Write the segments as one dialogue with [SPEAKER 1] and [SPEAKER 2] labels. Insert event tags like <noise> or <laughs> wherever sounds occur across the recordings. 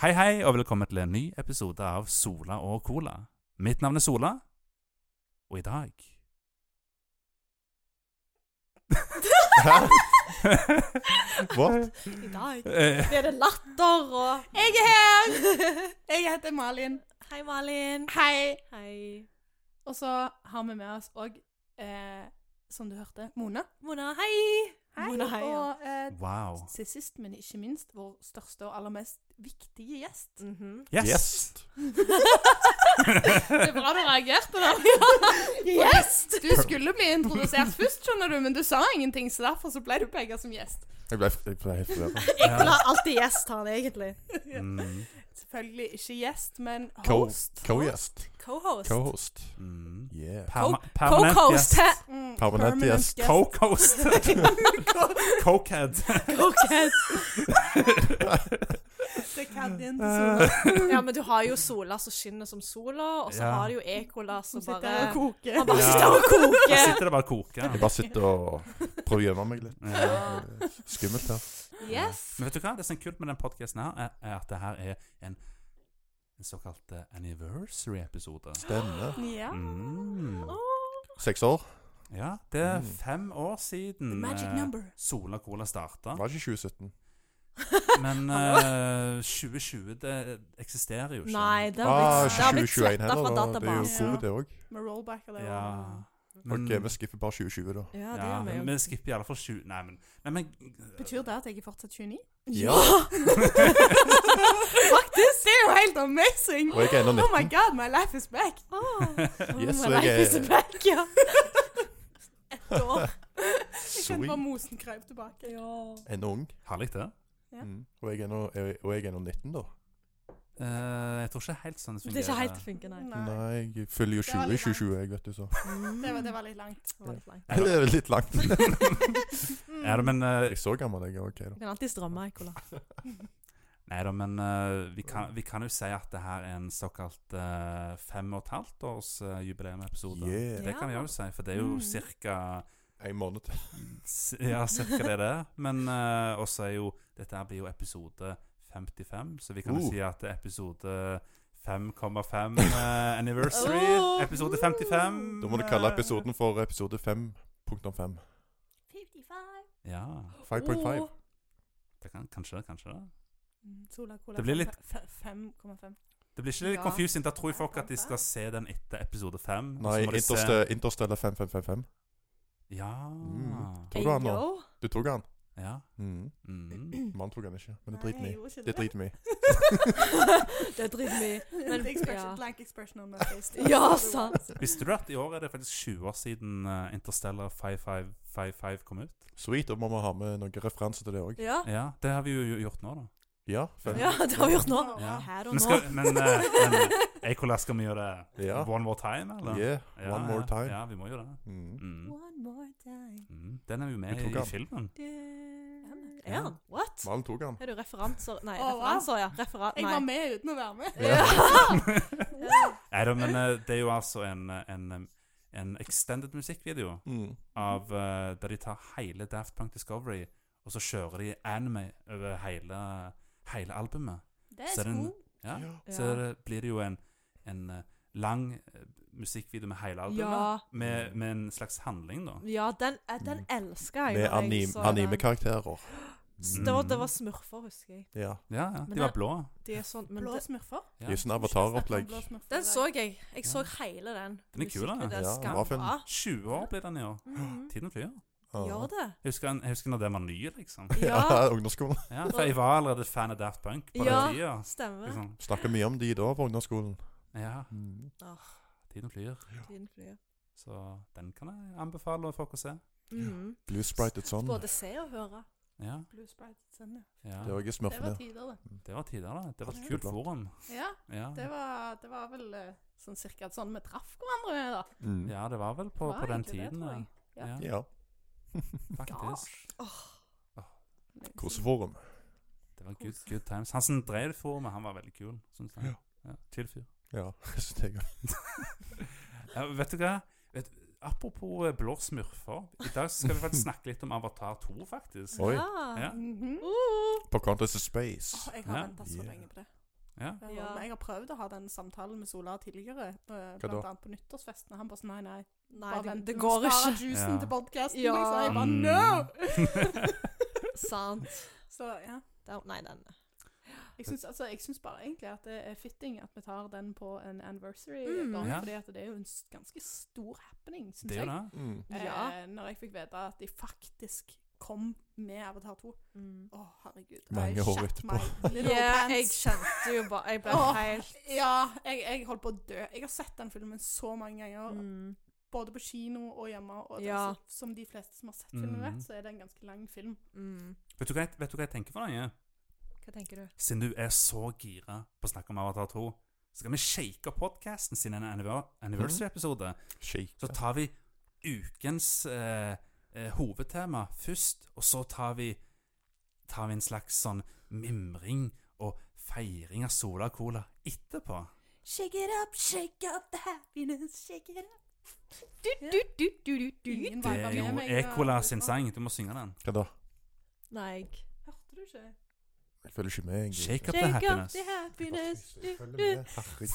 [SPEAKER 1] Hei, hei, og velkommen til en ny episode av Sola og Cola. Mitt navn er Sola, og i dag
[SPEAKER 2] Hæ? <laughs> What?
[SPEAKER 3] I dag
[SPEAKER 1] Eh,
[SPEAKER 3] blir det latter og <laughs>
[SPEAKER 4] Jeg er her! Jeg heter Malin.
[SPEAKER 3] Hei, Malin.
[SPEAKER 4] Hei.
[SPEAKER 3] Hei.
[SPEAKER 4] Og så har vi med oss òg, eh, som du hørte, Mona.
[SPEAKER 3] Mona, hei. Mona, hei, ja.
[SPEAKER 4] og eh,
[SPEAKER 1] Wow.
[SPEAKER 4] til sist, men ikke minst, vår største og aller mest viktige gjest.
[SPEAKER 3] Mhm.
[SPEAKER 1] Yes!
[SPEAKER 2] Yes.
[SPEAKER 4] Det er bra du reagerte der. <laughs> Gjest! Du skulle bli introdusert først, skjønner du, men du sa ingenting, så derfor så ble du begge som gjest.
[SPEAKER 2] Jeg ble, jeg ble helt forvirra.
[SPEAKER 3] Jeg vil ha alltid gjest han, egentlig.
[SPEAKER 1] Mm,
[SPEAKER 4] Selvfølgelig ikke gjest, men
[SPEAKER 2] Co-
[SPEAKER 4] host.
[SPEAKER 2] Co-gjest.
[SPEAKER 3] Co-host.
[SPEAKER 2] Co-host.
[SPEAKER 1] mm.
[SPEAKER 2] Yeah.
[SPEAKER 1] Perma- permanent
[SPEAKER 3] Co-host.
[SPEAKER 1] gjest.
[SPEAKER 4] Mm,
[SPEAKER 2] Permanent
[SPEAKER 4] permanent
[SPEAKER 2] gjest.
[SPEAKER 4] <laughs>
[SPEAKER 1] Co-coast. Cokehead.
[SPEAKER 3] Co-host.
[SPEAKER 4] Det kan din til sola.
[SPEAKER 3] Ja, men du har jo sola som skinner som sola, og så
[SPEAKER 1] Ja.
[SPEAKER 3] har du jo ekola som
[SPEAKER 4] Sitter
[SPEAKER 3] bare
[SPEAKER 4] og koker.
[SPEAKER 3] Han bare
[SPEAKER 1] Ja.
[SPEAKER 3] sitter og
[SPEAKER 1] Da
[SPEAKER 3] koker.
[SPEAKER 1] sitter det bare og koker.
[SPEAKER 2] Jeg bare sitter og prøver å gjemme meg litt.
[SPEAKER 1] Ja.
[SPEAKER 2] Skummelt her.
[SPEAKER 3] Yes.
[SPEAKER 1] Men vet du hva? Det som er kult med den podkasten her, er- er at det her er en, en såkalt eh, anniversary-episode.
[SPEAKER 2] Denne.
[SPEAKER 4] Ja.
[SPEAKER 1] Mm.
[SPEAKER 2] Seks år.
[SPEAKER 1] Ja, det er
[SPEAKER 2] Mm.
[SPEAKER 1] fem år siden
[SPEAKER 4] The magic
[SPEAKER 1] eh,
[SPEAKER 4] number.
[SPEAKER 1] Sola Cola starta.
[SPEAKER 2] Var ikke 2017.
[SPEAKER 1] Men <laughs> eh, 2020 det eksisterer jo ikke.
[SPEAKER 3] Nei, det
[SPEAKER 2] Ah,
[SPEAKER 3] har blitt, det har
[SPEAKER 2] ikke
[SPEAKER 3] blitt
[SPEAKER 2] 2021
[SPEAKER 3] sletta fra
[SPEAKER 2] heller. da. Det er jo
[SPEAKER 3] databasen.
[SPEAKER 4] databasen.
[SPEAKER 2] covid, det òg.
[SPEAKER 4] Med rollback eller
[SPEAKER 1] Ja. Mm. Men-
[SPEAKER 2] Ok, vi skipper bare 2020,
[SPEAKER 3] <laughs>
[SPEAKER 2] da.
[SPEAKER 3] Ja, det
[SPEAKER 1] Ja,
[SPEAKER 3] har vi
[SPEAKER 1] men
[SPEAKER 3] jo.
[SPEAKER 1] vi skipper i alle fall 20 Nei, men, nei, men
[SPEAKER 4] Betyr det at jeg er fortsatt 29?
[SPEAKER 2] Ja.
[SPEAKER 4] Faktisk! Det er jo helt amazing!
[SPEAKER 2] Og jeg er ennå
[SPEAKER 4] Oh my
[SPEAKER 2] 19.
[SPEAKER 4] god, my life is back!
[SPEAKER 3] Ah.
[SPEAKER 2] Yes,
[SPEAKER 3] my
[SPEAKER 2] og jeg
[SPEAKER 3] life is
[SPEAKER 2] er-
[SPEAKER 3] back, ja. Ett år.
[SPEAKER 4] Jeg kjente
[SPEAKER 2] Sweet.
[SPEAKER 4] bare mosen krøp tilbake.
[SPEAKER 2] Ennå ung.
[SPEAKER 1] Herlig, det.
[SPEAKER 4] Ja.
[SPEAKER 2] Mm. Og jeg er ennå jeg- og jeg er ennå 19, da.
[SPEAKER 1] Eh, jeg tror ikke helt sånn det
[SPEAKER 3] Det er
[SPEAKER 1] fungerer.
[SPEAKER 3] ikke helt funker, nei.
[SPEAKER 4] Nei,
[SPEAKER 2] Nei, jeg følger jo
[SPEAKER 4] Det var
[SPEAKER 2] 20 i
[SPEAKER 4] litt langt.
[SPEAKER 2] 2020, jeg, vet du, så. <laughs>
[SPEAKER 4] det var, det var litt langt.
[SPEAKER 3] Det var litt langt.
[SPEAKER 2] Det er litt langt.
[SPEAKER 4] Mm.
[SPEAKER 1] Ja, da,
[SPEAKER 3] <laughs>
[SPEAKER 1] men, eh,
[SPEAKER 2] Jeg så gammel, jeg. OK, da.
[SPEAKER 3] Du kan alltid stramme, Ekola.
[SPEAKER 1] nei da, men eh, vi, kan, vi kan jo si at det her er en såkalt eh, fem og et halvt års eh, jubileumepisode.
[SPEAKER 2] Yeah.
[SPEAKER 1] Det kan vi
[SPEAKER 3] Ja.
[SPEAKER 1] jo si, for det er jo
[SPEAKER 4] Mm.
[SPEAKER 1] cirka
[SPEAKER 2] En måned til.
[SPEAKER 1] s- Ja, cirka det det er. Men eh, også er jo Dette her blir jo episode 55, så vi kan jo
[SPEAKER 2] Uh.
[SPEAKER 1] si at det er episode 5,5 eh,
[SPEAKER 2] <laughs>
[SPEAKER 1] anniversary.
[SPEAKER 3] Oh.
[SPEAKER 1] Episode 55.
[SPEAKER 2] Da må du kalle episoden for episode 5.5.
[SPEAKER 3] 55.
[SPEAKER 1] Ja.
[SPEAKER 2] 5.5.
[SPEAKER 3] Oh.
[SPEAKER 1] Det kan, kanskje det, kanskje det.
[SPEAKER 4] Mm, Sola Cola
[SPEAKER 1] Det blir litt-
[SPEAKER 4] fe- fe- 5,5.
[SPEAKER 1] Det blir ikke litt
[SPEAKER 4] Ja.
[SPEAKER 1] confusing. Da tror jo folk at de skal se den etter episode fem. og så
[SPEAKER 2] Nei,
[SPEAKER 1] må de se-
[SPEAKER 2] Interste- Interstellar 5555.
[SPEAKER 1] Ja.
[SPEAKER 2] Mm.
[SPEAKER 3] Hey,
[SPEAKER 2] Tok du han nå?
[SPEAKER 3] yo. <laughs>
[SPEAKER 2] Du tok han?
[SPEAKER 1] ja.
[SPEAKER 2] Mm.
[SPEAKER 1] Mm.
[SPEAKER 2] Mannen tok han ikke, men
[SPEAKER 4] Nei,
[SPEAKER 2] det driter vi
[SPEAKER 4] jeg
[SPEAKER 2] i.
[SPEAKER 4] gjorde ikke
[SPEAKER 2] Det
[SPEAKER 4] <laughs>
[SPEAKER 2] driter vi i.
[SPEAKER 3] Det er dritmye. Men-
[SPEAKER 4] Blank expression-
[SPEAKER 3] ja.
[SPEAKER 4] Blank expression on my <laughs> face.
[SPEAKER 3] Ja, sant.
[SPEAKER 1] Visste du at i år er det faktisk 20 år siden eh, Interstellar 5555 kom ut?
[SPEAKER 2] Sweet, og må vi ha med noen referanser til det òg.
[SPEAKER 3] Ja.
[SPEAKER 1] Ja, det har vi jo gjort nå, da.
[SPEAKER 2] Ja, fem.
[SPEAKER 3] ja, det har vi gjort nå.
[SPEAKER 1] Ja.
[SPEAKER 3] Her
[SPEAKER 1] Men,
[SPEAKER 3] og nå.
[SPEAKER 1] skal, men, eh, men Eikola, skal vi gjøre det
[SPEAKER 2] <laughs> Ja.
[SPEAKER 1] one more time, eller?
[SPEAKER 2] Yeah,
[SPEAKER 1] Ja,
[SPEAKER 2] one more
[SPEAKER 1] ja.
[SPEAKER 2] time.
[SPEAKER 1] Ja, vi må jo det.
[SPEAKER 2] Mm.
[SPEAKER 1] Mm.
[SPEAKER 3] One more time.
[SPEAKER 1] Mm. Den er jo med
[SPEAKER 2] Vi tok
[SPEAKER 1] i
[SPEAKER 2] han.
[SPEAKER 1] filmen.
[SPEAKER 3] Er han? What?
[SPEAKER 2] Malen tok han.
[SPEAKER 3] Er du referanser? Nei,
[SPEAKER 4] Å, wow.
[SPEAKER 3] referanser, ja. Refera
[SPEAKER 4] Jeg
[SPEAKER 3] nei.
[SPEAKER 4] var med uten å være med.
[SPEAKER 2] Ja.
[SPEAKER 1] <laughs>
[SPEAKER 3] <laughs>
[SPEAKER 1] Nei da, men eh, det er jo altså en, en, en extended musikkvideo.
[SPEAKER 2] Mm.
[SPEAKER 1] av eh, der de tar hele Daft Punk Discovery, og så kjører de anime over hele, hele albumet.
[SPEAKER 4] Det
[SPEAKER 1] Så
[SPEAKER 4] er
[SPEAKER 1] er den-
[SPEAKER 4] sko.
[SPEAKER 1] Ja. Så
[SPEAKER 3] Ja.
[SPEAKER 1] det blir det jo en, en eh, lang eh, musikkvideo med hele albumet,
[SPEAKER 3] Ja.
[SPEAKER 1] med, med en slags handling, da.
[SPEAKER 3] Ja, den, eh, den elsker jeg.
[SPEAKER 2] Mm. Med Mm.
[SPEAKER 3] når jeg
[SPEAKER 2] anim
[SPEAKER 3] så den.
[SPEAKER 2] anime-karakterer.
[SPEAKER 3] Så Det var, det var smurfer, husker jeg.
[SPEAKER 2] Mm, Ja.
[SPEAKER 1] Ja, ja.
[SPEAKER 3] Men
[SPEAKER 1] De var
[SPEAKER 3] det-
[SPEAKER 1] blå.
[SPEAKER 3] De er sånn, men
[SPEAKER 4] Blå
[SPEAKER 3] det,
[SPEAKER 4] smurfer.
[SPEAKER 1] Ja.
[SPEAKER 2] Det er jo sånn avataropplegg.
[SPEAKER 4] Blå smurfer.
[SPEAKER 3] den så jeg. Jeg så
[SPEAKER 1] Ja.
[SPEAKER 3] hele den.
[SPEAKER 1] Den er kul, da.
[SPEAKER 3] musikken. Den
[SPEAKER 2] Ja,
[SPEAKER 3] skal
[SPEAKER 2] bra
[SPEAKER 3] <gasps>
[SPEAKER 2] film.
[SPEAKER 3] bra.
[SPEAKER 1] 20 år ble den i år.
[SPEAKER 3] Mhm.
[SPEAKER 1] Tiden flyr.
[SPEAKER 2] Ja.
[SPEAKER 3] Gjør det.
[SPEAKER 1] Jeg husker, en- jeg husker når den var ny, liksom.
[SPEAKER 3] <laughs> Ja,
[SPEAKER 2] <laughs>
[SPEAKER 3] Sånn.
[SPEAKER 2] Ja, ungdomsskolen.
[SPEAKER 4] <laughs>
[SPEAKER 1] Ja, for jeg var allerede fan av Daft Punk på
[SPEAKER 3] Ja.
[SPEAKER 1] den tida.
[SPEAKER 3] stemmer.
[SPEAKER 1] Liksom.
[SPEAKER 2] Snakker mye om de da på ungdomsskolen.
[SPEAKER 1] Ja,
[SPEAKER 2] Mm.
[SPEAKER 1] tiden flyr.
[SPEAKER 3] Tiden flyr.
[SPEAKER 1] Så den kan jeg anbefale folk å se.
[SPEAKER 3] Mhm.
[SPEAKER 2] Blue Sprite et sånn.
[SPEAKER 3] Både se og høre.
[SPEAKER 1] Ja,
[SPEAKER 4] Blue Sprite. sånn, ja.
[SPEAKER 1] ja.
[SPEAKER 2] Det er
[SPEAKER 4] Det
[SPEAKER 2] også
[SPEAKER 4] var
[SPEAKER 2] smurfene.
[SPEAKER 4] tider, det.
[SPEAKER 1] Det var tider, da. Det var et
[SPEAKER 4] Ja.
[SPEAKER 1] kult forum.
[SPEAKER 4] Ja,
[SPEAKER 1] Ja.
[SPEAKER 4] det var, det var vel eh, sånn cirka sånn vi traff hverandre, da.
[SPEAKER 2] Mm.
[SPEAKER 1] Ja, det var vel på,
[SPEAKER 4] Det var
[SPEAKER 1] på den
[SPEAKER 4] egentlig det,
[SPEAKER 1] tiden.
[SPEAKER 4] tror jeg.
[SPEAKER 1] ja.
[SPEAKER 4] Ja.
[SPEAKER 1] Ja,
[SPEAKER 2] Ja.
[SPEAKER 1] faktisk.
[SPEAKER 2] Koseforum.
[SPEAKER 1] Det var good, good times. Han som drev forumet, han var veldig kul, syns jeg. Ja, chill fyr.
[SPEAKER 2] Ja. <laughs> Så det er-
[SPEAKER 1] Ja, vet du hva? Vet, apropos eh, blå smurfer. I dag skal vi faktisk snakke litt om Avatar 2, faktisk.
[SPEAKER 2] Oi.
[SPEAKER 3] Ja.
[SPEAKER 1] Ja.
[SPEAKER 4] Mhm.
[SPEAKER 3] Uh.
[SPEAKER 2] På Contest of Space.
[SPEAKER 4] Åh, jeg har
[SPEAKER 1] Ja.
[SPEAKER 4] ventet så
[SPEAKER 2] Yeah.
[SPEAKER 4] lenge på det.
[SPEAKER 1] Ja.
[SPEAKER 4] Men
[SPEAKER 3] Ja.
[SPEAKER 4] Jeg har prøvd å ha den samtalen med Sola tidligere, eh,
[SPEAKER 2] da?
[SPEAKER 4] blant annet på nyttårsfesten. Han bare sånn nei, nei.
[SPEAKER 3] Nei,
[SPEAKER 4] Bare
[SPEAKER 3] det,
[SPEAKER 4] vent,
[SPEAKER 3] det
[SPEAKER 4] vi
[SPEAKER 3] går
[SPEAKER 4] sparer
[SPEAKER 3] ikke.
[SPEAKER 4] juicen
[SPEAKER 1] Ja.
[SPEAKER 4] til podcasten,
[SPEAKER 3] Ja.
[SPEAKER 4] liksom. Jeg bare
[SPEAKER 1] Mm.
[SPEAKER 4] no!
[SPEAKER 3] <laughs> Sant.
[SPEAKER 4] Så ja.
[SPEAKER 3] Der, nei, den
[SPEAKER 4] Jeg syns, altså, jeg syns bare egentlig at det er fitting at vi tar den på en anniversary.
[SPEAKER 3] Mm.
[SPEAKER 4] Bare,
[SPEAKER 1] Ja.
[SPEAKER 4] Fordi at det er jo en s- ganske stor happening,
[SPEAKER 1] <laughs>
[SPEAKER 4] syns
[SPEAKER 1] Det er
[SPEAKER 4] jeg.
[SPEAKER 1] jo det.
[SPEAKER 2] Mm.
[SPEAKER 3] Ja.
[SPEAKER 4] Eh, når jeg fikk vite at de faktisk kom med Avatar 2.
[SPEAKER 3] Eh,
[SPEAKER 4] Å, herregud.
[SPEAKER 2] Mange
[SPEAKER 4] I
[SPEAKER 2] år
[SPEAKER 4] shat
[SPEAKER 2] etterpå.
[SPEAKER 4] my little
[SPEAKER 3] Mm. <laughs> Ja, jeg
[SPEAKER 4] pants.
[SPEAKER 3] kjente jo bare Jeg ble
[SPEAKER 4] Åh.
[SPEAKER 3] helt
[SPEAKER 4] Ja, jeg, jeg holdt på å dø. Jeg har sett den filmen så mange ganger.
[SPEAKER 3] mm.
[SPEAKER 4] Både på kino og hjemme. Og
[SPEAKER 3] Ja.
[SPEAKER 4] altså, som de fleste som har sett filmen,
[SPEAKER 1] Mm.
[SPEAKER 4] vet, så er det en ganske lang film.
[SPEAKER 3] Mm.
[SPEAKER 1] Vet du hva jeg, vet du hva jeg tenker for deg?
[SPEAKER 3] Hva tenker du?
[SPEAKER 1] Siden du er så gira på å snakke om Avatar 2, så skal vi shake opp podkasten sin en anniver- anniversary-episode. Så
[SPEAKER 2] Shake.
[SPEAKER 1] tar vi ukens eh, eh, hovedtema først, og så tar vi, tar vi en slags sånn mimring og feiring av Sola Cola etterpå.
[SPEAKER 3] Shake it up, shake up the happiness, shake it up. Du, du, du, du, du, du.
[SPEAKER 4] Ingen
[SPEAKER 1] Det
[SPEAKER 4] viber
[SPEAKER 1] er
[SPEAKER 4] med
[SPEAKER 1] jo
[SPEAKER 4] meg, og-
[SPEAKER 1] Ekola sin sang. Du må synge den.
[SPEAKER 2] Hva da?
[SPEAKER 3] Nei. jeg-
[SPEAKER 4] Hørte du ikke?
[SPEAKER 2] Jeg følger ikke med. egentlig.
[SPEAKER 1] Shake up the
[SPEAKER 3] Shake up
[SPEAKER 1] happiness.
[SPEAKER 3] the happiness.
[SPEAKER 2] Jeg
[SPEAKER 3] du, du.
[SPEAKER 2] følger med. Herregud.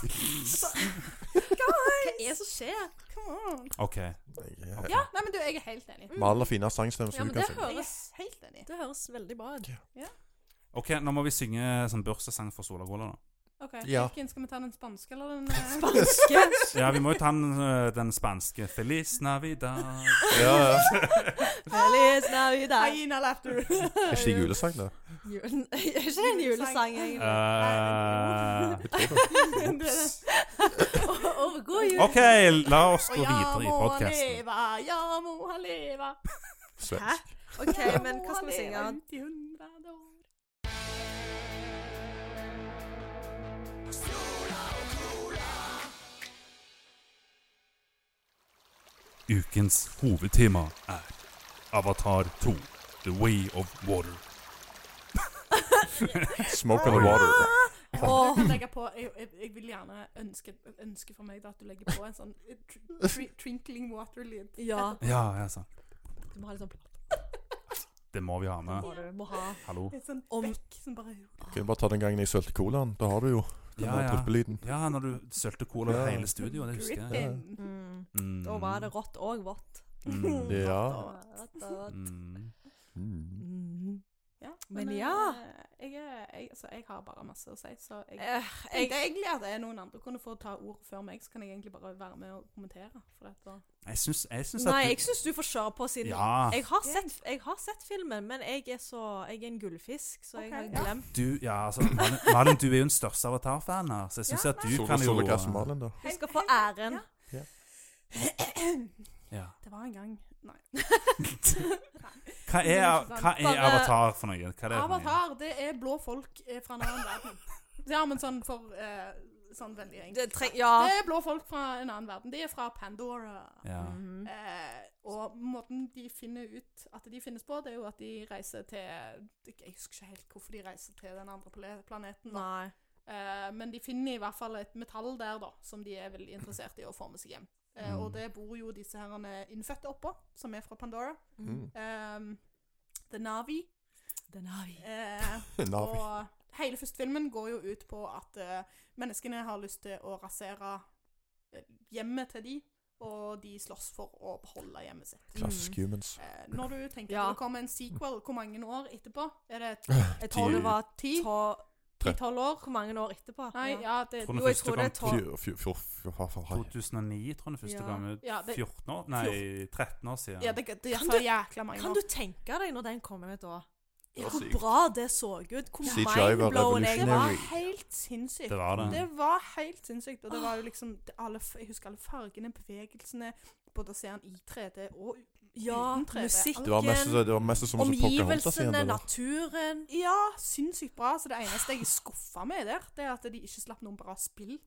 [SPEAKER 3] Hva er det som skjer?
[SPEAKER 4] Come on.
[SPEAKER 1] OK.
[SPEAKER 2] Jeg er-
[SPEAKER 4] Ja, nei, men du, jeg er helt
[SPEAKER 3] Mm.
[SPEAKER 4] enig.
[SPEAKER 2] Maler fine sangstemmer
[SPEAKER 3] Ja,
[SPEAKER 2] som
[SPEAKER 3] men
[SPEAKER 2] du kan
[SPEAKER 3] det
[SPEAKER 2] synge.
[SPEAKER 3] hører-
[SPEAKER 4] Jeg er helt enig.
[SPEAKER 3] Det høres veldig bra ut.
[SPEAKER 1] Ok, Nå må vi synge sånn bursdagssang for Sola Cola, <laughs> da.
[SPEAKER 4] Ok,
[SPEAKER 2] Ja.
[SPEAKER 4] Hvilken skal vi ta? Den spanske eller den eh, <laughs>
[SPEAKER 3] Spanske.
[SPEAKER 1] Ja, vi må jo ta den, eh, den spanske. Feliz Navidad.
[SPEAKER 2] Ja, ja.
[SPEAKER 3] Feliz Navidad.
[SPEAKER 4] Hyena laughter.
[SPEAKER 2] Er ikke
[SPEAKER 3] <laughs>
[SPEAKER 2] det julesang, da?
[SPEAKER 4] <laughs>
[SPEAKER 3] Julen- Er ikke det en julesang,
[SPEAKER 1] Eh,
[SPEAKER 3] egentlig?
[SPEAKER 2] Jeg tror det.
[SPEAKER 1] Ops.
[SPEAKER 3] Over god jul.
[SPEAKER 1] Eh, OK, la oss gå
[SPEAKER 4] Og ja,
[SPEAKER 1] videre i
[SPEAKER 4] må han
[SPEAKER 1] podkasten.
[SPEAKER 4] leve, ja, må han leve.
[SPEAKER 2] Svensk.
[SPEAKER 3] Hæ? OK,
[SPEAKER 4] Ja,
[SPEAKER 3] men
[SPEAKER 4] må
[SPEAKER 3] hva skal
[SPEAKER 4] han
[SPEAKER 3] vi synge?
[SPEAKER 4] leve ut i 100 år.
[SPEAKER 1] Ukens hovedtema er Avatar 2 The Way of Water.
[SPEAKER 2] Smoke on the water.
[SPEAKER 4] Kan du legge på, jeg, jeg, jeg vil gjerne ønske, ønske for meg da, at du legger på en sånn eh, tr tr trinkling water-lyd.
[SPEAKER 3] Ja.
[SPEAKER 1] Ja, ja, sant.
[SPEAKER 3] Du må ha litt sånn
[SPEAKER 1] Det må vi ha med.
[SPEAKER 3] må du må ha.
[SPEAKER 1] Hallo.
[SPEAKER 4] En sånn
[SPEAKER 3] Om-
[SPEAKER 4] bekk som bare
[SPEAKER 2] Kan vi bare ta den gangen jeg sølte colaen? Da har du jo den
[SPEAKER 1] Ja,
[SPEAKER 2] der
[SPEAKER 1] ja.
[SPEAKER 2] dryppelyden.
[SPEAKER 1] ja, når du sølte cola over hele studioet, det husker jeg.
[SPEAKER 4] Gripping.
[SPEAKER 3] Mm.
[SPEAKER 1] Mm.
[SPEAKER 3] Da var det rått og vått.
[SPEAKER 1] Mm.
[SPEAKER 2] Ja.
[SPEAKER 3] Rått og vått.
[SPEAKER 1] Mm.
[SPEAKER 2] Mm.
[SPEAKER 3] Mm.
[SPEAKER 4] Ja,
[SPEAKER 3] Men
[SPEAKER 4] eh,
[SPEAKER 3] ja.
[SPEAKER 4] Jeg, er- jeg, altså, jeg har bare masse å si, så jeg
[SPEAKER 3] Eh,
[SPEAKER 4] jeg,
[SPEAKER 3] jeg,
[SPEAKER 4] egentlig at det er noen andre kunne få ta ord før meg, så kan jeg egentlig bare være med og kommentere. For at da-
[SPEAKER 1] Jeg syns, jeg syns at
[SPEAKER 3] nei,
[SPEAKER 1] du-
[SPEAKER 3] jeg syns du får kjøre på siden
[SPEAKER 1] Ja.
[SPEAKER 3] jeg, har sett, jeg har sett filmen, men jeg er, så, jeg er en gullfisk, så jeg
[SPEAKER 4] Ok,
[SPEAKER 3] har
[SPEAKER 4] ja.
[SPEAKER 3] glemt
[SPEAKER 1] Du, ja, altså, Malin, Malin, du er jo den største Avatar-fan her, så jeg syns
[SPEAKER 4] Ja,
[SPEAKER 1] at du
[SPEAKER 2] Sola-
[SPEAKER 1] kan jo
[SPEAKER 2] Sola Grass Malin, da.
[SPEAKER 3] Du skal få æren.
[SPEAKER 1] Ja.
[SPEAKER 4] Det var en gang Nei.
[SPEAKER 1] Hva er, hva er
[SPEAKER 3] Bare-
[SPEAKER 1] Avatar for noe? Hva er det for noe?
[SPEAKER 4] Avatar, det er blå folk eh, fra en annen verden. Ja, men sånn for eh, Sånn veldig enkelt.
[SPEAKER 3] Det treng, ja.
[SPEAKER 4] Det er blå folk fra en annen verden. De er fra Pandora.
[SPEAKER 1] Ja.
[SPEAKER 3] Mhm.
[SPEAKER 4] Eh, og måten de finner ut at de finnes på, det er jo at de reiser til Jeg husker ikke helt hvorfor de reiser til den andre pla- planeten. Da.
[SPEAKER 3] Nei.
[SPEAKER 4] Eh, men de finner i hvert fall et metall der da, som de er veldig interessert i å få med seg hjem. Eh,
[SPEAKER 1] Mm.
[SPEAKER 4] Og det bor jo disse herrene innfødte oppå, som er fra Pandora.
[SPEAKER 2] Mm.
[SPEAKER 4] Ehm, The Navi.
[SPEAKER 3] Den har vi.
[SPEAKER 4] Eh,
[SPEAKER 2] Navi.
[SPEAKER 4] og hele første filmen går jo ut på at eh, menneskene har lyst til å rasere eh, hjemmet til de, og de slåss for å beholde hjemmet sitt.
[SPEAKER 2] Klassisk humans.
[SPEAKER 4] Eh, når du tenker
[SPEAKER 3] Ja.
[SPEAKER 4] at det kommer en sequel, hvor mange år etterpå? Er det
[SPEAKER 3] Jeg tror det var
[SPEAKER 4] Ti?
[SPEAKER 3] to-
[SPEAKER 2] Tre.
[SPEAKER 3] ti-tolv år. Hvor mange år etterpå?
[SPEAKER 4] Nei,
[SPEAKER 3] Ja.
[SPEAKER 4] ja, det,
[SPEAKER 1] Tror den
[SPEAKER 3] Jo, jeg
[SPEAKER 1] første
[SPEAKER 3] tror det er
[SPEAKER 1] kom
[SPEAKER 3] tolv.
[SPEAKER 2] Fjor- fjor- fjor- fjor- fjor- fjor- fjor-
[SPEAKER 1] 2009, tror jeg det første
[SPEAKER 3] Ja.
[SPEAKER 1] kom ut.
[SPEAKER 4] Ja, det-
[SPEAKER 1] 14 år? Nei, 13 år siden.
[SPEAKER 4] ja, det, det, er
[SPEAKER 3] Kan
[SPEAKER 4] så
[SPEAKER 3] du-
[SPEAKER 4] jækla mange
[SPEAKER 3] Kan
[SPEAKER 4] år.
[SPEAKER 3] du tenke deg når den kommer ut da?
[SPEAKER 2] Ja,
[SPEAKER 3] Hvor
[SPEAKER 2] sykt.
[SPEAKER 3] bra det så ut. Hvor
[SPEAKER 2] CGI var
[SPEAKER 3] mindblown jeg
[SPEAKER 4] Det
[SPEAKER 3] var.
[SPEAKER 2] revolutionary.
[SPEAKER 4] var helt sinnssykt.
[SPEAKER 1] Det var det.
[SPEAKER 4] Det var helt sinnssykt. Og det var jo liksom det- alle, f- Jeg husker alle fargene, bevegelsene. Både å se han i 3D og
[SPEAKER 3] Ja,
[SPEAKER 4] Uten 3D.
[SPEAKER 2] Det var mest,
[SPEAKER 3] musikken,
[SPEAKER 2] det var mest som å se Pocahontas igjen.
[SPEAKER 3] omgivelsene,
[SPEAKER 2] det der.
[SPEAKER 3] naturen.
[SPEAKER 4] Ja, sinnssykt bra. Så det eneste jeg er skuffa med der, det er at de ikke slapp noen bra spill.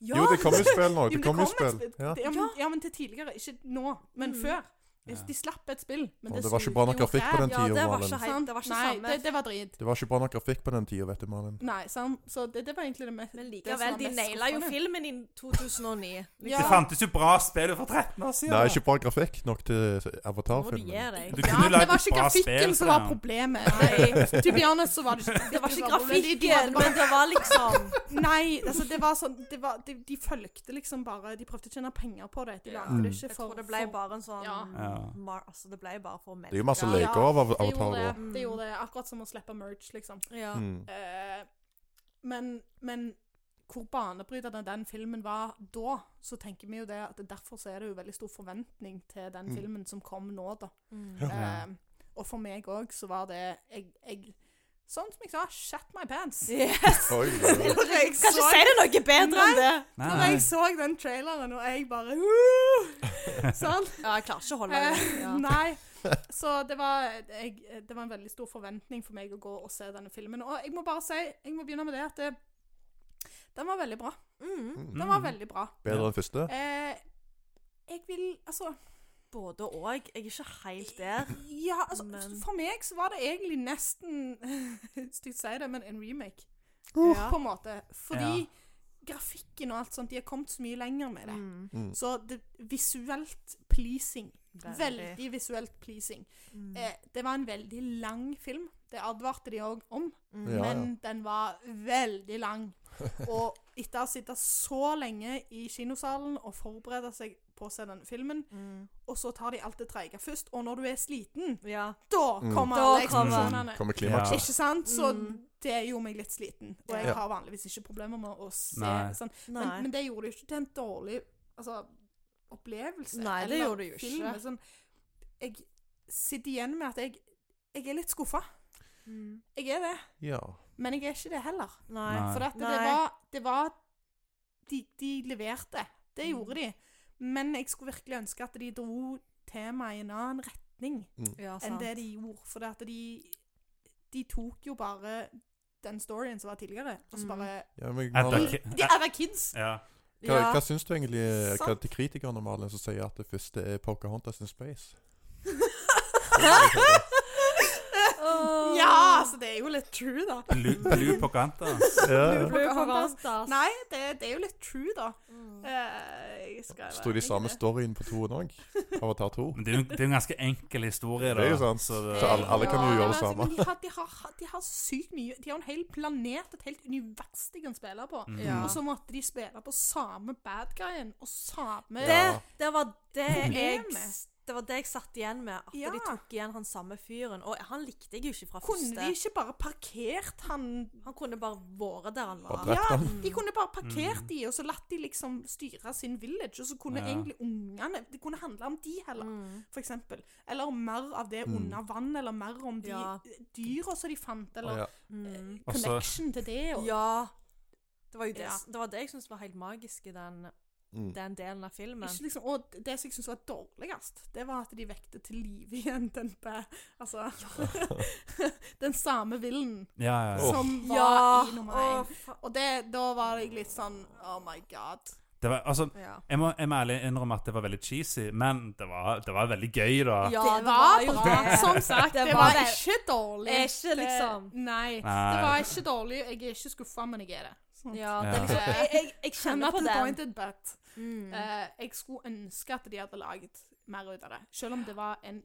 [SPEAKER 3] Ja,
[SPEAKER 2] Jo, det kom jo spill
[SPEAKER 4] Jo,
[SPEAKER 2] nå.
[SPEAKER 4] men
[SPEAKER 2] Det kom jo
[SPEAKER 4] et
[SPEAKER 2] spill.
[SPEAKER 4] spill.
[SPEAKER 2] Ja.
[SPEAKER 4] Det- Ja, men, ja, men til tidligere. Ikke nå, men
[SPEAKER 3] Mm.
[SPEAKER 4] før.
[SPEAKER 1] Ja.
[SPEAKER 4] De slapp et spill, men
[SPEAKER 2] Og
[SPEAKER 4] det,
[SPEAKER 2] det var ikke bra nok
[SPEAKER 4] suger jo
[SPEAKER 2] grafikk på
[SPEAKER 4] ræv.
[SPEAKER 2] den
[SPEAKER 3] Ja,
[SPEAKER 2] tida,
[SPEAKER 3] det var
[SPEAKER 2] Malen.
[SPEAKER 3] ikke, helt, det var ikke
[SPEAKER 4] Nei,
[SPEAKER 3] samme.
[SPEAKER 4] det, det var drit.
[SPEAKER 2] Det var ikke bra nok grafikk på den tida, vet du, Malin.
[SPEAKER 4] Nei, sant? Så det, det var egentlig det mest
[SPEAKER 3] Men
[SPEAKER 4] det sånn som
[SPEAKER 3] likevel,
[SPEAKER 4] var
[SPEAKER 3] de
[SPEAKER 4] mest
[SPEAKER 3] naila jo
[SPEAKER 4] skuffende.
[SPEAKER 3] filmen i 2009.
[SPEAKER 4] Ja.
[SPEAKER 1] Det fantes jo bra spill for 13 år siden.
[SPEAKER 2] Nei, ikke bra grafikk nok til
[SPEAKER 3] Nå må du gi
[SPEAKER 2] Avatar-filmen.
[SPEAKER 3] deg.
[SPEAKER 1] Du
[SPEAKER 4] Ja,
[SPEAKER 1] kunne
[SPEAKER 4] det
[SPEAKER 1] lagd
[SPEAKER 4] var
[SPEAKER 1] et
[SPEAKER 4] ikke
[SPEAKER 1] bra
[SPEAKER 4] grafikken
[SPEAKER 1] spill
[SPEAKER 4] som
[SPEAKER 1] for
[SPEAKER 4] var
[SPEAKER 1] det.
[SPEAKER 4] problemet.
[SPEAKER 3] Nei,
[SPEAKER 2] <laughs>
[SPEAKER 4] To be honest, så var det ikke
[SPEAKER 3] <laughs> det var ikke
[SPEAKER 4] problemet. De- de hadde
[SPEAKER 3] grafikken, men det var liksom
[SPEAKER 4] Nei, altså det var sånn det var, de, de fulgte liksom bare De prøvde å tjene penger på det. De
[SPEAKER 5] Ja.
[SPEAKER 4] lagde det
[SPEAKER 2] Mm.
[SPEAKER 4] ikke
[SPEAKER 3] Jeg
[SPEAKER 4] for
[SPEAKER 3] tror det ble
[SPEAKER 4] for-
[SPEAKER 3] bare en sånn
[SPEAKER 5] Ja.
[SPEAKER 1] Ja.
[SPEAKER 3] mar, Altså, det ble bare for
[SPEAKER 2] Det er
[SPEAKER 3] melk.
[SPEAKER 2] jo masse
[SPEAKER 4] Ja,
[SPEAKER 2] leker av av-
[SPEAKER 4] det gjorde
[SPEAKER 2] Avatar
[SPEAKER 4] det,
[SPEAKER 2] da.
[SPEAKER 3] da.
[SPEAKER 4] det gjorde det. Akkurat som å slippe merch, liksom.
[SPEAKER 3] Ja.
[SPEAKER 2] Mm.
[SPEAKER 4] Eh, men, men hvor banebrytende den filmen var da, så tenker vi jo det at derfor så er det jo veldig stor forventning til den
[SPEAKER 2] Mm.
[SPEAKER 4] filmen som kom nå, da.
[SPEAKER 3] Mm.
[SPEAKER 2] Ja.
[SPEAKER 1] Ja.
[SPEAKER 4] Eh, og for meg òg så var det jeg, jeg, Sånn som jeg sa, shat my pants.
[SPEAKER 3] Yes!
[SPEAKER 2] Oi,
[SPEAKER 3] Kan
[SPEAKER 2] oi, oi.
[SPEAKER 3] ikke si det noe bedre enn det.
[SPEAKER 1] Nei,
[SPEAKER 4] Når
[SPEAKER 1] nei.
[SPEAKER 4] jeg så den traileren, og jeg
[SPEAKER 1] <laughs>
[SPEAKER 4] bare uh, Sånn.
[SPEAKER 3] Ja, jeg klarer ikke å holde
[SPEAKER 4] Eh,
[SPEAKER 3] det. Ja.
[SPEAKER 4] Nei. Så det var, jeg, det var en veldig stor forventning for meg å gå og se denne filmen. Og jeg må bare si, jeg må begynne med det, at det, den var veldig bra.
[SPEAKER 3] Mm.
[SPEAKER 2] Mm.
[SPEAKER 4] Den var veldig bra.
[SPEAKER 2] Bedre
[SPEAKER 4] <laughs>
[SPEAKER 2] enn første?
[SPEAKER 4] Eh, jeg vil Altså
[SPEAKER 3] Både og. Jeg er ikke helt der.
[SPEAKER 4] Ja, altså,
[SPEAKER 3] Men-
[SPEAKER 4] for meg så var det egentlig nesten <laughs> Stygt å si det, men en remake.
[SPEAKER 3] Ja.
[SPEAKER 4] På en måte. Fordi grafikken og alt sånt, de har kommet så mye lenger med det.
[SPEAKER 3] Mm.
[SPEAKER 2] Mm.
[SPEAKER 4] Så det, visuelt pleasing.
[SPEAKER 3] Veldig.
[SPEAKER 4] Veldig visuelt pleasing.
[SPEAKER 3] Mm.
[SPEAKER 4] Eh, det var en veldig lang film. Det advarte de òg om.
[SPEAKER 3] Mm.
[SPEAKER 2] Ja, ja.
[SPEAKER 4] Men den var veldig
[SPEAKER 2] <laughs>
[SPEAKER 4] lang. Og etter å ha sittet så lenge i kinosalen og forberede seg på å se denne filmen,
[SPEAKER 3] Mm.
[SPEAKER 4] og så tar de alt det treige først. Og når du er sliten,
[SPEAKER 3] Ja.
[SPEAKER 4] da
[SPEAKER 2] Mm.
[SPEAKER 4] kommer
[SPEAKER 3] Da
[SPEAKER 4] alle
[SPEAKER 3] kommer-
[SPEAKER 4] eksplosjonene.
[SPEAKER 2] Kommer klimaks?
[SPEAKER 1] Ja.
[SPEAKER 4] Ikke sant? Så
[SPEAKER 3] Mm.
[SPEAKER 4] det gjorde meg litt sliten. Og jeg
[SPEAKER 2] Ja.
[SPEAKER 4] har vanligvis ikke problemer med å se
[SPEAKER 1] Nei.
[SPEAKER 4] sånn. Men,
[SPEAKER 3] Nei.
[SPEAKER 4] men det gjorde jo ikke til en dårlig altså, opplevelse.
[SPEAKER 3] Nei, det
[SPEAKER 4] eller
[SPEAKER 3] gjorde det jo
[SPEAKER 4] film.
[SPEAKER 3] ikke.
[SPEAKER 4] Sånn, jeg sitter igjen med at jeg, jeg er litt skuffa.
[SPEAKER 3] Mm.
[SPEAKER 4] Jeg er det.
[SPEAKER 2] Ja.
[SPEAKER 4] Men jeg er ikke det heller.
[SPEAKER 3] Nei.
[SPEAKER 1] Nei.
[SPEAKER 4] For at det
[SPEAKER 3] Nei.
[SPEAKER 4] var, det var de, de leverte.
[SPEAKER 3] Mm.
[SPEAKER 4] Det gjorde de. Men jeg skulle virkelig ønske at de dro temaet i en annen retning
[SPEAKER 3] Ja,
[SPEAKER 4] enn
[SPEAKER 3] sant.
[SPEAKER 4] det de gjorde. For det at de, de tok jo bare den storyen som var tidligere, og så
[SPEAKER 3] Mm.
[SPEAKER 4] bare
[SPEAKER 2] ja men
[SPEAKER 1] At
[SPEAKER 2] Malin,
[SPEAKER 1] det-
[SPEAKER 4] De er kids!
[SPEAKER 1] Ja.
[SPEAKER 2] hva,
[SPEAKER 3] Ja.
[SPEAKER 2] hva syns du egentlig eh, hva
[SPEAKER 4] Sant.
[SPEAKER 2] til kritikerne Malin, som sier at det første er Pocahontas in
[SPEAKER 1] <laughs>
[SPEAKER 2] Space?
[SPEAKER 3] Åh.
[SPEAKER 4] <laughs> Ja, altså, det er jo litt true, da.
[SPEAKER 1] Blue, blue Pocahontas.
[SPEAKER 2] Ja.
[SPEAKER 3] Blue
[SPEAKER 4] Pocahontas.
[SPEAKER 3] Pocahontas.
[SPEAKER 4] Nei, det, det er jo litt true, da.
[SPEAKER 3] Mm.
[SPEAKER 4] Eh, jeg skal
[SPEAKER 2] <laughs> Sto de
[SPEAKER 4] være
[SPEAKER 2] samme
[SPEAKER 4] enig i det.
[SPEAKER 2] storyen på toen òg?
[SPEAKER 4] <laughs>
[SPEAKER 2] Avatar 2?
[SPEAKER 1] Men det er jo det er jo en ganske enkel historie, da.
[SPEAKER 2] Det er jo sant.
[SPEAKER 1] Så det,
[SPEAKER 2] Så alle, alle kan jo
[SPEAKER 4] Ja,
[SPEAKER 2] gjøre det
[SPEAKER 4] men altså,
[SPEAKER 2] samme.
[SPEAKER 4] men De har, de, har, de har sykt mye De har en hel planet, et helt univers de kan spille på.
[SPEAKER 1] Mm.
[SPEAKER 3] Ja.
[SPEAKER 4] Og så måtte de spille på samme bad guyen og samme
[SPEAKER 2] Ja.
[SPEAKER 3] Det, det var det jeg
[SPEAKER 4] Problemet.
[SPEAKER 3] det var det jeg satt igjen med, at
[SPEAKER 4] Ja.
[SPEAKER 3] de tok igjen han samme fyren. Og han likte jeg jo ikke fra
[SPEAKER 4] Kunne de
[SPEAKER 3] første.
[SPEAKER 4] ikke bare parkert han
[SPEAKER 3] Han kunne bare vært der han
[SPEAKER 2] Bare
[SPEAKER 3] var.
[SPEAKER 2] drept han.
[SPEAKER 4] De kunne bare parkert de, og så latt de liksom styre sin village. Og så kunne
[SPEAKER 1] Mm. Ja.
[SPEAKER 4] egentlig ungene Det kunne handla om de heller,
[SPEAKER 3] Mm.
[SPEAKER 4] for eksempel. Eller mer av det
[SPEAKER 2] Mm.
[SPEAKER 4] under vann, eller mer om de
[SPEAKER 3] Ja.
[SPEAKER 4] dyra som de fant, eller
[SPEAKER 2] Ja.
[SPEAKER 3] Mm.
[SPEAKER 1] Og så-
[SPEAKER 4] connection til det. Og,
[SPEAKER 3] Ja. Det var jo det,
[SPEAKER 4] Ja.
[SPEAKER 3] det, var det jeg syntes var helt magisk i den,
[SPEAKER 2] Mm.
[SPEAKER 3] den delen av filmen.
[SPEAKER 4] Ikke liksom, og det som jeg syntes var dårligst, det var at de vekte til live igjen den bæ... Altså <laughs> Den samme villen
[SPEAKER 1] ja, ja.
[SPEAKER 2] Åh.
[SPEAKER 4] som var i nummer
[SPEAKER 3] og
[SPEAKER 4] én.
[SPEAKER 3] fa-
[SPEAKER 4] Og det, da var jeg litt sånn Oh my god.
[SPEAKER 1] Det var, altså,
[SPEAKER 3] ja.
[SPEAKER 1] jeg må, jeg må ærlig innrømme at det var veldig cheesy, men det var, det var veldig gøy, da.
[SPEAKER 3] Ja,
[SPEAKER 4] det, var bra. Som sagt, det, var,
[SPEAKER 3] det.
[SPEAKER 4] ikke dårlig.
[SPEAKER 3] Det er ikke liksom-
[SPEAKER 4] det, Nei. Det
[SPEAKER 1] Nei.
[SPEAKER 4] var ikke dårlig. Jeg er ikke skuffa, men jeg er det. Sånn.
[SPEAKER 3] Ja,
[SPEAKER 1] Ja.
[SPEAKER 3] det er liksom, jeg, jeg, jeg
[SPEAKER 4] I'm
[SPEAKER 3] kjenner
[SPEAKER 4] <laughs> not
[SPEAKER 3] på den.
[SPEAKER 4] disappointed, but
[SPEAKER 3] Mm.
[SPEAKER 4] eh, jeg skulle ønske at de hadde laget mer ut av det. Selv om det var en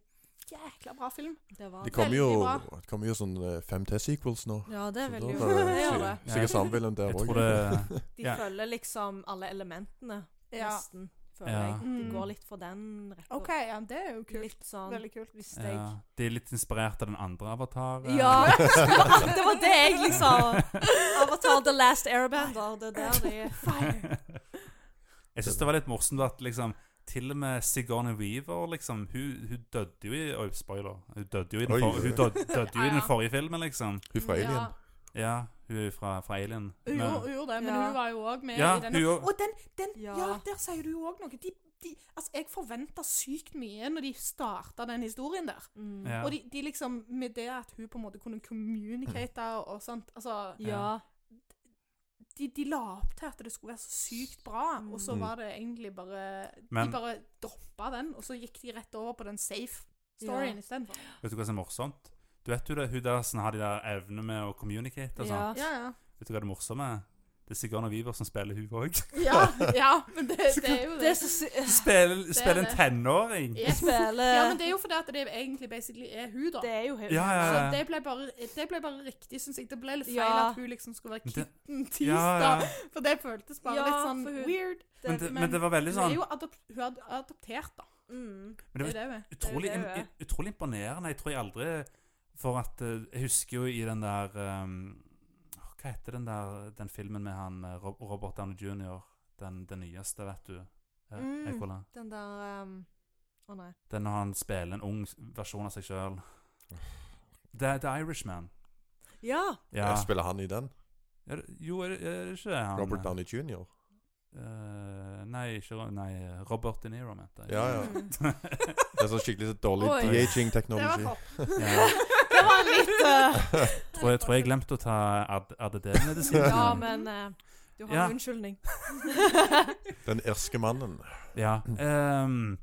[SPEAKER 4] jækla bra film.
[SPEAKER 3] Det var
[SPEAKER 2] Det kommer jo,
[SPEAKER 4] Veldig
[SPEAKER 2] det kommer jo sånn eh, fem til sequels nå.
[SPEAKER 3] Ja, det
[SPEAKER 2] Så
[SPEAKER 3] vil
[SPEAKER 2] da
[SPEAKER 3] jo
[SPEAKER 2] er det
[SPEAKER 3] det gjør det.
[SPEAKER 2] si- Sikkert sammenvillen der
[SPEAKER 1] Jeg
[SPEAKER 2] òg.
[SPEAKER 1] tror det
[SPEAKER 3] <laughs> De
[SPEAKER 1] Ja.
[SPEAKER 3] følger liksom alle elementene,
[SPEAKER 4] Ja.
[SPEAKER 3] nesten, føler
[SPEAKER 1] Ja.
[SPEAKER 3] jeg. De
[SPEAKER 4] Mm.
[SPEAKER 3] går litt for den rekka.
[SPEAKER 4] OK, ja, det er jo kult.
[SPEAKER 3] Litt sånn
[SPEAKER 4] Veldig kult.
[SPEAKER 3] hvis jeg
[SPEAKER 1] ja, De er litt inspirert av den andre avataren.
[SPEAKER 3] Ja!
[SPEAKER 1] <laughs>
[SPEAKER 3] Det var det jeg liksom Avatar The Last Airbender. Det er der de
[SPEAKER 1] Jeg syns det var litt morsomt at liksom til og med Sigourney Weaver liksom, hun, hun døde jo i Oi, spoiler. Hun døde jo i den,
[SPEAKER 2] Oi.
[SPEAKER 1] for, hun døde, dødde jo i
[SPEAKER 4] Ja,
[SPEAKER 1] den
[SPEAKER 4] ja.
[SPEAKER 1] forrige filmen, liksom.
[SPEAKER 2] Hun fra Alien.
[SPEAKER 4] Ja,
[SPEAKER 1] Ja, hun er fra, fra Alien.
[SPEAKER 4] hun,
[SPEAKER 1] Men-
[SPEAKER 4] gjorde, hun gjorde det, men
[SPEAKER 3] Ja.
[SPEAKER 4] hun var jo òg med
[SPEAKER 1] ja,
[SPEAKER 4] i
[SPEAKER 1] hun
[SPEAKER 4] denne.
[SPEAKER 1] gjorde-
[SPEAKER 4] Og den, den ja.
[SPEAKER 3] Ja.
[SPEAKER 4] der sier du jo òg noe. De, de, altså, jeg forventa sykt mye når de starta den historien der.
[SPEAKER 3] mm.
[SPEAKER 1] ja.
[SPEAKER 4] Og de, de liksom, med det at hun på en måte kunne communicate og, og sånt Altså,
[SPEAKER 3] Ja.
[SPEAKER 4] de, de la opp til at det skulle være så sykt bra, og så
[SPEAKER 2] Mm.
[SPEAKER 4] var det egentlig bare
[SPEAKER 1] Men-
[SPEAKER 4] De bare droppa droppa den, og så gikk de rett over på den safe storyen istedenfor.
[SPEAKER 1] Vet du hva som er morsomt? Du vet jo det, hun der som har de der evnene med å communicate og sånn.
[SPEAKER 3] Ja.
[SPEAKER 5] Ja, ja.
[SPEAKER 1] Vet du hva det morsomme er? Det er Sigourney Weaver som spiller hun òg.
[SPEAKER 5] Ja, ja men det, det er jo
[SPEAKER 3] Det er
[SPEAKER 5] det.
[SPEAKER 3] <laughs> så sy...
[SPEAKER 1] Spiller, spiller en
[SPEAKER 5] det.
[SPEAKER 1] tenåring!
[SPEAKER 5] Yes.
[SPEAKER 4] <laughs>
[SPEAKER 3] Spille...
[SPEAKER 5] Ja, men det er jo fordi at det egentlig basically er hun, da.
[SPEAKER 3] Eh. Det er jo helt
[SPEAKER 1] Ja, ja,
[SPEAKER 5] Så
[SPEAKER 1] ja.
[SPEAKER 5] det ble bare, det ble bare riktig, syns jeg. Det ble litt feil
[SPEAKER 3] Ja.
[SPEAKER 5] at hun liksom skulle være
[SPEAKER 1] Det-
[SPEAKER 5] kitten tirsdag.
[SPEAKER 1] Ja, ja.
[SPEAKER 5] For det føltes bare
[SPEAKER 3] Ja,
[SPEAKER 5] litt sånn
[SPEAKER 3] for hun-
[SPEAKER 5] weird.
[SPEAKER 1] Men det, men det var veldig
[SPEAKER 4] Hun
[SPEAKER 1] sånn
[SPEAKER 4] er jo adop hun er ad- adoptert, da.
[SPEAKER 3] mm.
[SPEAKER 1] Det
[SPEAKER 4] Det
[SPEAKER 1] var-
[SPEAKER 4] er det hun er.
[SPEAKER 1] utrolig,
[SPEAKER 3] det er jo
[SPEAKER 1] im- utrolig imponerende. Jeg tror jeg aldri For at eh, Jeg husker jo i den der ehm, åh, Hva heter den der Den filmen med han eh, Rob- Robert Downey jr.? Den, den nyeste, vet du. eh,
[SPEAKER 3] Mm.
[SPEAKER 1] Ekkola.
[SPEAKER 3] Den der
[SPEAKER 4] ehm,
[SPEAKER 3] um... Å nei.
[SPEAKER 1] Den når han spiller en ung s- versjon av seg sjøl. The, The Irishman.
[SPEAKER 3] Ja!
[SPEAKER 1] Ja.
[SPEAKER 2] Spiller han i den?
[SPEAKER 1] Er det- Jo, er det, er det ikke det han
[SPEAKER 2] Robert Downey jr.?
[SPEAKER 1] eh, Nei, ikke Ro- Nei, eh, Robert De Niro, mente jeg.
[SPEAKER 2] Ja, ja.
[SPEAKER 1] <laughs>
[SPEAKER 3] Mm.
[SPEAKER 2] Det er sånn skikkelig så dårlig
[SPEAKER 3] Oi.
[SPEAKER 2] de-aging
[SPEAKER 4] Det var
[SPEAKER 2] teknologi.
[SPEAKER 1] <laughs>
[SPEAKER 4] topp.
[SPEAKER 1] Ja.
[SPEAKER 3] Det var litt uh...
[SPEAKER 1] Tror, jeg, tror jeg glemte å ta AD- ADD-medisin.
[SPEAKER 3] Ja, men eh, du har
[SPEAKER 1] Ja.
[SPEAKER 3] en <laughs> unnskyldning.
[SPEAKER 2] Den irske mannen.
[SPEAKER 1] Ja. ehm,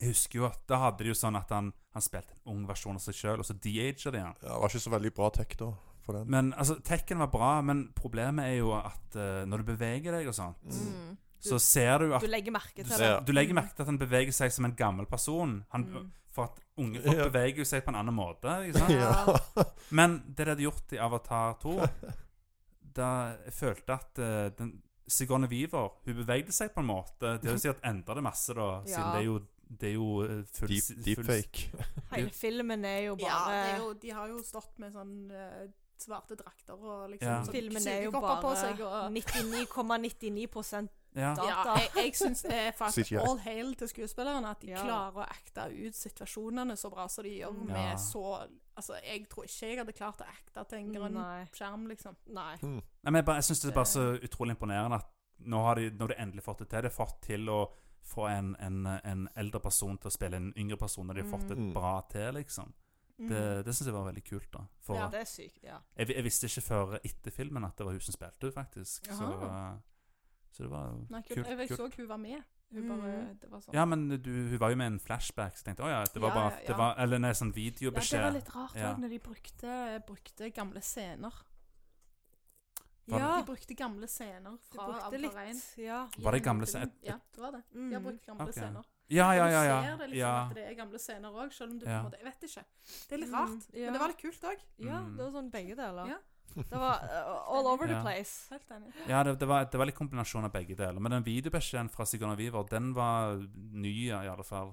[SPEAKER 1] jeg husker jo at da hadde de jo sånn at han, han spilte en ung versjon av seg sjøl, og så de-ager de han.
[SPEAKER 2] Ja, det var ikke så veldig bra tech da, for den.
[SPEAKER 1] Men altså, Tekken var bra, men problemet er jo at eh, når du beveger deg og sånn,
[SPEAKER 3] Mm.
[SPEAKER 1] så ser du at
[SPEAKER 3] Du legger merke
[SPEAKER 1] du,
[SPEAKER 3] til det.
[SPEAKER 2] ser-
[SPEAKER 1] du legger merke til at han beveger seg som en gammel person. Han,
[SPEAKER 3] Mm.
[SPEAKER 1] For at unge folk
[SPEAKER 2] Ja.
[SPEAKER 1] beveger jo seg på en annen måte. Ikke
[SPEAKER 2] <laughs>
[SPEAKER 1] sant?
[SPEAKER 2] <laughs> Ja.
[SPEAKER 1] Men det de hadde gjort i Avatar 2 Da jeg følte at eh, den, Sigourney Weaver Hun bevegde seg på en måte Det
[SPEAKER 3] <laughs>
[SPEAKER 1] vil si at endra det masse da Siden
[SPEAKER 3] Ja.
[SPEAKER 1] det er jo, det er jo eh, full,
[SPEAKER 2] Deep,
[SPEAKER 1] full-
[SPEAKER 2] deepfake.
[SPEAKER 3] Hele filmen er jo
[SPEAKER 4] Ja,
[SPEAKER 3] bare
[SPEAKER 4] det er jo, de har jo stått med sånn eh, svarte drakter og liksom
[SPEAKER 1] Ja.
[SPEAKER 4] sånn
[SPEAKER 3] Filmen er jo
[SPEAKER 4] sugekopper på
[SPEAKER 3] bare
[SPEAKER 4] seg og
[SPEAKER 3] 99,99
[SPEAKER 1] Ja,
[SPEAKER 3] Da-
[SPEAKER 4] ja, jeg, jeg syns det er faktisk
[SPEAKER 2] CGI.
[SPEAKER 4] all hail til skuespillerne at de
[SPEAKER 3] Ja.
[SPEAKER 4] klarer å acte ut situasjonene så bra som de gjør
[SPEAKER 3] Mm.
[SPEAKER 1] Ja.
[SPEAKER 4] med så Altså, jeg tror ikke jeg hadde klart å acte til en grønn
[SPEAKER 3] Nei.
[SPEAKER 4] skjerm, liksom.
[SPEAKER 3] Nei.
[SPEAKER 1] Nei, men jeg, bare, jeg synes det er bare så
[SPEAKER 3] Eh.
[SPEAKER 1] utrolig imponerende At nå har de, nå har de endelig fått det til De har fått til å få en, en, en eldre person til å spille en yngre person Når de har fått det
[SPEAKER 2] Mm.
[SPEAKER 1] bra til liksom
[SPEAKER 4] Mm.
[SPEAKER 1] Det, det synes jeg var veldig kult da For
[SPEAKER 3] Det er sykt, Mm. ja.
[SPEAKER 1] jeg, jeg visste ikke før etter filmen at det var hun som spilte faktisk så, eh,
[SPEAKER 4] Jaha.
[SPEAKER 1] så det var
[SPEAKER 4] Nei, kult.
[SPEAKER 1] kult,
[SPEAKER 4] Jeg, jeg
[SPEAKER 1] kult.
[SPEAKER 4] så hun var med. Hun bare
[SPEAKER 3] Mm.
[SPEAKER 4] Det var sånn.
[SPEAKER 1] Ja, men du, hun var jo med i en flashback, så jeg tenkte jeg ja, det var
[SPEAKER 4] Ja,
[SPEAKER 1] bare
[SPEAKER 4] ja,
[SPEAKER 1] Det
[SPEAKER 4] ja.
[SPEAKER 1] var, Eller nei, sånn
[SPEAKER 4] Ja, det var
[SPEAKER 1] videobeskjed.
[SPEAKER 4] litt rart òg,
[SPEAKER 1] Ja.
[SPEAKER 4] når de brukte, brukte gamle scener.
[SPEAKER 1] Var
[SPEAKER 3] Ja,
[SPEAKER 4] De brukte gamle scener
[SPEAKER 3] du
[SPEAKER 4] fra
[SPEAKER 3] brukte
[SPEAKER 4] Avatar 1.
[SPEAKER 3] litt. Ja.
[SPEAKER 1] Var det
[SPEAKER 4] gjennom
[SPEAKER 1] gamle
[SPEAKER 4] filmen.
[SPEAKER 1] scener?
[SPEAKER 4] Ja, det var det. De har
[SPEAKER 3] Mm.
[SPEAKER 4] brukt gamle
[SPEAKER 1] Ok.
[SPEAKER 4] scener.
[SPEAKER 1] ja, ja, ja.
[SPEAKER 4] Du ser
[SPEAKER 1] ja.
[SPEAKER 4] det liksom
[SPEAKER 1] ja.
[SPEAKER 4] at det er gamle scener òg, selv om du på
[SPEAKER 1] Ja.
[SPEAKER 4] en måte Jeg vet ikke. Det er litt
[SPEAKER 3] Mm,
[SPEAKER 4] rart,
[SPEAKER 3] ja.
[SPEAKER 4] men det var litt kult òg.
[SPEAKER 3] Ja,
[SPEAKER 1] Mm.
[SPEAKER 3] det var sånn begge deler.
[SPEAKER 4] Ja.
[SPEAKER 3] Det var eh, all over the
[SPEAKER 1] Ja.
[SPEAKER 3] place.
[SPEAKER 4] Helt enig.
[SPEAKER 1] ja det, det, var, det var litt kombinasjon av begge deler. Men den videobeskjeden fra Sigourney Weaver, den var ny, ja, i alle fall.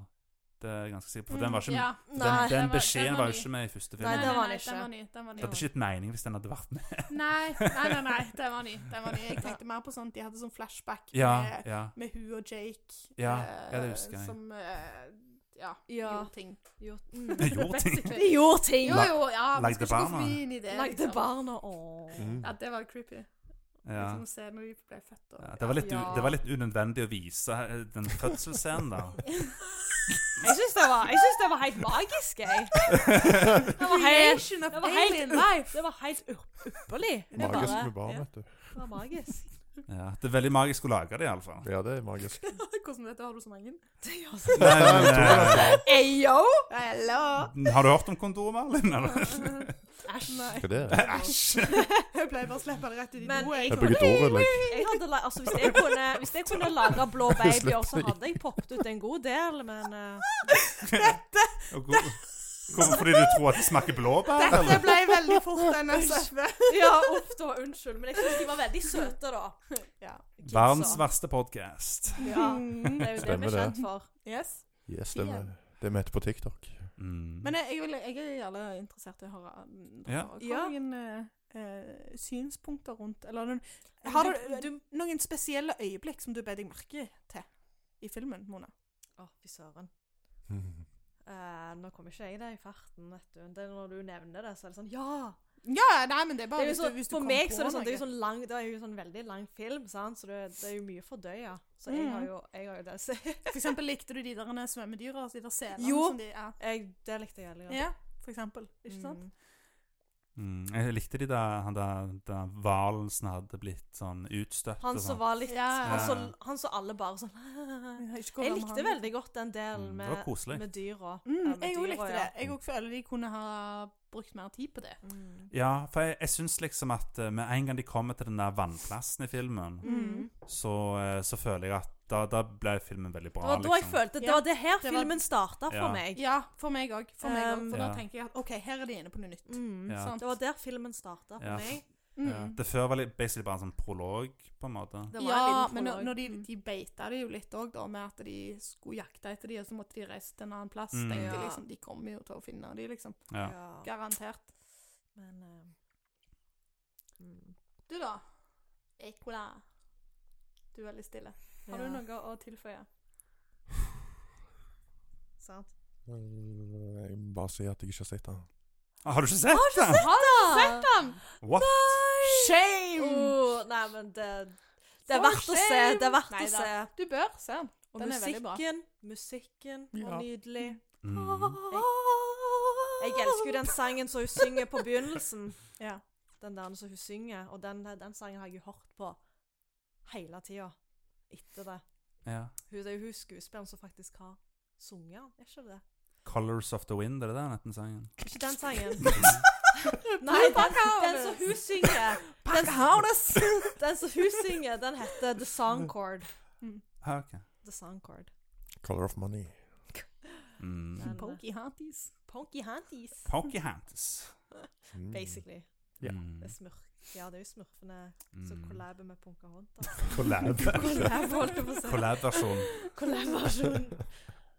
[SPEAKER 1] Det er jeg ganske sikker på. For den, var ikke,
[SPEAKER 4] Mm, Ja.
[SPEAKER 1] den,
[SPEAKER 3] Nei.
[SPEAKER 1] den,
[SPEAKER 4] den var- den
[SPEAKER 1] beskjeden
[SPEAKER 4] var
[SPEAKER 1] var jo
[SPEAKER 4] ny.
[SPEAKER 1] ikke med i første
[SPEAKER 3] Nei,
[SPEAKER 1] film.
[SPEAKER 3] det
[SPEAKER 1] det,
[SPEAKER 3] var den ikke.
[SPEAKER 4] Den var ny. Den var ny.
[SPEAKER 1] hadde ikke gitt mening hvis den hadde vært
[SPEAKER 4] <laughs>
[SPEAKER 1] med.
[SPEAKER 4] Nei, nei, nei, nei, den var ny. Den var ny. Jeg tenkte mer på sånn at de hadde sånn flashback
[SPEAKER 1] Ja,
[SPEAKER 4] med,
[SPEAKER 1] ja.
[SPEAKER 4] med hun og Jake.
[SPEAKER 1] Ja,
[SPEAKER 4] eh,
[SPEAKER 1] ja, det husker jeg.
[SPEAKER 4] Som eh, ja,
[SPEAKER 3] Ja.
[SPEAKER 4] gjorde ting.
[SPEAKER 3] Jo,
[SPEAKER 1] Det <laughs> gjorde ting.
[SPEAKER 3] De
[SPEAKER 4] <laughs> Basically.
[SPEAKER 3] gjorde ting!
[SPEAKER 4] Jo, jo, ja.
[SPEAKER 1] Lagde
[SPEAKER 4] Vi skal ikke gå
[SPEAKER 1] barna.
[SPEAKER 4] forbi inn i det.
[SPEAKER 3] Lagde
[SPEAKER 4] liksom.
[SPEAKER 3] barna åh.
[SPEAKER 2] Mm.
[SPEAKER 4] Ja, det var creepy.
[SPEAKER 1] Ja.
[SPEAKER 4] Liksom å se når de ble født og
[SPEAKER 1] Ja, det, var litt, u-
[SPEAKER 3] Ja.
[SPEAKER 1] det var litt unødvendig å vise eh, den fødselsscenen,
[SPEAKER 4] <laughs>
[SPEAKER 1] da.
[SPEAKER 3] Jeg syns det, var- jeg syns det var helt magisk,
[SPEAKER 2] <laughs>
[SPEAKER 3] jeg. Det var helt,
[SPEAKER 4] Creation of
[SPEAKER 3] det var helt-
[SPEAKER 4] alien life!
[SPEAKER 3] det var helt upp- ypperlig. Det var
[SPEAKER 2] Magisk
[SPEAKER 3] bare-
[SPEAKER 2] med barn,
[SPEAKER 3] ja,
[SPEAKER 2] vet du.
[SPEAKER 3] Det var magisk.
[SPEAKER 1] Ja, det er veldig magisk å lage det,
[SPEAKER 4] <laughs>
[SPEAKER 1] iallfall.
[SPEAKER 2] Ja, det er magisk.
[SPEAKER 4] Hvordan vet du, har du så mange?
[SPEAKER 1] Har
[SPEAKER 3] Ayo!
[SPEAKER 4] Hello!
[SPEAKER 1] eh, du hørt om kondomer, Linn? eller?
[SPEAKER 4] <laughs>
[SPEAKER 3] Æsj.
[SPEAKER 2] Hva er det?
[SPEAKER 1] Æsj!
[SPEAKER 4] Jeg pleier bare å slippe det rett ut i
[SPEAKER 3] Men
[SPEAKER 4] do.
[SPEAKER 3] jeg
[SPEAKER 2] Jeg bruker dorulllegg.
[SPEAKER 3] Jeg hadde, la- altså, hvis jeg kunne, hvis jeg kunne lage
[SPEAKER 2] <laughs>
[SPEAKER 3] blå babyer, så hadde jeg poppet ut en god del, men eh,
[SPEAKER 1] Og hvor- Hvorfor fordi du tror at det smaker blåbær?
[SPEAKER 4] Dette ble veldig fort en SF.
[SPEAKER 3] Ja, uff da, unnskyld. Men jeg syns de var veldig søte, da.
[SPEAKER 4] Ja.
[SPEAKER 3] Kidsa.
[SPEAKER 1] Verdens verste podkast.
[SPEAKER 3] Ja, det er jo det vi
[SPEAKER 2] Stemmer
[SPEAKER 3] er
[SPEAKER 2] det.
[SPEAKER 3] kjent for.
[SPEAKER 4] Yes.
[SPEAKER 2] Yes, det er det vi heter på TikTok.
[SPEAKER 1] Mm.
[SPEAKER 4] Men jeg, jeg, vil, jeg er gjerne interessert i å høre andre.
[SPEAKER 1] Ja.
[SPEAKER 4] Har
[SPEAKER 3] Ja.
[SPEAKER 4] noen eh, eh, synspunkter rundt Eller noen, Eh, har du, du noen spesielle øyeblikk som du bet deg merke til i filmen, Mona?
[SPEAKER 3] Å, fy søren.
[SPEAKER 1] Mm.
[SPEAKER 3] Eh, nå kommer ikke jeg det i farten, vet du. Det er når du nevner det, så er det sånn Ja!
[SPEAKER 4] Ja, nei, men det er
[SPEAKER 3] Det er
[SPEAKER 4] bare
[SPEAKER 3] jo
[SPEAKER 4] hvis
[SPEAKER 3] sånn,
[SPEAKER 4] du, hvis du
[SPEAKER 3] for
[SPEAKER 4] kom
[SPEAKER 3] meg
[SPEAKER 4] på
[SPEAKER 3] så er det sånn, det er jo
[SPEAKER 4] noe.
[SPEAKER 3] sånn lang, det er jo sånn veldig lang film, sant? så det, det er jo mye å fordøye. Så jeg
[SPEAKER 4] Mm.
[SPEAKER 3] har jo, jeg har jo det. Så <laughs>
[SPEAKER 4] For eksempel likte du de der svømmedyra, altså de der selene
[SPEAKER 3] Jo.
[SPEAKER 4] som de er. Mm.
[SPEAKER 3] jeg, det likte jeg veldig godt.
[SPEAKER 4] Ja, for eksempel. Ikke sant?
[SPEAKER 3] Mm.
[SPEAKER 1] Mm, jeg likte de der, han der, der hvalen som hadde blitt sånn utstøtt.
[SPEAKER 3] Han
[SPEAKER 1] og
[SPEAKER 3] som
[SPEAKER 1] sånn.
[SPEAKER 3] var litt
[SPEAKER 4] Ja.
[SPEAKER 3] han, som,
[SPEAKER 1] Ja.
[SPEAKER 3] han som alle bare sånn <laughs>
[SPEAKER 4] ikke
[SPEAKER 3] Jeg likte veldig godt den delen
[SPEAKER 1] Mm, det var
[SPEAKER 3] med,
[SPEAKER 1] koselig.
[SPEAKER 3] med dyra.
[SPEAKER 4] Mm,
[SPEAKER 3] Ja, med
[SPEAKER 4] jeg òg
[SPEAKER 3] dyra,
[SPEAKER 4] likte
[SPEAKER 3] ja.
[SPEAKER 4] det. Jeg òg føler de kunne ha brukt mer tid på det.
[SPEAKER 3] Mm.
[SPEAKER 1] Ja, for jeg, jeg syns liksom at eh, med en gang de kommer til den der vannplassen i filmen,
[SPEAKER 4] Mm.
[SPEAKER 1] så, eh, så føler jeg at da, da ble filmen veldig
[SPEAKER 3] Det
[SPEAKER 1] bra. liksom.
[SPEAKER 3] var da jeg følte Det
[SPEAKER 4] Ja,
[SPEAKER 3] var det her
[SPEAKER 4] det var-
[SPEAKER 3] filmen starta for
[SPEAKER 1] sånn- Ja.
[SPEAKER 3] meg.
[SPEAKER 4] Ja, for meg òg. For, meg
[SPEAKER 3] Um,
[SPEAKER 4] også, for da
[SPEAKER 1] Ja.
[SPEAKER 4] tenker jeg at OK, her er de inne på noe nytt.
[SPEAKER 3] Mm.
[SPEAKER 1] Ja.
[SPEAKER 4] Sant?
[SPEAKER 3] Det var der filmen starta for
[SPEAKER 1] Ja.
[SPEAKER 3] meg.
[SPEAKER 4] Mm.
[SPEAKER 1] Ja. Det før var litt, basically bare en sånn prolog, på en måte.
[SPEAKER 3] Det var en
[SPEAKER 4] Ja,
[SPEAKER 3] liten
[SPEAKER 4] men når,
[SPEAKER 3] prolog.
[SPEAKER 4] når de,
[SPEAKER 3] Mm.
[SPEAKER 4] de beita det jo litt òg, da, med at de skulle jakte etter de, og så måtte de reise til en annen plass.
[SPEAKER 1] Mm.
[SPEAKER 4] Tenkte jeg
[SPEAKER 3] Ja.
[SPEAKER 4] liksom, De kommer jo til å finne de, liksom.
[SPEAKER 1] Ja.
[SPEAKER 3] Ja.
[SPEAKER 4] Garantert.
[SPEAKER 3] Men eh, mm.
[SPEAKER 4] Du, da? Ekola. Du er veldig stille. Har
[SPEAKER 3] Ja,
[SPEAKER 4] du noe å tilføye?
[SPEAKER 3] sant?
[SPEAKER 2] Jeg må bare si at jeg ikke har sett den.
[SPEAKER 1] Ah, Har du ikke sett den?
[SPEAKER 5] Har du sett den?
[SPEAKER 1] What?
[SPEAKER 4] Shame!
[SPEAKER 3] Åh, nei, men det Det er
[SPEAKER 4] For
[SPEAKER 3] verdt å se.
[SPEAKER 4] shame!
[SPEAKER 3] Det er verdt å
[SPEAKER 4] Neida.
[SPEAKER 3] se.
[SPEAKER 4] Du bør se den.
[SPEAKER 3] Og
[SPEAKER 4] Den er veldig bra.
[SPEAKER 3] musikken. Musikken var
[SPEAKER 2] Ja.
[SPEAKER 3] nydelig.
[SPEAKER 1] Mm.
[SPEAKER 3] Jeg elsker jo den sangen som hun synger på begynnelsen.
[SPEAKER 4] Ja.
[SPEAKER 3] Den der som hun synger. Og den, den sangen har jeg jo hørt på hele tida etter det.
[SPEAKER 1] Ja.
[SPEAKER 3] Hun, det er jo hun skuespilleren som faktisk har sunget den, er ikke det det?
[SPEAKER 1] 'Colors of the Wind', er det det den heter, den
[SPEAKER 3] <laughs>
[SPEAKER 1] sangen? Mm.
[SPEAKER 3] Ikke den sangen. Nei, den, den som hun <laughs> synger, den, den som hun synger, den heter The Song Chord.
[SPEAKER 1] Ah, ok.
[SPEAKER 3] The Song Chord.
[SPEAKER 2] Color of Money.
[SPEAKER 1] Mm.
[SPEAKER 3] Den, eh,
[SPEAKER 4] Pokey Hatties.
[SPEAKER 3] Ponky Hanties,
[SPEAKER 1] Pocky Hands.
[SPEAKER 2] Mm.
[SPEAKER 3] basically.
[SPEAKER 2] Ja.
[SPEAKER 1] Mm.
[SPEAKER 3] Det er smurf. Ja, det er jo smurfene som
[SPEAKER 1] Mm.
[SPEAKER 3] collaber med Pocahontas.
[SPEAKER 4] <laughs>
[SPEAKER 1] Collab.
[SPEAKER 3] <laughs> Collab, holdt jeg på å si.
[SPEAKER 1] Collab-versjon.
[SPEAKER 3] Kollaborasjon.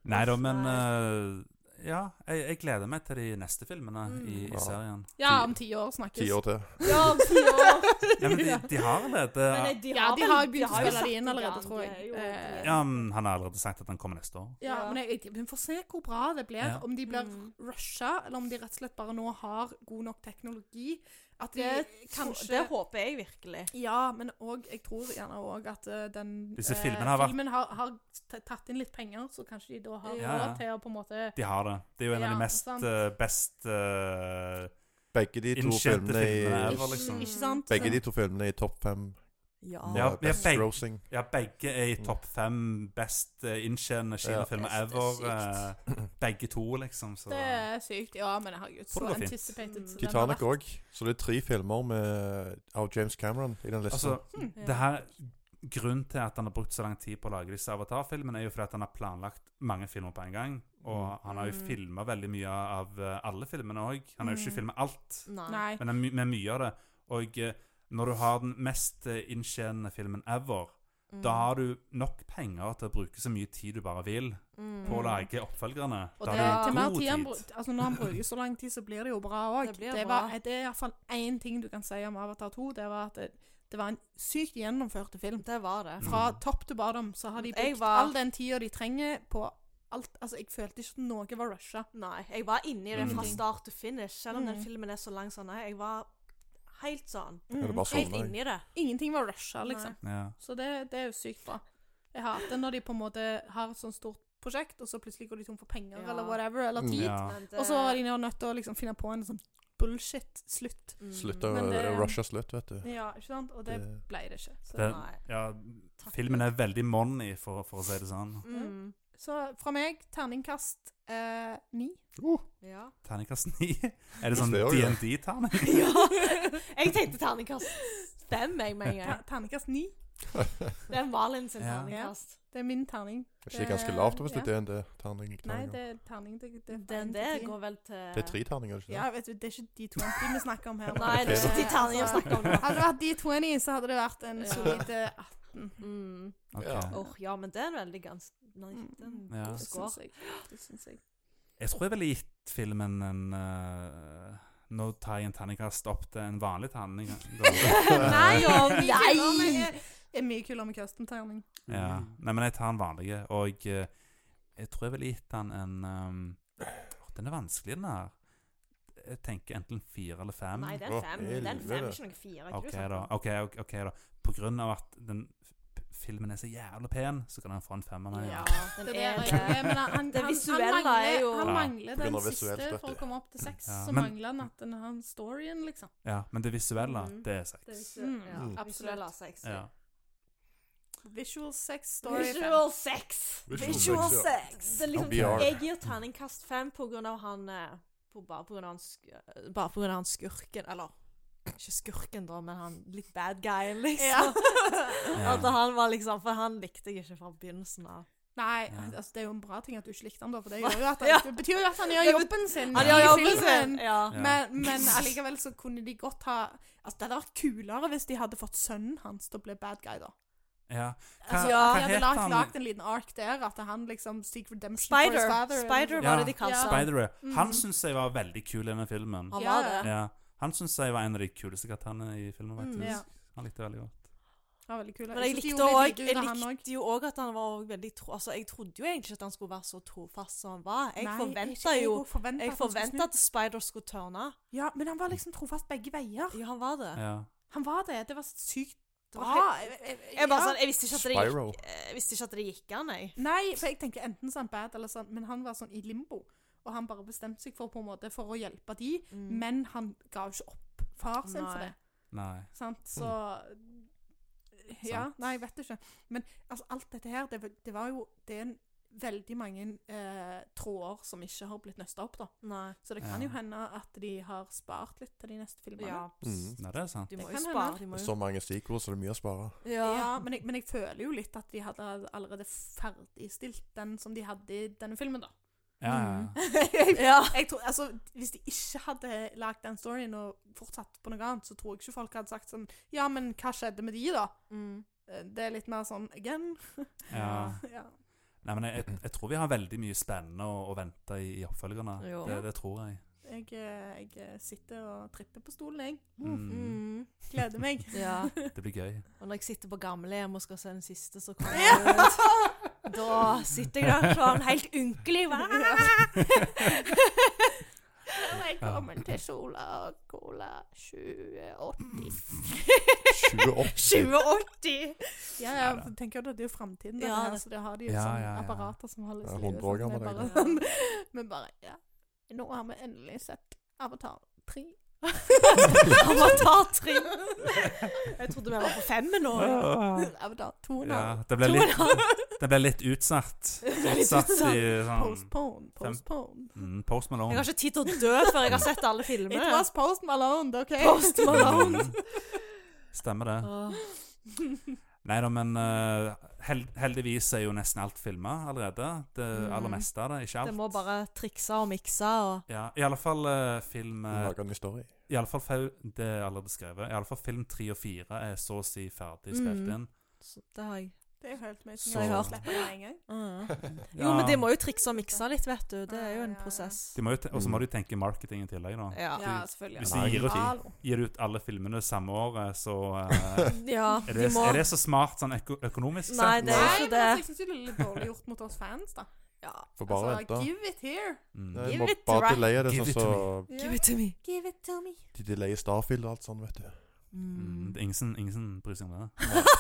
[SPEAKER 1] Nei da, men
[SPEAKER 3] Nei.
[SPEAKER 1] eh, Ja, jeg, jeg gleder meg til de neste filmene
[SPEAKER 4] Mm.
[SPEAKER 1] i,
[SPEAKER 2] Ja.
[SPEAKER 1] i serien.
[SPEAKER 4] Ja, om ti år snakkes.
[SPEAKER 2] Ti år til.
[SPEAKER 3] Ja, om ti år.
[SPEAKER 1] Nei,
[SPEAKER 4] <laughs>
[SPEAKER 1] men de, de har allerede
[SPEAKER 3] Men nei, de
[SPEAKER 4] Ja, de
[SPEAKER 3] vel-
[SPEAKER 4] har begynt å
[SPEAKER 3] jo
[SPEAKER 4] spille det
[SPEAKER 3] satt
[SPEAKER 4] inn
[SPEAKER 3] i
[SPEAKER 4] allerede,
[SPEAKER 3] gang.
[SPEAKER 4] tror jeg.
[SPEAKER 3] Det er jo-
[SPEAKER 4] Eh,
[SPEAKER 1] Ja, men han har allerede sagt at han kommer neste år.
[SPEAKER 4] Ja,
[SPEAKER 3] Ja.
[SPEAKER 4] men jeg, jeg, Vi får se hvor bra det blir.
[SPEAKER 1] Ja.
[SPEAKER 4] Om de blir
[SPEAKER 3] Mm.
[SPEAKER 4] rusha, eller om de rett og slett bare nå har god nok teknologi. At de
[SPEAKER 3] Det,
[SPEAKER 4] kanskje
[SPEAKER 3] det håper jeg virkelig.
[SPEAKER 4] Ja, men òg Jeg tror gjerne òg at eh, den
[SPEAKER 1] Disse filmene har vært-
[SPEAKER 4] filmen har, har t- tatt inn litt penger, så kanskje de da har
[SPEAKER 1] Ja, ja.
[SPEAKER 4] råd til å på en måte
[SPEAKER 1] De har det. Det er jo en av
[SPEAKER 4] Ja,
[SPEAKER 1] de mest
[SPEAKER 4] sant.
[SPEAKER 1] eh, best eh,
[SPEAKER 2] Begge de to
[SPEAKER 1] Innkjente
[SPEAKER 2] filmene
[SPEAKER 1] filmene
[SPEAKER 2] i
[SPEAKER 1] ever. liksom.
[SPEAKER 4] Ikke sant?
[SPEAKER 2] begge de to filmene i topp fem
[SPEAKER 3] Ja.
[SPEAKER 1] Ja,
[SPEAKER 2] eh,
[SPEAKER 1] vi er
[SPEAKER 2] best
[SPEAKER 1] begge-
[SPEAKER 2] grossing.
[SPEAKER 1] Ja, begge er i topp fem best uh, inntjenende kinofilmer
[SPEAKER 3] Ja.
[SPEAKER 1] ever.
[SPEAKER 3] Det er
[SPEAKER 1] eh, begge to, liksom. Så
[SPEAKER 4] Det er sykt. Ja, men herregud,
[SPEAKER 1] Tror
[SPEAKER 4] så
[SPEAKER 1] det går fint.
[SPEAKER 4] anticipated.
[SPEAKER 3] Mm.
[SPEAKER 4] den har
[SPEAKER 2] Titanic
[SPEAKER 4] vært.
[SPEAKER 2] òg. Så det er tre filmer med, av James Cameron i den lista.
[SPEAKER 1] altså,
[SPEAKER 4] Mm.
[SPEAKER 1] det her Grunnen til at han har brukt så lang tid på å lage disse Avatar-filmene, er jo fordi at han har planlagt mange filmer på en gang. Og han har jo
[SPEAKER 3] Mm.
[SPEAKER 1] filma veldig mye av eh, alle filmene òg. Han har jo ikke
[SPEAKER 4] Mm.
[SPEAKER 1] filma alt.
[SPEAKER 3] Nei.
[SPEAKER 4] Nei.
[SPEAKER 1] Men det er my med mye av det. Og eh, når du har den mest eh, inntjenende filmen ever, da
[SPEAKER 4] Mm.
[SPEAKER 1] har du nok penger til å bruke så mye tid du bare vil
[SPEAKER 3] Mm.
[SPEAKER 1] på å
[SPEAKER 4] Mm.
[SPEAKER 1] lage oppfølgerne.
[SPEAKER 4] Og
[SPEAKER 1] Da
[SPEAKER 4] det,
[SPEAKER 1] har
[SPEAKER 4] til
[SPEAKER 1] du
[SPEAKER 4] mer
[SPEAKER 1] god
[SPEAKER 4] tid han,
[SPEAKER 1] tid.
[SPEAKER 4] bru- altså når han bruker så lang tid, så blir det jo bra òg.
[SPEAKER 3] Det blir
[SPEAKER 4] Det, var-
[SPEAKER 3] bra.
[SPEAKER 4] det er iallfall én ting du kan si om Avatar 2. Det var at det, det var en sykt gjennomført film.
[SPEAKER 3] Det var det.
[SPEAKER 4] Fra topp til bottom så har de
[SPEAKER 3] Jeg
[SPEAKER 4] brukt
[SPEAKER 3] var-
[SPEAKER 4] all den tida de trenger på alt. Altså, jeg følte ikke at noe var rusha.
[SPEAKER 3] Nei, jeg var inni det fra
[SPEAKER 1] Mm.
[SPEAKER 3] start til finish. Selv om den
[SPEAKER 4] Mm.
[SPEAKER 3] filmen er så lang sånn, nei, jeg var helt sånn.
[SPEAKER 2] Eller
[SPEAKER 3] Helt
[SPEAKER 2] bare sovner jeg.
[SPEAKER 3] inni det.
[SPEAKER 4] Mm. Ingenting var rusha, liksom.
[SPEAKER 1] Ja.
[SPEAKER 4] Så det, det er jo sykt bra. Jeg hater når de på en måte har et sånt stort prosjekt, og så plutselig går de tom for penger
[SPEAKER 3] Ja.
[SPEAKER 4] eller whatever, eller
[SPEAKER 1] Mm,
[SPEAKER 4] tid.
[SPEAKER 1] Ja.
[SPEAKER 3] Men det-
[SPEAKER 4] Og så er de nå nødt til å liksom finne på en sånn bullshit-slutt.
[SPEAKER 3] Mm.
[SPEAKER 2] Slutt å
[SPEAKER 4] Men det-
[SPEAKER 2] rushe slutt, vet du.
[SPEAKER 4] Ja, ikke sant? Og det
[SPEAKER 2] Det-
[SPEAKER 4] ble det ikke. Så,
[SPEAKER 1] Det,
[SPEAKER 3] Nei.
[SPEAKER 1] ja, filmen er veldig money, for, for å si det sånn.
[SPEAKER 3] Mm.
[SPEAKER 4] så fra meg, terningkast eh, ni.
[SPEAKER 3] Ja. <laughs>
[SPEAKER 1] Terningkast 9. <laughs> Er det sånn
[SPEAKER 2] Det er jo det.
[SPEAKER 1] DND-terning?
[SPEAKER 3] ja. Jeg tenkte terningkast fem, jeg, med en
[SPEAKER 4] Ter
[SPEAKER 3] gang.
[SPEAKER 4] terningkast ni.
[SPEAKER 3] Det er Malin sin
[SPEAKER 1] Ja.
[SPEAKER 3] terningkast.
[SPEAKER 4] Det er min terning.
[SPEAKER 2] <laughs> Det er ikke ganske lavt hvis det er DND. Terning,
[SPEAKER 4] Nei,
[SPEAKER 2] terninger.
[SPEAKER 4] det er terning. Det, det, er fra en
[SPEAKER 3] Den
[SPEAKER 4] til
[SPEAKER 3] der
[SPEAKER 4] ti.
[SPEAKER 3] går vel til
[SPEAKER 2] Det er tre terninger, ikke
[SPEAKER 4] Ja,
[SPEAKER 2] sant?
[SPEAKER 4] vet du, det er ikke de 20 vi snakker om
[SPEAKER 3] <laughs>
[SPEAKER 4] her.
[SPEAKER 3] Nei, det er ikke de terningene jeg snakker om nå.
[SPEAKER 4] Hadde det vært de 20, så hadde det vært en
[SPEAKER 3] Ja.
[SPEAKER 4] solid eh, 18.
[SPEAKER 3] Mm.
[SPEAKER 1] Ok.
[SPEAKER 2] Ja.
[SPEAKER 3] Åh, ja, men det er en veldig gans... Nei,
[SPEAKER 4] Mm.
[SPEAKER 3] den
[SPEAKER 1] Ja.
[SPEAKER 3] god
[SPEAKER 4] Det
[SPEAKER 3] score.
[SPEAKER 4] syns jeg. Det syns jeg.
[SPEAKER 1] Jeg tror jeg ville gitt filmen en eh, Nå tar jeg en terningkast opp til en vanlig eh, terning.
[SPEAKER 3] <laughs> <laughs> Nei, og
[SPEAKER 4] Nei! Det er mye kulere med Kirsten-terning.
[SPEAKER 1] <laughs> Ja. Nei, men jeg tar den vanlige, og eh, jeg tror jeg ville gitt den en ehm, åh, Den er vanskelig, den her. Jeg tenker enten fire eller fem.
[SPEAKER 3] Nei, det er
[SPEAKER 2] Å,
[SPEAKER 3] fem. Det er en fem,
[SPEAKER 2] helvete.
[SPEAKER 3] ikke noen fire.
[SPEAKER 1] OK, da. ok, ok, ok da. På grunn av at den filmen er så jævlig pen, så kan han få en femmer av meg.
[SPEAKER 3] Ja, den
[SPEAKER 4] Det,
[SPEAKER 3] er Mm.
[SPEAKER 4] er det.
[SPEAKER 3] det.
[SPEAKER 4] Men han, han,
[SPEAKER 3] Det
[SPEAKER 4] han,
[SPEAKER 3] visuelle
[SPEAKER 4] han mangler,
[SPEAKER 3] er jo-
[SPEAKER 1] Ja,
[SPEAKER 4] han mangler
[SPEAKER 2] på grunn
[SPEAKER 4] den
[SPEAKER 2] av visuelt,
[SPEAKER 4] siste
[SPEAKER 2] vet
[SPEAKER 4] for å
[SPEAKER 2] du.
[SPEAKER 4] komme opp til seks.
[SPEAKER 1] Ja,
[SPEAKER 4] Så
[SPEAKER 1] men-
[SPEAKER 4] mangler han at den har en storyen, liksom.
[SPEAKER 1] Ja, Men det visuelle,
[SPEAKER 3] Mhm.
[SPEAKER 1] det er
[SPEAKER 3] Det er
[SPEAKER 1] seks.
[SPEAKER 3] visu-
[SPEAKER 4] Mm,
[SPEAKER 3] ja,
[SPEAKER 2] mm.
[SPEAKER 3] Visuell
[SPEAKER 4] absolutt.
[SPEAKER 3] av sex.
[SPEAKER 1] Ja.
[SPEAKER 4] Visual sex story.
[SPEAKER 3] Visual sex!
[SPEAKER 2] Visual
[SPEAKER 3] Visual
[SPEAKER 2] sex,
[SPEAKER 3] sex! Det er liksom,
[SPEAKER 2] Og VR.
[SPEAKER 3] jeg gir terningkast fem på grunn av han eh, på, Bare på grunn av han, sk- bare på grunn av han skurken. Eller ikke skurken, da, men han litt bad guyen, liksom.
[SPEAKER 1] Ja.
[SPEAKER 3] <laughs> At han var liksom For han likte jeg ikke fra begynnelsen av.
[SPEAKER 4] Nei,
[SPEAKER 1] Ja.
[SPEAKER 4] altså, det er jo en bra ting at du ikke likte han da, for
[SPEAKER 3] <laughs>
[SPEAKER 4] det, gjør jo at han,
[SPEAKER 3] Ja.
[SPEAKER 4] det betyr jo at han
[SPEAKER 3] <laughs>
[SPEAKER 4] gjør
[SPEAKER 3] Det bet-
[SPEAKER 4] jobben sin.
[SPEAKER 3] Han
[SPEAKER 4] i
[SPEAKER 3] gjør jobben
[SPEAKER 4] filmen.
[SPEAKER 3] sin! Ja.
[SPEAKER 1] Ja.
[SPEAKER 4] Men, men allikevel så kunne de godt ha Altså, Det hadde vært kulere hvis de hadde fått sønnen hans til å bli bad guy, da.
[SPEAKER 1] Ja. Hva,
[SPEAKER 4] Altså,
[SPEAKER 3] Ja.
[SPEAKER 1] hva
[SPEAKER 4] De hadde
[SPEAKER 1] het
[SPEAKER 4] lagt,
[SPEAKER 1] han?
[SPEAKER 4] lagd en liten ark der, at han liksom seek redemption for his
[SPEAKER 3] Spider.
[SPEAKER 4] father.
[SPEAKER 3] Spider
[SPEAKER 1] Ja.
[SPEAKER 3] var det de kalte
[SPEAKER 4] Ja.
[SPEAKER 3] han.
[SPEAKER 1] Spider-Man. Han
[SPEAKER 4] Mhm.
[SPEAKER 1] syns jeg var veldig kul i denne filmen.
[SPEAKER 3] Han
[SPEAKER 4] Ja.
[SPEAKER 3] var det.
[SPEAKER 1] Ja. Han syns jeg var en av de kuleste karakterene i filmen,
[SPEAKER 3] Mm.
[SPEAKER 1] faktisk.
[SPEAKER 4] Ja,
[SPEAKER 1] Han likte jeg veldig godt.
[SPEAKER 4] det var veldig kul.
[SPEAKER 3] Men jeg
[SPEAKER 4] synes de
[SPEAKER 3] likte,
[SPEAKER 4] gjorde litt
[SPEAKER 3] også,
[SPEAKER 4] lite ut
[SPEAKER 3] jeg
[SPEAKER 4] av han også.
[SPEAKER 3] likte jo òg at han var også veldig tro... Altså, jeg trodde jo egentlig ikke at han skulle være så trofast som han var. Jeg
[SPEAKER 4] Nei,
[SPEAKER 3] forventa
[SPEAKER 4] jeg- jeg
[SPEAKER 3] jo
[SPEAKER 4] også forventet
[SPEAKER 3] Jeg
[SPEAKER 4] at han skulle
[SPEAKER 3] forventa at Spider skulle tørne.
[SPEAKER 4] snu. Ja, men han var liksom trofast begge veier.
[SPEAKER 3] Ja, han var det.
[SPEAKER 1] Ja.
[SPEAKER 4] Han var det. Det var sykt
[SPEAKER 3] Det
[SPEAKER 4] bra.
[SPEAKER 3] var helt-
[SPEAKER 4] Jeg- jeg- jeg-
[SPEAKER 3] Jeg, bare,
[SPEAKER 4] ja.
[SPEAKER 3] sånn, jeg visste ikke at det gikk
[SPEAKER 2] Spyro.
[SPEAKER 3] Jeg visste ikke at det gikk an, jeg.
[SPEAKER 4] Nei, for jeg tenker enten så er han bad eller sånn, men han var sånn i limbo. Og han bare bestemte seg for på en måte for å hjelpe de, men han ga jo ikke opp far sin
[SPEAKER 3] Mm.
[SPEAKER 4] for
[SPEAKER 3] Nei.
[SPEAKER 4] det.
[SPEAKER 1] Nei.
[SPEAKER 4] Sant? Så Ja, nei, jeg vet ikke. Men altså, alt dette her, det, det var jo Det er en, veldig mange eh, tråder som ikke har blitt nøsta opp, da.
[SPEAKER 3] Nei.
[SPEAKER 4] Så det kan
[SPEAKER 1] Ja.
[SPEAKER 4] jo hende at de har spart litt til de neste filmene.
[SPEAKER 3] Ja.
[SPEAKER 2] Mm.
[SPEAKER 1] Nei, det er sant.
[SPEAKER 3] De må
[SPEAKER 4] Det
[SPEAKER 3] jo
[SPEAKER 4] kan
[SPEAKER 3] spare.
[SPEAKER 4] hende.
[SPEAKER 3] De må
[SPEAKER 2] Så
[SPEAKER 3] jo
[SPEAKER 2] mange sequels, så det er mye
[SPEAKER 4] <laughs>
[SPEAKER 2] å spare.
[SPEAKER 3] ja.
[SPEAKER 4] Ja, men jeg, men jeg føler jo litt at de hadde allerede ferdigstilt den som de hadde i denne filmen, da.
[SPEAKER 1] Ja, ja, ja.
[SPEAKER 3] Mm.
[SPEAKER 4] jeg,
[SPEAKER 3] Ja.
[SPEAKER 4] jeg tror, altså, hvis de ikke hadde lagd den storyen og fortsatt på noe annet, så tror jeg ikke folk hadde sagt sånn Ja, men hva skjedde med de, da?
[SPEAKER 3] Mm.
[SPEAKER 4] Eh, Det er litt mer sånn again.
[SPEAKER 1] ja.
[SPEAKER 4] <laughs> ja.
[SPEAKER 1] Nei, men jeg, jeg, jeg tror vi har veldig mye spennende å, å vente i, i oppfølgerne.
[SPEAKER 3] Jo.
[SPEAKER 1] Det, det tror jeg.
[SPEAKER 4] Jeg, eh, jeg sitter og tripper på stolen, jeg.
[SPEAKER 1] Mm.
[SPEAKER 3] Mm.
[SPEAKER 4] Gleder meg.
[SPEAKER 3] ja.
[SPEAKER 1] Det blir gøy.
[SPEAKER 3] <laughs> Og når jeg sitter på gamlehjem og skal se den siste, så kommer jeg ut. Da sitter jeg der sånn helt ynkelig. <laughs> Hva?
[SPEAKER 4] Jeg
[SPEAKER 1] kommer
[SPEAKER 4] til Sola Cola 2080.
[SPEAKER 2] 28.
[SPEAKER 3] 2080!
[SPEAKER 4] Ja, ja, for tenker jo at det er jo framtiden, dette
[SPEAKER 3] Ja,
[SPEAKER 4] her,
[SPEAKER 3] det-
[SPEAKER 4] så det har de jo
[SPEAKER 1] Ja,
[SPEAKER 4] sånne
[SPEAKER 1] ja, ja.
[SPEAKER 4] apparater som holder
[SPEAKER 2] Det er
[SPEAKER 4] seg i livet,
[SPEAKER 2] 100 år
[SPEAKER 4] sant? Vi
[SPEAKER 2] gammel,
[SPEAKER 3] <laughs>
[SPEAKER 4] bare
[SPEAKER 3] egentlig.
[SPEAKER 4] <laughs> sånn- Vi bare Ja. Nå har vi endelig sett Avatar 3. <laughs>
[SPEAKER 3] Avatar 3. Jeg trodde vi var på femmen nå.
[SPEAKER 4] Avatar 2 nå.
[SPEAKER 1] Ja, det ble litt, det ble litt
[SPEAKER 3] <laughs>
[SPEAKER 1] utsatt. Utsatt i sånn
[SPEAKER 4] Postpone,
[SPEAKER 1] Fem-
[SPEAKER 4] postpone.
[SPEAKER 1] mm, Post
[SPEAKER 3] Jeg
[SPEAKER 1] Malone.
[SPEAKER 3] har ikke tid til å dø før jeg har sett alle
[SPEAKER 4] It
[SPEAKER 3] filmene.
[SPEAKER 4] was Post Malone, OK?
[SPEAKER 3] Post
[SPEAKER 4] <laughs>
[SPEAKER 3] Malone.
[SPEAKER 1] Mm. Stemmer det.
[SPEAKER 3] Åh.
[SPEAKER 1] Nei da, men eh, hel heldigvis er jo nesten alt filma allerede. Det aller
[SPEAKER 3] Mm.
[SPEAKER 1] meste av det. Ikke
[SPEAKER 3] Det
[SPEAKER 1] alt.
[SPEAKER 3] må bare trikse og mikse og
[SPEAKER 1] Ja, I alle fall eh, film eh,
[SPEAKER 2] Lager en ny story.
[SPEAKER 1] I alle fall fil, Det er allerede skrevet. I alle fall film tre og fire er så å si ferdig
[SPEAKER 3] Mm.
[SPEAKER 1] spilt inn.
[SPEAKER 3] så Det har jeg.
[SPEAKER 4] Det er jo helt mye
[SPEAKER 1] Så-
[SPEAKER 4] som jeg har slipper det med en gang.
[SPEAKER 3] Mm. Jo,
[SPEAKER 1] Ja,
[SPEAKER 3] men det må jo trikse og mikse litt, vet du. Det er jo en prosess.
[SPEAKER 1] de må jo te- Og så må du tenke marketing i tillegg, da.
[SPEAKER 3] Ja.
[SPEAKER 4] Ja, selvfølgelig.
[SPEAKER 1] Hvis
[SPEAKER 2] de gir
[SPEAKER 1] ut-
[SPEAKER 4] Hallo.
[SPEAKER 1] Gir du ut alle filmene samme året, så
[SPEAKER 3] <laughs>
[SPEAKER 1] eh,
[SPEAKER 3] ja
[SPEAKER 1] er,
[SPEAKER 3] de
[SPEAKER 1] det,
[SPEAKER 3] må
[SPEAKER 1] er det så smart sånn øko økonomisk sett?
[SPEAKER 3] Nei, det er
[SPEAKER 4] Nei,
[SPEAKER 3] ikke
[SPEAKER 4] men altså,
[SPEAKER 3] det.
[SPEAKER 4] jeg syns det er litt dårlig gjort mot oss fans, da.
[SPEAKER 2] Får bare
[SPEAKER 4] altså, <laughs>
[SPEAKER 2] vente.
[SPEAKER 4] give it here.
[SPEAKER 1] Mm.
[SPEAKER 2] Jeg
[SPEAKER 3] Give
[SPEAKER 2] må
[SPEAKER 3] it
[SPEAKER 2] bare
[SPEAKER 3] right.
[SPEAKER 2] delaye det,
[SPEAKER 1] Give
[SPEAKER 2] sånn
[SPEAKER 1] it to
[SPEAKER 2] så
[SPEAKER 3] Give it to me.
[SPEAKER 4] Give it to me.
[SPEAKER 2] de delayer Starfield og alt sånt, vet du.
[SPEAKER 1] Mm. det er Ingen, som- ingen som bryr seg om det.
[SPEAKER 3] <laughs>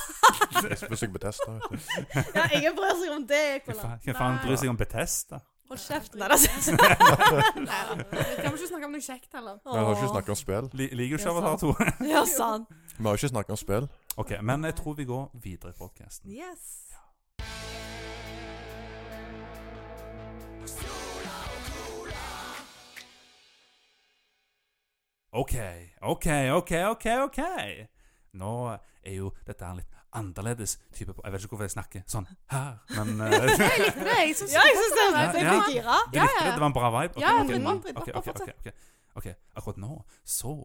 [SPEAKER 2] Jeg spør seg på test, da, vet du.
[SPEAKER 3] Ja, ingen bryr seg om det,
[SPEAKER 1] Hva
[SPEAKER 3] jeg
[SPEAKER 1] faen- hva faen bryr seg om Bethesda?
[SPEAKER 3] Hold kjeft. Nei, det er sant.
[SPEAKER 4] Nei,
[SPEAKER 1] <laughs>
[SPEAKER 4] vi kan ikke snakke om noe kjekt heller.
[SPEAKER 2] Men jeg har ikke snakket om spill.
[SPEAKER 1] Li- Liker jo
[SPEAKER 3] Ja,
[SPEAKER 1] ikke Avatar 2.
[SPEAKER 3] Ja, sant.
[SPEAKER 2] Vi har jo ikke snakket om spill.
[SPEAKER 1] <laughs> Ok, men jeg tror vi går videre i podkasten.
[SPEAKER 3] Yes.
[SPEAKER 1] OK, OK, OK, OK. ok Nå er jo dette her en litt annerledes type på- Jeg vet ikke hvorfor jeg snakker sånn her, men eh, Du likte det?
[SPEAKER 4] Nei, jeg synes
[SPEAKER 3] Ja, jeg syns det.
[SPEAKER 1] Ja,
[SPEAKER 3] Jeg
[SPEAKER 1] ja.
[SPEAKER 3] blir gira.
[SPEAKER 1] Det var en bra vibe? Ok,
[SPEAKER 4] Ja,
[SPEAKER 1] ok,
[SPEAKER 4] dritt
[SPEAKER 1] mm,
[SPEAKER 4] opp, dritt
[SPEAKER 1] ok,
[SPEAKER 4] opp,
[SPEAKER 1] ok,
[SPEAKER 4] fortsett.
[SPEAKER 1] ok, ok. OK, akkurat nå så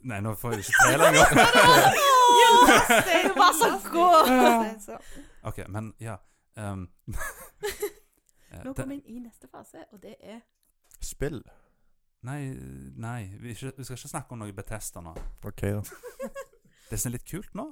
[SPEAKER 1] Nei, nå får jeg ikke til lenger.
[SPEAKER 3] You lost it. Du var så god.
[SPEAKER 1] OK, men ja um, eh,
[SPEAKER 4] Nå
[SPEAKER 1] det-
[SPEAKER 4] kommer vi inn i neste fase, og det er
[SPEAKER 2] Spill.
[SPEAKER 1] Nei, nei vi, ikke, vi skal ikke snakke om noe Bethesda nå.
[SPEAKER 2] OK, da.
[SPEAKER 1] Det som er litt kult nå,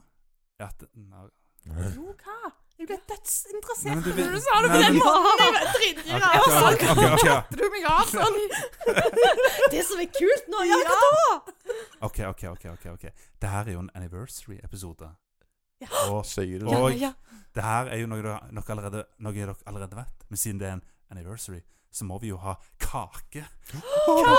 [SPEAKER 1] er at nei,
[SPEAKER 4] Jo, hva? Jeg ble
[SPEAKER 1] Nei,
[SPEAKER 4] dødsinteressert
[SPEAKER 1] men du
[SPEAKER 4] når
[SPEAKER 1] vet-
[SPEAKER 4] du sa det på
[SPEAKER 1] Nei,
[SPEAKER 4] den
[SPEAKER 1] men-
[SPEAKER 4] måten! Jeg ble
[SPEAKER 1] Ok,
[SPEAKER 4] dritgira.
[SPEAKER 1] ok,
[SPEAKER 4] Og
[SPEAKER 1] ok, ok, ok.
[SPEAKER 4] så du meg av sånn.
[SPEAKER 3] Det som er kult nå, ja, hva da?
[SPEAKER 1] Ok, ok, ok. ok, ok. Det her er jo en anniversary-episode. Og
[SPEAKER 2] Sier du det?
[SPEAKER 1] Og det her er jo noe dere, noe allerede, noe dere allerede vet. Men siden det er en anniversary, så må vi jo ha kake. Ja,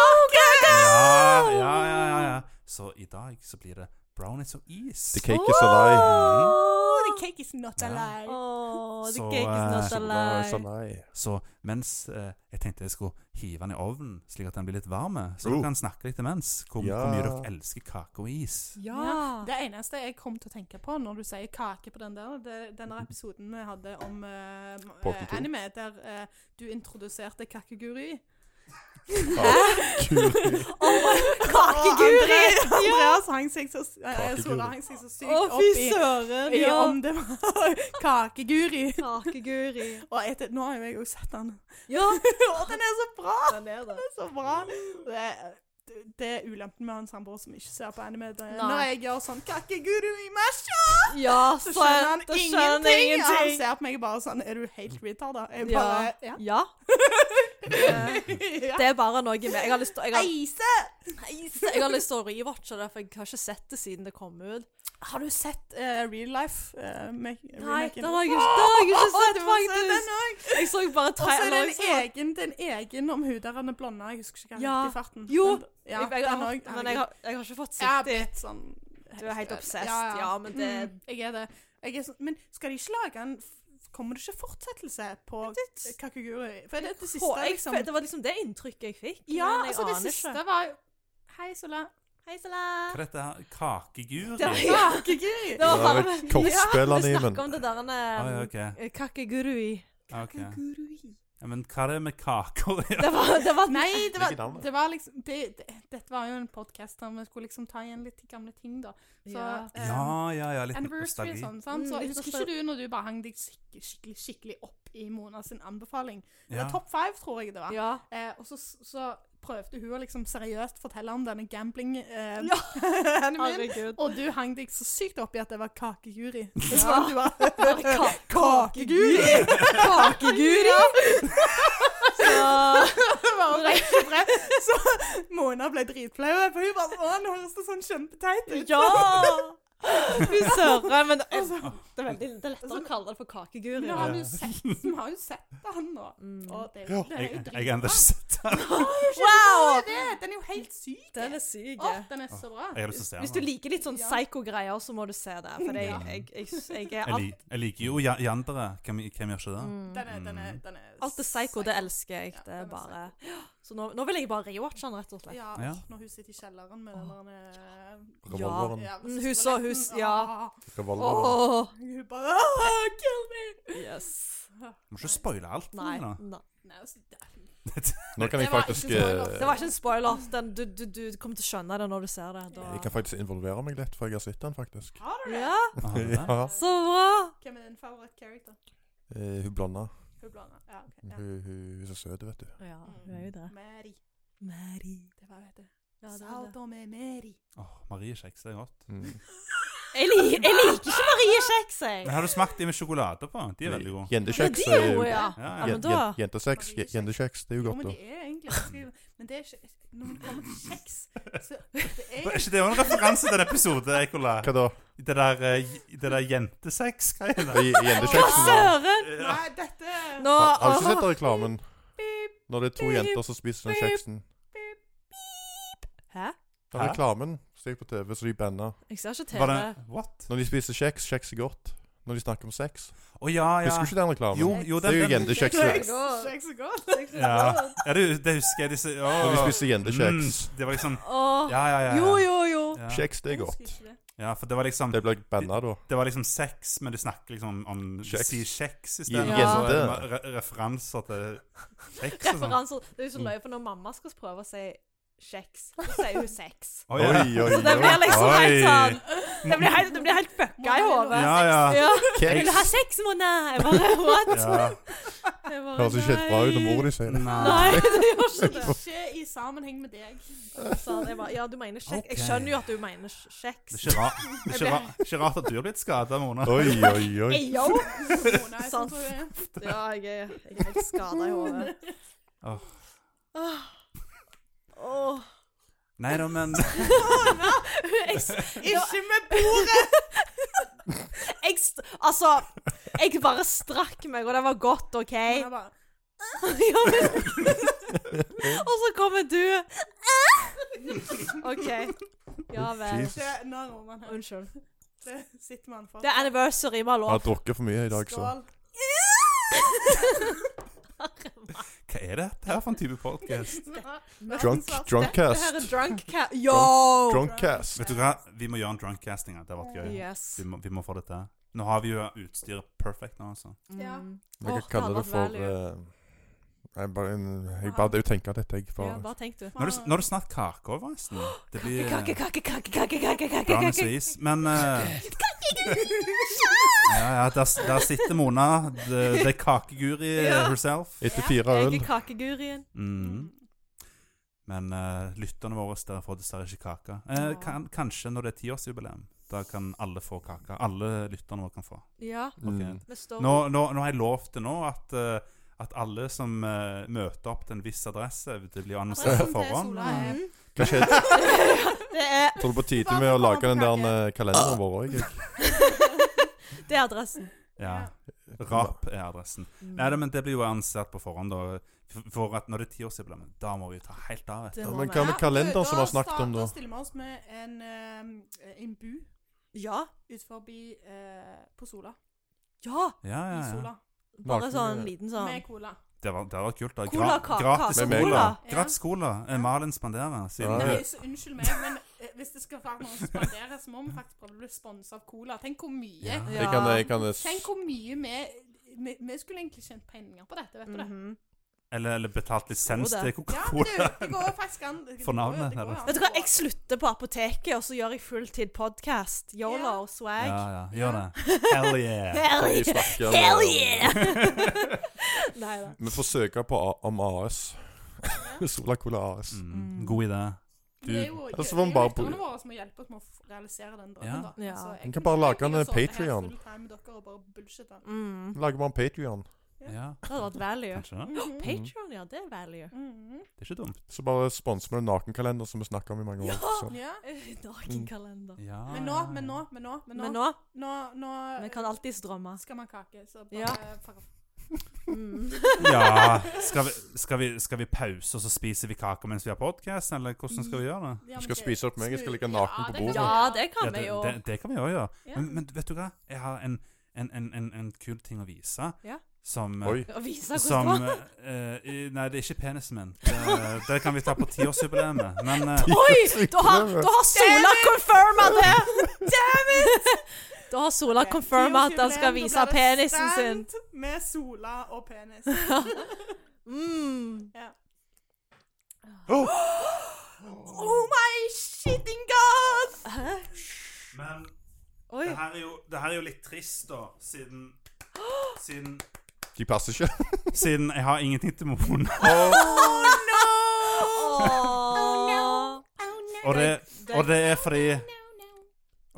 [SPEAKER 1] ja, ja, ja, ja. Så i dag så blir det brownies og is.
[SPEAKER 2] The cake is a lie.
[SPEAKER 4] Oh, the cake is not
[SPEAKER 1] Ja.
[SPEAKER 4] alive.
[SPEAKER 3] Oh, the
[SPEAKER 1] Så,
[SPEAKER 3] cake is
[SPEAKER 2] Så
[SPEAKER 3] not
[SPEAKER 1] eh,
[SPEAKER 3] a
[SPEAKER 2] nei, så
[SPEAKER 3] lie.
[SPEAKER 2] nei.
[SPEAKER 1] Så mens eh, jeg tenkte jeg skulle hive den i ovnen, slik at den blir litt varm, så
[SPEAKER 2] Oh.
[SPEAKER 1] dere kan snakke litt imens hvor,
[SPEAKER 2] Ja.
[SPEAKER 1] hvor mye dere elsker kake og is.
[SPEAKER 3] Ja.
[SPEAKER 4] Det eneste jeg kom til å tenke på når du sier kake på den der, det, denne episoden vi hadde om eh,
[SPEAKER 2] Bolten
[SPEAKER 4] eh,
[SPEAKER 2] to.
[SPEAKER 4] anime, der eh, du introduserte kakeguri. <laughs>
[SPEAKER 2] Kul.
[SPEAKER 3] Kakeguri!
[SPEAKER 4] Og Andre- Andreas hang seg så, eh,
[SPEAKER 2] Kakeguri.
[SPEAKER 4] Sola hang seg så sykt
[SPEAKER 3] Å,
[SPEAKER 4] opp
[SPEAKER 3] fy
[SPEAKER 4] i,
[SPEAKER 3] søren!
[SPEAKER 4] i
[SPEAKER 3] Ja.
[SPEAKER 4] om det var <laughs> kakeguri.
[SPEAKER 3] Kakeguri.
[SPEAKER 4] Og etter, nå har jo jeg også sett den.
[SPEAKER 3] Ja,
[SPEAKER 4] Å, den er så bra!
[SPEAKER 3] den er Mm. det.
[SPEAKER 4] Den er så bra. Det, det er ulempen med han samboer som ikke ser på anime. Det, er
[SPEAKER 3] Nei.
[SPEAKER 4] når jeg gjør sånn kakeguru i masha,
[SPEAKER 3] Ja,
[SPEAKER 4] så skjønner han
[SPEAKER 3] da
[SPEAKER 4] ingenting.
[SPEAKER 3] skjønner han
[SPEAKER 4] Og Han
[SPEAKER 3] ingenting.
[SPEAKER 4] ser på meg og bare sånn Er du helt retarda? Jeg
[SPEAKER 3] Ja.
[SPEAKER 4] bare Ja.
[SPEAKER 3] Ja.
[SPEAKER 4] <laughs> ja.
[SPEAKER 3] Det er bare noe med Jeg har lyst til jeg har,
[SPEAKER 4] Eise!
[SPEAKER 3] jeg har lyst til å rewatche det, for jeg har ikke sett det siden det kom ut.
[SPEAKER 4] Har du sett eh, Real Life? eh, me-
[SPEAKER 3] Nei,
[SPEAKER 4] remaken?
[SPEAKER 3] den har jeg ikke, den har jeg ikke
[SPEAKER 4] Åh,
[SPEAKER 3] sett,
[SPEAKER 4] du må se den
[SPEAKER 3] faktisk.
[SPEAKER 4] også.
[SPEAKER 3] Jeg så bare
[SPEAKER 4] Og så er det
[SPEAKER 3] traileren.
[SPEAKER 4] en egen, det er en egen om hun der han er blonda. Jeg husker ikke hva
[SPEAKER 3] Ja.
[SPEAKER 4] han het i farten.
[SPEAKER 3] Jo,
[SPEAKER 4] Men- ja,
[SPEAKER 3] jeg, jeg,
[SPEAKER 4] den
[SPEAKER 3] har,
[SPEAKER 4] også.
[SPEAKER 3] men jeg har, jeg har ikke fått
[SPEAKER 4] Jeg har
[SPEAKER 3] sett det.
[SPEAKER 4] blitt sånn
[SPEAKER 3] Du er helt obsessed. Ja, men det-
[SPEAKER 4] mm, Jeg er det. Jeg er sånn, men skal de ikke lage en f- Kommer det ikke fortsettelse på Kakuguri? For det, er det siste,
[SPEAKER 3] Hå- jeg,
[SPEAKER 4] liksom
[SPEAKER 3] Det var liksom det inntrykket jeg fikk.
[SPEAKER 4] Ja,
[SPEAKER 3] men jeg
[SPEAKER 4] altså, det
[SPEAKER 3] aner
[SPEAKER 4] siste
[SPEAKER 3] ikke.
[SPEAKER 4] var jo Hei, Sola.
[SPEAKER 3] Hei, Sala.
[SPEAKER 1] Hva er dette her? Kakeguri?
[SPEAKER 3] Det var- <laughs> Ja.
[SPEAKER 4] Kakuguri!
[SPEAKER 3] Det var
[SPEAKER 2] Det var
[SPEAKER 3] bare
[SPEAKER 2] et kortspill,
[SPEAKER 3] Vi
[SPEAKER 2] Animen.
[SPEAKER 3] snakker om det der
[SPEAKER 1] Ah, ja,
[SPEAKER 3] en
[SPEAKER 1] ok.
[SPEAKER 3] eh, kakegurui.
[SPEAKER 1] ok.
[SPEAKER 4] Kakuguri.
[SPEAKER 1] Ja, men hva er det med kaker å gjøre?
[SPEAKER 3] Det var, det var
[SPEAKER 4] Nei, det
[SPEAKER 2] Hvilket
[SPEAKER 4] var,
[SPEAKER 2] navn?
[SPEAKER 4] det var liksom det, det, Dette var jo en podkast der vi skulle liksom ta igjen litt gamle ting, da. Så,
[SPEAKER 3] Ja.
[SPEAKER 4] eh,
[SPEAKER 1] Ja, ja, ja, litt
[SPEAKER 4] Anniversary og
[SPEAKER 1] nostalgi.
[SPEAKER 4] sånn, sant?
[SPEAKER 3] Mm,
[SPEAKER 4] Så jeg
[SPEAKER 3] litt
[SPEAKER 4] husker ikke du når du bare hang deg skik- skikkelig, skikkelig opp i Mona sin anbefaling. Det
[SPEAKER 1] Ja.
[SPEAKER 4] var Topp five, tror jeg det var.
[SPEAKER 3] Ja.
[SPEAKER 4] Eh, og så, så prøvde hun å liksom seriøst fortelle om denne gambling eh,
[SPEAKER 3] Ja.
[SPEAKER 4] animen.
[SPEAKER 3] Herregud.
[SPEAKER 4] Og du hang deg så sykt opp i at det var kakeguri.
[SPEAKER 3] Ja.
[SPEAKER 4] Du bare,
[SPEAKER 3] Ka-
[SPEAKER 4] kakeguri!
[SPEAKER 3] Kakeguri! Ja.
[SPEAKER 4] Bare rett og slett. så Mona ble dritflau. For hun bare Å, nå høres det sånn kjempeteit ut.
[SPEAKER 3] Ja! Fy søren. Men det er, det er veldig det er lettere å kalle det for kakeguri.
[SPEAKER 4] Men har du sett, vi har jo sett den nå.
[SPEAKER 3] Mm.
[SPEAKER 4] Og det,
[SPEAKER 2] Ja.
[SPEAKER 4] det er jo
[SPEAKER 1] Jeg, jeg har ennå
[SPEAKER 4] dritbra.
[SPEAKER 1] ikke sett den.
[SPEAKER 3] Wow!
[SPEAKER 4] Det, den er jo helt syk.
[SPEAKER 3] Den er syk.
[SPEAKER 4] Å, den er så bra.
[SPEAKER 1] Ah, Jeg har lyst til å
[SPEAKER 3] Hvis
[SPEAKER 1] se
[SPEAKER 3] du
[SPEAKER 1] den.
[SPEAKER 3] liker litt sånn
[SPEAKER 4] Ja.
[SPEAKER 3] psycho-greier, så må du se det. For jeg, jeg, jeg, jeg er
[SPEAKER 1] Jeg,
[SPEAKER 3] alt,
[SPEAKER 1] lik, jeg liker jo Jan- Jandere. Hvem, hvem gjør ikke det?
[SPEAKER 3] mm,
[SPEAKER 4] Den er, den er, den er
[SPEAKER 3] alt det psycho, det elsker jeg.
[SPEAKER 4] Ja,
[SPEAKER 3] Det er
[SPEAKER 4] den er
[SPEAKER 3] bare Så nå, nå vil jeg bare rewatche den, rett og slett.
[SPEAKER 4] Ja,
[SPEAKER 1] Ja.
[SPEAKER 4] når hun sitter i kjelleren med den der eh,
[SPEAKER 2] Revolveren.
[SPEAKER 4] Ja,
[SPEAKER 3] Mm, hun så- hun s- ja.
[SPEAKER 4] Ah,
[SPEAKER 2] Revolveren.
[SPEAKER 3] Åh,
[SPEAKER 4] Hun bare ah, Kill me!
[SPEAKER 3] yes.
[SPEAKER 1] Du må ikke spoile alt. for
[SPEAKER 3] Nei, <laughs>
[SPEAKER 1] meg nå.
[SPEAKER 3] nei.
[SPEAKER 4] Nei, altså, det-
[SPEAKER 2] Nå kan jeg
[SPEAKER 4] Det var
[SPEAKER 2] faktisk
[SPEAKER 4] ikke så godt.
[SPEAKER 2] eh,
[SPEAKER 3] Det var ikke en spoiler. Den, du, du, du kommer til å skjønne det når du ser det.
[SPEAKER 2] Jeg
[SPEAKER 3] Da.
[SPEAKER 2] kan faktisk involvere meg litt, for jeg har sett den, faktisk.
[SPEAKER 4] Har du det?
[SPEAKER 3] Ja,
[SPEAKER 1] Ah, det er det.
[SPEAKER 2] Ja.
[SPEAKER 3] så bra!
[SPEAKER 4] Hvem er din favoritt-character?
[SPEAKER 2] Eh, Hun blonda.
[SPEAKER 4] Hun blanda. Ja, ok.
[SPEAKER 2] Hun,
[SPEAKER 4] Ja.
[SPEAKER 2] hun, hun er så søt, vet du.
[SPEAKER 3] Ja, hun er jo det.
[SPEAKER 4] Mary.
[SPEAKER 3] Mary.
[SPEAKER 4] Det var hun heter.
[SPEAKER 3] Ja, det er det.
[SPEAKER 4] Saldo med Mary.
[SPEAKER 1] Åh, Marie Kjeks, det er godt.
[SPEAKER 2] Mm.
[SPEAKER 3] Jeg, li jeg liker ikke Marie Kjeks, jeg.
[SPEAKER 1] Men har du smakt de med sjokolade på? De er veldig gode.
[SPEAKER 3] Ja,
[SPEAKER 2] Jentekjeks eh,
[SPEAKER 3] de
[SPEAKER 2] er
[SPEAKER 3] er
[SPEAKER 2] jo
[SPEAKER 3] gode, ja.
[SPEAKER 1] Ja,
[SPEAKER 3] Ja,
[SPEAKER 1] ja.
[SPEAKER 3] men da
[SPEAKER 2] Jentekjeks
[SPEAKER 4] Marie Kjeks.
[SPEAKER 2] det er jo
[SPEAKER 4] Jo,
[SPEAKER 2] godt,
[SPEAKER 4] men
[SPEAKER 2] da.
[SPEAKER 4] det er egentlig ganske Men det er ikke Når det kommer til kjeks, så det er
[SPEAKER 1] Er ikke det også en referanse til en episode, Ekola?
[SPEAKER 2] Hva da?
[SPEAKER 1] Det der, eh, j- det der jentesex-greiene?
[SPEAKER 2] I- i Jentekjeksen? da.
[SPEAKER 3] Søren!
[SPEAKER 1] Ja.
[SPEAKER 4] Nei, dette
[SPEAKER 3] Nå
[SPEAKER 2] eh. Har, har du ikke sett
[SPEAKER 3] åh.
[SPEAKER 2] reklamen?
[SPEAKER 4] Beep,
[SPEAKER 2] Når det er to jenter som spiser den kjeksen.
[SPEAKER 4] beep.
[SPEAKER 3] Hæ?
[SPEAKER 2] Den
[SPEAKER 1] Hæ?
[SPEAKER 2] reklamen som gikk på TV, så de banna.
[SPEAKER 3] Jeg ser ikke
[SPEAKER 1] <laughs> Var
[SPEAKER 3] TV.
[SPEAKER 1] det What?
[SPEAKER 2] Når de spiser kjeks, kjeks er godt. Når de snakker om sex.
[SPEAKER 1] Å ja, ja.
[SPEAKER 2] Husker du ikke den reklamen?
[SPEAKER 1] Jo, jo,
[SPEAKER 2] det er jo
[SPEAKER 1] den, den.
[SPEAKER 2] jentekjeks.
[SPEAKER 3] Kjeks.
[SPEAKER 4] Kjeks kjeks er godt.
[SPEAKER 1] Ja. ja det, det husker jeg. Disse, åh.
[SPEAKER 2] Når de spiser jentekjeks.
[SPEAKER 1] Mm, det var liksom
[SPEAKER 3] Åh.
[SPEAKER 1] Ja, ja, ja. ja.
[SPEAKER 3] Jo, jo, jo.
[SPEAKER 1] Ja.
[SPEAKER 2] Kjeks, det er godt.
[SPEAKER 1] ja, for det var liksom
[SPEAKER 2] Det blir banna da.
[SPEAKER 1] Det var liksom sex, men du snakker liksom om, om
[SPEAKER 2] Kjeks.
[SPEAKER 1] Si kjeks i stedet.
[SPEAKER 3] Ja.
[SPEAKER 1] Og så er det
[SPEAKER 2] Jente.
[SPEAKER 1] ma- re referanser til kjeks og sånn.
[SPEAKER 3] Referanser. Det
[SPEAKER 2] Mm.
[SPEAKER 3] er jo så løye, for når mamma skal prøve å si kjeks, så sier hun sex.
[SPEAKER 1] Å, ja.
[SPEAKER 3] Så det blir liksom helt
[SPEAKER 1] Oi.
[SPEAKER 3] sånn
[SPEAKER 2] Mm.
[SPEAKER 3] Det blir helt, det blir helt fucka i hodet.
[SPEAKER 1] Ja, ja.
[SPEAKER 3] Ja. Vil du ha
[SPEAKER 2] Kjeks
[SPEAKER 3] sex, Mona? Jeg bare What?
[SPEAKER 1] ja.
[SPEAKER 3] Jeg bare,
[SPEAKER 2] høres ikke helt bra ut når mora di sier det.
[SPEAKER 1] Nei.
[SPEAKER 3] <laughs> Nei, det gjør ikke det.
[SPEAKER 4] Ikke i sammenheng med deg.
[SPEAKER 3] Sånn, jeg bare, ja, du mener kjeks.
[SPEAKER 1] Ok.
[SPEAKER 3] Jeg skjønner jo at du mener kjeks.
[SPEAKER 1] Det er ikke rart, det er ikke rart, ikke rart at du har blitt skada, Mona.
[SPEAKER 2] Oi, oi, oi.
[SPEAKER 3] Ey, yo!
[SPEAKER 4] Mona, jeg
[SPEAKER 3] Sant.
[SPEAKER 4] tror jeg er.
[SPEAKER 3] Ja, jeg er, jeg er helt skada i hodet.
[SPEAKER 1] Åh.
[SPEAKER 3] Åh. Åh.
[SPEAKER 1] Nei da, men
[SPEAKER 3] Jeg s-
[SPEAKER 4] Ikke med bordet!
[SPEAKER 3] Jeg st altså Jeg bare strakk meg, og det var godt, OK? <laughs>
[SPEAKER 4] Men jeg bare,
[SPEAKER 3] Ja, men- og så kommer du OK. Ja vel.
[SPEAKER 4] det er nærmere her.
[SPEAKER 3] Unnskyld.
[SPEAKER 4] Det sitter man for.
[SPEAKER 3] Det er anniversary, vi har
[SPEAKER 2] Jeg har
[SPEAKER 3] lov.
[SPEAKER 2] drukket for mye i dag, så
[SPEAKER 4] Skål.
[SPEAKER 3] <laughs>
[SPEAKER 1] Hva er dette her for en type podcast?
[SPEAKER 2] Drunk,
[SPEAKER 3] Her er
[SPEAKER 2] drunkcast.
[SPEAKER 3] drunk cat. Yo!
[SPEAKER 2] Drunkcast.
[SPEAKER 1] Vet du hva? Vi må gjøre en drunkcasting. her. Det hadde vært gøy.
[SPEAKER 3] Yes.
[SPEAKER 1] Vi må, vi må få det til. Nå har vi jo utstyret perfect nå, altså.
[SPEAKER 4] Ja.
[SPEAKER 3] Mm.
[SPEAKER 2] Vi kan
[SPEAKER 3] Åh,
[SPEAKER 2] kalle
[SPEAKER 3] hadde
[SPEAKER 2] det
[SPEAKER 3] vært
[SPEAKER 2] for
[SPEAKER 3] value.
[SPEAKER 2] eh, Jeg bare, jeg bare det er jo tenker at dette jeg
[SPEAKER 3] Ja,
[SPEAKER 2] får
[SPEAKER 3] bare tenk, du.
[SPEAKER 1] Nå er det, nå er det snart kake òg, forresten. Det blir eh,
[SPEAKER 3] Kake, kake, kake, kake, kake, kake,
[SPEAKER 1] Johannes
[SPEAKER 3] <laughs> kake.
[SPEAKER 1] Riis. Men eh, ja, ja, der, der sitter Mona, the, the kakeguri
[SPEAKER 4] <laughs>
[SPEAKER 3] Ja.
[SPEAKER 1] herself.
[SPEAKER 2] Etter fire
[SPEAKER 3] Jeg
[SPEAKER 2] øl
[SPEAKER 3] er kakegurien.
[SPEAKER 1] Mhm. Men eh, lytterne våre der får dessverre ikke kake. Eh,
[SPEAKER 3] Ja.
[SPEAKER 1] kan, kanskje når det er tiårsjubileum. Da kan alle få kake. Alle lytterne våre kan få.
[SPEAKER 3] Ja,
[SPEAKER 2] mm.
[SPEAKER 3] vi står
[SPEAKER 1] Nå, nå, nå har jeg lovt det nå at, eh, at alle som eh, møter opp til en viss adresse Det blir jo annonsert på
[SPEAKER 4] Adressen til
[SPEAKER 1] forhånd.
[SPEAKER 4] Sola
[SPEAKER 1] eh,
[SPEAKER 4] er-
[SPEAKER 3] Mm.
[SPEAKER 2] Hva skjedde?
[SPEAKER 3] <laughs> Det er
[SPEAKER 2] Tror du på tide med å lage den der eh, kalenderen vår òg?
[SPEAKER 3] Det er adressen.
[SPEAKER 1] Ja. Rap er adressen. Nei, det, men det blir jo annonsert på forhånd. Da, for- for at når det er tiårsjubileum, da må vi jo ta helt av. Vet.
[SPEAKER 3] Det
[SPEAKER 1] du.
[SPEAKER 2] Ja,
[SPEAKER 3] må
[SPEAKER 2] men
[SPEAKER 3] vi.
[SPEAKER 2] hva med kalenderen
[SPEAKER 4] da
[SPEAKER 2] som vi har snakket
[SPEAKER 4] sta-
[SPEAKER 2] om, da?
[SPEAKER 4] Da stiller vi oss med en, eh, en bu
[SPEAKER 3] Ja.
[SPEAKER 4] ut forbi eh, på Sola.
[SPEAKER 3] Ja.
[SPEAKER 1] Ja,
[SPEAKER 4] I
[SPEAKER 1] ja, ja.
[SPEAKER 4] Sola.
[SPEAKER 3] Bare
[SPEAKER 2] Naken,
[SPEAKER 3] sånn
[SPEAKER 2] eh,
[SPEAKER 3] liten
[SPEAKER 4] Med
[SPEAKER 3] sånn
[SPEAKER 4] cola.
[SPEAKER 1] Det var, det var kult. Da.
[SPEAKER 3] Cola, ka-
[SPEAKER 1] gratis
[SPEAKER 2] kake,
[SPEAKER 1] cola.
[SPEAKER 3] cola.
[SPEAKER 4] Ja.
[SPEAKER 1] Gratis cola. Eh, Malin spanderer. Siden
[SPEAKER 2] Ja,
[SPEAKER 1] hun-
[SPEAKER 2] ja.
[SPEAKER 4] Nei, så unnskyld meg, men eh, hvis det skal være noe å spandere, så må vi faktisk prøve å bli sponsa av cola. Tenk hvor mye
[SPEAKER 1] Ja.
[SPEAKER 2] Jeg kan, jeg kan s-
[SPEAKER 4] Tenk hvor mye vi vi, vi skulle egentlig tjent penger på dette, vet du
[SPEAKER 1] Mm.
[SPEAKER 4] det?
[SPEAKER 3] Mhm.
[SPEAKER 1] Eller, eller betalt lisens
[SPEAKER 3] Cola.
[SPEAKER 1] til
[SPEAKER 4] Ja, men du,
[SPEAKER 1] Coca-Cola.
[SPEAKER 4] det går jo faktisk an. det- det
[SPEAKER 1] For
[SPEAKER 4] går jo-
[SPEAKER 1] navnet,
[SPEAKER 4] det går jo
[SPEAKER 1] eller?
[SPEAKER 4] an.
[SPEAKER 3] Vet du hva, jeg slutter på apoteket, og så gjør jeg fulltid podkast. Yolo
[SPEAKER 4] Ja.
[SPEAKER 3] og swag.
[SPEAKER 1] Ja, ja. Gjør det. Hell
[SPEAKER 4] <laughs>
[SPEAKER 1] yeah.
[SPEAKER 3] Hell
[SPEAKER 2] Vi
[SPEAKER 3] yeah!
[SPEAKER 2] snakker om-
[SPEAKER 3] Hell yeah!
[SPEAKER 1] <laughs>
[SPEAKER 3] <laughs> Nei da.
[SPEAKER 2] Vi får søke på A- om AS. <laughs> Sola Cola AS.
[SPEAKER 1] Mm, god idé.
[SPEAKER 4] Det er jo
[SPEAKER 2] Altså, man bare
[SPEAKER 4] lytterne
[SPEAKER 2] bo-
[SPEAKER 4] våre som må hjelpe oss med å f- realisere den drømmen.
[SPEAKER 1] Ja.
[SPEAKER 4] da.
[SPEAKER 3] Ja.
[SPEAKER 4] Altså, jeg
[SPEAKER 2] Man kan bare lage
[SPEAKER 4] jeg
[SPEAKER 2] en
[SPEAKER 4] kunne sittet her
[SPEAKER 2] Patreon.
[SPEAKER 4] full time med dere og bare bullshit
[SPEAKER 2] <gasps>
[SPEAKER 4] den.
[SPEAKER 3] Mm.
[SPEAKER 2] Lager vi en Patreon,
[SPEAKER 1] Ja,
[SPEAKER 3] Det hadde vært value.
[SPEAKER 1] kanskje det.
[SPEAKER 4] Mhm.
[SPEAKER 3] Patreon, ja, det er <laughs> value.
[SPEAKER 4] Mhm.
[SPEAKER 1] Det er ikke dumt.
[SPEAKER 2] så bare sponser vi den nakenkalenderen som vi snakket om i mange år. Så.
[SPEAKER 4] Ja.
[SPEAKER 1] Mm.
[SPEAKER 3] Nakenkalender.
[SPEAKER 1] Ja,
[SPEAKER 4] Men nå, men nå, men nå, men nå,
[SPEAKER 3] Men nå,
[SPEAKER 4] nå, nå
[SPEAKER 3] vi kan alltids drømme.
[SPEAKER 4] skal man kake, så bare
[SPEAKER 3] Ja.
[SPEAKER 4] for-
[SPEAKER 1] <laughs>
[SPEAKER 3] Mm.
[SPEAKER 1] Ja, skal vi, skal, vi, skal vi pause, og så spiser vi kake mens vi har podcast, eller hvordan skal vi gjøre det?
[SPEAKER 4] Ja,
[SPEAKER 2] Du
[SPEAKER 4] men
[SPEAKER 2] skal
[SPEAKER 4] det-
[SPEAKER 2] spise opp meg, jeg skal ligge
[SPEAKER 4] snu-
[SPEAKER 2] naken
[SPEAKER 4] Ja,
[SPEAKER 2] på
[SPEAKER 4] det kan
[SPEAKER 2] bordet.
[SPEAKER 3] Ja,
[SPEAKER 4] vi gjøre.
[SPEAKER 3] det Mm, kan
[SPEAKER 1] Ja,
[SPEAKER 3] vi
[SPEAKER 1] det,
[SPEAKER 3] jo.
[SPEAKER 1] det, det kan vi også gjøre.
[SPEAKER 4] Ja.
[SPEAKER 1] Men, men vet du hva? Jeg har en, en, en, en, en kul ting å vise.
[SPEAKER 3] Ja.
[SPEAKER 1] Som, eh,
[SPEAKER 2] Oi.
[SPEAKER 3] Å vise
[SPEAKER 1] som
[SPEAKER 3] hvordan det var.
[SPEAKER 1] eh, i- Nei, det er ikke penisen min. Det, det kan vi ta på tiårsjubileet. Men eh,
[SPEAKER 3] <laughs>
[SPEAKER 1] <laughs>
[SPEAKER 3] Oi! Da har, da har Sola confirma det! <laughs> Damn it! Da har Sola
[SPEAKER 4] Ok,
[SPEAKER 3] confirma at han skal
[SPEAKER 4] tiårsjubileum,
[SPEAKER 3] vise
[SPEAKER 4] da blir det
[SPEAKER 3] penisen sin.
[SPEAKER 4] stand Med Sola
[SPEAKER 3] <laughs>
[SPEAKER 4] og penis.
[SPEAKER 3] Mm.
[SPEAKER 4] Ja.
[SPEAKER 3] Oh my shitting god! Hæ?
[SPEAKER 1] men
[SPEAKER 3] Oi.
[SPEAKER 1] det, her er jo, det her er jo litt trist, da, siden Siden,
[SPEAKER 2] De passer
[SPEAKER 1] <laughs>
[SPEAKER 2] ikke.
[SPEAKER 1] siden jeg har ingenting til Mona.
[SPEAKER 3] Oh no!
[SPEAKER 1] Og det, og det er fordi
[SPEAKER 2] Jeg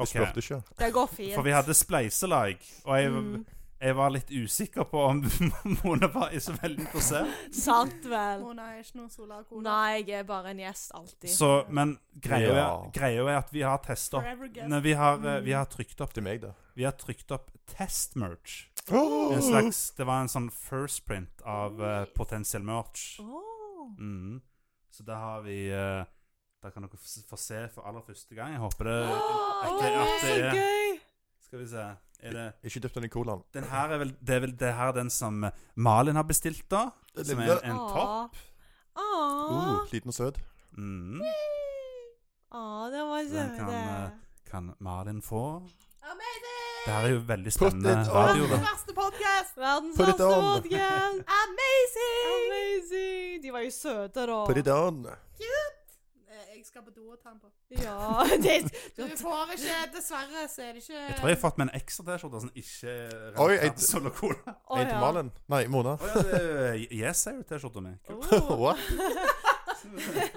[SPEAKER 1] Ok.
[SPEAKER 2] spurte ikke.
[SPEAKER 3] Det går fint.
[SPEAKER 1] For vi hadde spleiselag, og jeg,
[SPEAKER 3] Mm.
[SPEAKER 1] jeg var litt usikker på om <laughs> Mona var så veldig interessert.
[SPEAKER 3] Sant vel.
[SPEAKER 4] Mona er ikke noe Sola og cola.
[SPEAKER 3] Mm. Nei, jeg er bare en gjest alltid.
[SPEAKER 1] Så, men greia er,
[SPEAKER 2] Ja.
[SPEAKER 1] greia er at vi har testa opp
[SPEAKER 4] Forever guest.
[SPEAKER 1] Nei, vi har, eh,
[SPEAKER 3] Mm.
[SPEAKER 1] vi har trykt opp
[SPEAKER 2] Til meg, da.
[SPEAKER 1] Vi har trykt opp test-merch.
[SPEAKER 2] Oh!
[SPEAKER 1] En slags Det var en sånn first print av eh, potensiell merch.
[SPEAKER 3] Åh.
[SPEAKER 1] Mm. Så der har vi uh, Der kan dere f- få se for aller første gang. Jeg håper det
[SPEAKER 3] Åh,
[SPEAKER 1] at det- at
[SPEAKER 3] så
[SPEAKER 1] det er
[SPEAKER 3] gøy!
[SPEAKER 1] Skal vi se Er det
[SPEAKER 2] Ikke dypp den i colaen.
[SPEAKER 1] Den her er vel Det er vel det her den som eh, Malin har bestilt, da?
[SPEAKER 2] Det
[SPEAKER 1] Som er
[SPEAKER 2] lille.
[SPEAKER 1] en, en topp? Oh.
[SPEAKER 3] Åh.
[SPEAKER 2] Uh, liten og søt.
[SPEAKER 1] Mm.
[SPEAKER 3] Åh, det var
[SPEAKER 1] Så den kan, eh,
[SPEAKER 3] søte.
[SPEAKER 1] Kan Malin få?
[SPEAKER 4] Amazing!
[SPEAKER 1] Det her er jo veldig
[SPEAKER 2] Put it
[SPEAKER 1] spennende
[SPEAKER 2] on.
[SPEAKER 1] radio.
[SPEAKER 4] Verdens
[SPEAKER 1] da.
[SPEAKER 4] verste podcast!
[SPEAKER 3] Verdens
[SPEAKER 2] Put it
[SPEAKER 3] verste
[SPEAKER 2] on.
[SPEAKER 1] <laughs>
[SPEAKER 3] podcast.
[SPEAKER 4] Amazing!
[SPEAKER 3] Amazing! De var jo søte, da.
[SPEAKER 2] Put it on.
[SPEAKER 4] Eh, Jeg skal på do og ta den på.
[SPEAKER 3] Ja, <laughs> det
[SPEAKER 4] Du får ikke, dessverre, så er det ikke
[SPEAKER 1] Jeg tror jeg har fått meg en ekstra T-skjorte som ikke
[SPEAKER 2] Oi, jeg-
[SPEAKER 1] Sol og
[SPEAKER 2] <laughs>
[SPEAKER 1] Cola.
[SPEAKER 3] Å,
[SPEAKER 2] en til
[SPEAKER 3] ja.
[SPEAKER 2] Malen. Nei, Mona.
[SPEAKER 1] Å ja, det er Yes er jo T-skjorta mi. Kult.
[SPEAKER 3] Oh.
[SPEAKER 2] <laughs> What?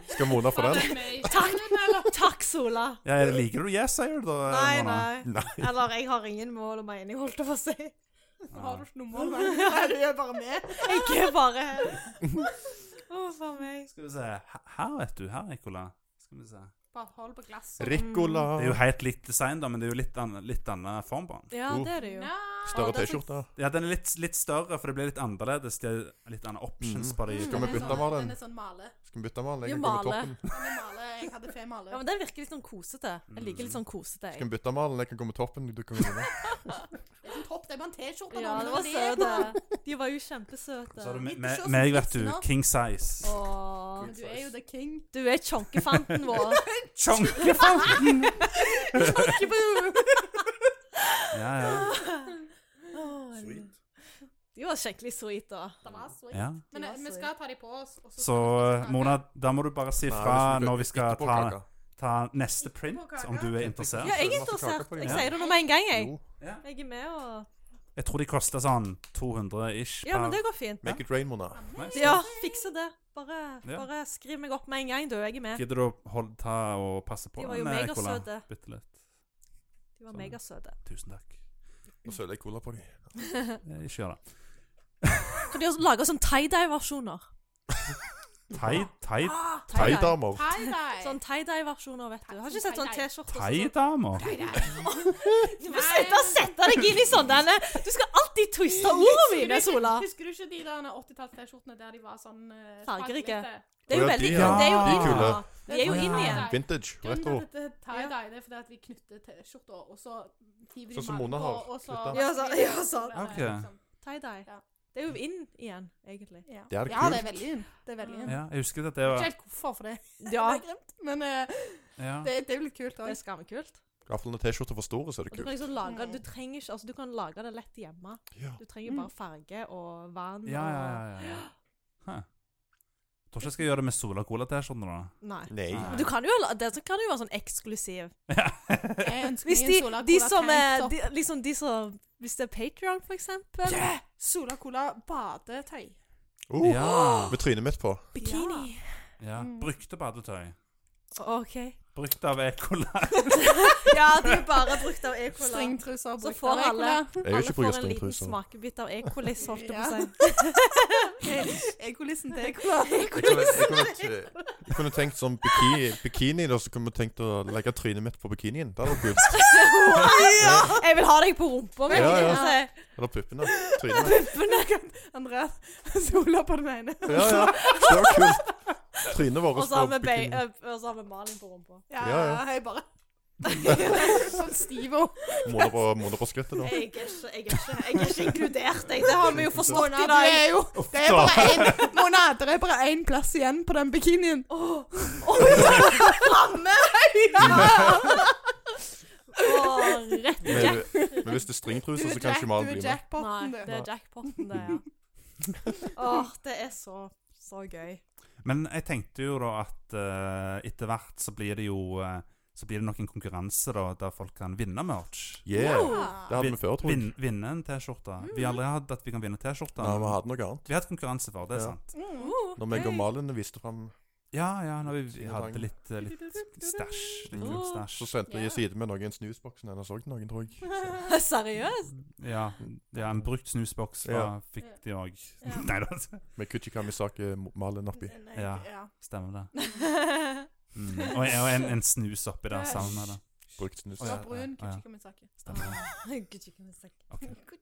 [SPEAKER 2] Skal Mona
[SPEAKER 3] <laughs>
[SPEAKER 2] få den?
[SPEAKER 3] Takk, takk, Sola.
[SPEAKER 1] Ja, liker du Yes er jo da?
[SPEAKER 3] Nei,
[SPEAKER 1] Mona?
[SPEAKER 3] nei. Eller jeg har ingen mål og mening, holdt jeg på å si.
[SPEAKER 4] Har du ikke noe mål? Nei, du er bare med.
[SPEAKER 3] Jeg er
[SPEAKER 1] <laughs>
[SPEAKER 3] bare her. Å, for meg.
[SPEAKER 1] Skal vi se. Her, vet du. Her, Nicola. Skal vi se.
[SPEAKER 5] Bare hold på glasset.
[SPEAKER 2] Ricola.
[SPEAKER 1] Det er jo helt likt design, da, men det er jo litt annen, litt annen form på den.
[SPEAKER 3] Ja,
[SPEAKER 2] Oh.
[SPEAKER 3] det er det jo.
[SPEAKER 5] Ja.
[SPEAKER 2] Større
[SPEAKER 4] sånn-
[SPEAKER 3] det er
[SPEAKER 2] T-skjorte.
[SPEAKER 1] Ja, den er litt, litt større, for det blir litt annerledes. Det er litt andre options
[SPEAKER 2] Mm.
[SPEAKER 1] på de.
[SPEAKER 2] Skal vi
[SPEAKER 4] Den er
[SPEAKER 2] bytte
[SPEAKER 4] sånn-
[SPEAKER 2] med den?
[SPEAKER 4] Den er sånn male.
[SPEAKER 2] Skal vi bytte med den?
[SPEAKER 3] Jo,
[SPEAKER 2] Jeg går
[SPEAKER 3] male.
[SPEAKER 2] med toppen.
[SPEAKER 4] Den er male. Jeg hadde fe male.
[SPEAKER 3] Ja, men Den virker litt sånn kosete. Jeg liker litt sånn kosete.
[SPEAKER 2] Skal
[SPEAKER 3] Jeg.
[SPEAKER 2] vi bytte med den? Jeg kan gå med toppen. Du kan gå med
[SPEAKER 4] Det er sånn topp, det er bare en
[SPEAKER 3] Ja,
[SPEAKER 4] T-skjorte. da,
[SPEAKER 3] det
[SPEAKER 4] men
[SPEAKER 3] var
[SPEAKER 4] det er det.
[SPEAKER 3] søte. De var jo
[SPEAKER 1] Så har
[SPEAKER 3] kjempesøte.
[SPEAKER 1] du me-
[SPEAKER 4] Litt
[SPEAKER 1] me-
[SPEAKER 4] sånn
[SPEAKER 1] meg,
[SPEAKER 4] som
[SPEAKER 1] vet du.
[SPEAKER 4] Disney.
[SPEAKER 1] King size.
[SPEAKER 3] Åh,
[SPEAKER 4] Men du er jo the king.
[SPEAKER 3] du er chonkefanten vår.
[SPEAKER 1] Tjonkefanten! ja, ja.
[SPEAKER 3] Sweet. De var skikkelig sweet, da.
[SPEAKER 4] Det var sweet.
[SPEAKER 1] ja.
[SPEAKER 5] Men
[SPEAKER 3] Ja,
[SPEAKER 5] eh, vi
[SPEAKER 3] sorry.
[SPEAKER 5] skal ta de på oss. og
[SPEAKER 1] Så eh,
[SPEAKER 5] skal vi spise
[SPEAKER 1] Mona, da må du bare si fra når vi skal ta, ta neste print,
[SPEAKER 5] Etterpå kaka.
[SPEAKER 1] om du er interessert.
[SPEAKER 3] Ja, jeg er
[SPEAKER 2] masse
[SPEAKER 3] interessert.
[SPEAKER 2] kaker på de
[SPEAKER 3] Jeg
[SPEAKER 1] her.
[SPEAKER 3] sier det nå med en gang, jeg.
[SPEAKER 2] Jo.
[SPEAKER 3] Jeg er med og
[SPEAKER 1] Jeg tror de koster sånn 200 ish.
[SPEAKER 3] Ja, men
[SPEAKER 1] per-
[SPEAKER 3] det går fint.
[SPEAKER 2] Make it rain, Mona.
[SPEAKER 1] Nice.
[SPEAKER 3] Ja, fikse det. Bare,
[SPEAKER 1] Ja.
[SPEAKER 3] bare skriv meg opp med en gang, du. Jeg er med.
[SPEAKER 1] Gidder du å holde, ta og passe på
[SPEAKER 3] De var jo
[SPEAKER 1] den, eh,
[SPEAKER 3] megasøte.
[SPEAKER 1] Nicola? Bitte litt.
[SPEAKER 3] De var megasøte.
[SPEAKER 1] Tusen takk.
[SPEAKER 2] Nå søler jeg cola på dem.
[SPEAKER 1] Eh, Ikke gjør det.
[SPEAKER 3] Kan de også lage sånn tie-dye-versjoner?
[SPEAKER 1] Thai- thai-
[SPEAKER 3] Ah,
[SPEAKER 2] Thaidamer.
[SPEAKER 4] Hei, deg.
[SPEAKER 3] <laughs> Sånn tie-dye-versjoner, vet du. Har ikke sett sånn T-skjorte og sånn.
[SPEAKER 1] Thai-damer?
[SPEAKER 4] <laughs>
[SPEAKER 3] Du må slutte å sette deg inn i sånne Du skal alltid twiste ordene mine, Sola.
[SPEAKER 4] Husker du ikke de der 80-talls-T-skjortene der de var sånn uh,
[SPEAKER 3] Fargerike. Det er
[SPEAKER 2] Å,
[SPEAKER 3] jo
[SPEAKER 2] ja,
[SPEAKER 3] veldig
[SPEAKER 2] de,
[SPEAKER 3] kult.
[SPEAKER 2] ja.
[SPEAKER 1] De er
[SPEAKER 3] Det er jo inn igjen. De
[SPEAKER 2] kule.
[SPEAKER 3] er jo inn igjen.
[SPEAKER 2] Vintage. Retro.
[SPEAKER 4] Grunnen til at det tie-dye det er fordi at vi knytter T-skjorter, og så hiver de
[SPEAKER 2] Sånn som
[SPEAKER 4] magen
[SPEAKER 2] Mona
[SPEAKER 4] på,
[SPEAKER 2] har
[SPEAKER 4] og så-
[SPEAKER 2] knyttet.
[SPEAKER 3] Ja, så- ja, sånn.
[SPEAKER 1] Ok.
[SPEAKER 4] Liksom.
[SPEAKER 3] Tie-dye.
[SPEAKER 4] Ja.
[SPEAKER 3] Det er jo inn igjen, egentlig.
[SPEAKER 4] Ja.
[SPEAKER 2] Det er
[SPEAKER 4] ja,
[SPEAKER 2] kult.
[SPEAKER 4] det er veldig inn. Det er veldig inn.
[SPEAKER 1] Ja, jeg husker at det
[SPEAKER 4] Ikke
[SPEAKER 1] var
[SPEAKER 4] helt hvorfor, for det
[SPEAKER 3] Ja,
[SPEAKER 4] er grimt, men eh,
[SPEAKER 1] ja.
[SPEAKER 4] det, det er jo litt kult
[SPEAKER 3] det er
[SPEAKER 4] òg.
[SPEAKER 3] skammekult.
[SPEAKER 2] Iallfall når T-skjorter er for store, så
[SPEAKER 3] Og
[SPEAKER 2] er det
[SPEAKER 3] du kan
[SPEAKER 2] kult.
[SPEAKER 3] liksom lage Du trenger ikke Altså, du kan lage det lett hjemme.
[SPEAKER 2] Ja.
[SPEAKER 3] Du trenger bare farge og vann
[SPEAKER 1] Ja, ja, ja. ja, ja. Hæ. Tror ikke jeg skal gjøre det med Sola Cola-T-skjortene, da.
[SPEAKER 3] og Nei.
[SPEAKER 2] Nei.
[SPEAKER 3] Men du kan jo, la- det kan jo være sånn eksklusiv.
[SPEAKER 4] Jeg ønsker
[SPEAKER 3] Hvis
[SPEAKER 4] meg en
[SPEAKER 3] de,
[SPEAKER 4] Sola
[SPEAKER 3] de
[SPEAKER 4] Cola
[SPEAKER 3] som er
[SPEAKER 4] tanktop.
[SPEAKER 3] de, liksom de som Hvis det er Patreon for eksempel.
[SPEAKER 4] Sola Cola badetøy.
[SPEAKER 2] Oh,
[SPEAKER 1] Ja.
[SPEAKER 2] Med trynet mitt på.
[SPEAKER 3] Bikini.
[SPEAKER 1] ja.
[SPEAKER 3] Mm.
[SPEAKER 1] Brukte badetøy.
[SPEAKER 3] OK.
[SPEAKER 1] Brukt av Ecola. <laughs>
[SPEAKER 3] Ja, de er bare brukt av e-cola. Så
[SPEAKER 4] Stringtruser brukt
[SPEAKER 3] får
[SPEAKER 4] av
[SPEAKER 3] alle, <laughs> alle
[SPEAKER 4] Ekola.
[SPEAKER 2] Jeg vil ikke bruke
[SPEAKER 3] får en liten
[SPEAKER 2] stringtruser.
[SPEAKER 3] smakebit av <laughs> e-colis, holdt jeg på å
[SPEAKER 4] Ja.
[SPEAKER 3] si.
[SPEAKER 4] Ekolissen til
[SPEAKER 2] Jeg kunne, jeg
[SPEAKER 3] <laughs>
[SPEAKER 2] kunne, t- jeg kunne tenkt sånn bikini, bikini da, så kunne jeg tenkt å legge trynet mitt på bikinien. Det hadde vært kult.
[SPEAKER 3] Jeg vil ha deg på rumpa mi.
[SPEAKER 2] Ja,
[SPEAKER 3] holdt jeg på å
[SPEAKER 2] ja.
[SPEAKER 3] si.
[SPEAKER 2] Eller puppene. Trynet mitt.
[SPEAKER 3] <laughs>
[SPEAKER 4] Andreas Sola på den ene.
[SPEAKER 2] Ja, ja. Det var kult. Trynet vårt
[SPEAKER 3] Og så har
[SPEAKER 2] på
[SPEAKER 3] vi bei-
[SPEAKER 2] bikinien.
[SPEAKER 3] eh, og så har vi maling på rumpa.
[SPEAKER 4] Ja,
[SPEAKER 2] Ja, ja.
[SPEAKER 4] jeg
[SPEAKER 3] <laughs>
[SPEAKER 4] bare Sånn stiv og
[SPEAKER 2] Måler på, måler på skrittet, da.
[SPEAKER 3] Jeg er ikke, jeg er ikke, jeg er ikke inkludert, jeg. Det har vi jo forstått i dag.
[SPEAKER 4] jo Det er bare én Mona, det er bare én plass igjen på den bikinien. <laughs>
[SPEAKER 3] Framme! Og rett i
[SPEAKER 2] Men,
[SPEAKER 3] jack.
[SPEAKER 2] men hvis det er stringtruser, så kan ikke
[SPEAKER 4] du
[SPEAKER 2] malen
[SPEAKER 4] er
[SPEAKER 2] bli med.
[SPEAKER 3] Nei,
[SPEAKER 4] jackpoten, du.
[SPEAKER 3] det er jackpoten, det, ja. <laughs> Åh, det er så, så gøy.
[SPEAKER 1] Men jeg tenkte jo da at eh, etter hvert så blir det jo eh, Så blir det nok en konkurranse da der folk kan vinne merch.
[SPEAKER 4] Mm.
[SPEAKER 2] Yeah. Det
[SPEAKER 4] Ja.
[SPEAKER 2] hadde vi før, tror jeg.
[SPEAKER 1] Vin, vinne en T-skjorte. Vi har aldri hatt at vi kan vinne T-skjorte.
[SPEAKER 2] Nei, vi hadde noe annet.
[SPEAKER 1] Vi har hatt konkurranse for det, er
[SPEAKER 2] Ja.
[SPEAKER 1] sant?
[SPEAKER 4] Mm.
[SPEAKER 2] Når meg og Malin viste fram,
[SPEAKER 1] Ja, ja, når vi, vi
[SPEAKER 2] Sine
[SPEAKER 1] hadde
[SPEAKER 2] dager.
[SPEAKER 1] litt, eh, litt
[SPEAKER 3] Mm.
[SPEAKER 1] stæsj. Litt
[SPEAKER 3] Åh.
[SPEAKER 2] så
[SPEAKER 1] stæsj.
[SPEAKER 2] sendte jeg side med noen snusboksen hennes òg noen, tror jeg.
[SPEAKER 3] <laughs> Seriøst?
[SPEAKER 1] Ja, ja, en brukt snusboks fra,
[SPEAKER 2] Ja.
[SPEAKER 1] fikk de òg.
[SPEAKER 4] Ja.
[SPEAKER 1] <laughs> Nei da,
[SPEAKER 2] Med Kuchi Kamisake Malin oppi.
[SPEAKER 4] Nei,
[SPEAKER 1] Ja.
[SPEAKER 4] ja.
[SPEAKER 1] stemmer det. Mm. Og, og en, en snus oppi der sammen med det.
[SPEAKER 2] Brukt snus.
[SPEAKER 1] Å,
[SPEAKER 4] Så
[SPEAKER 1] ja.
[SPEAKER 4] brun
[SPEAKER 1] ja.
[SPEAKER 4] kuchikumitsake.
[SPEAKER 1] Stemmer det. Ok.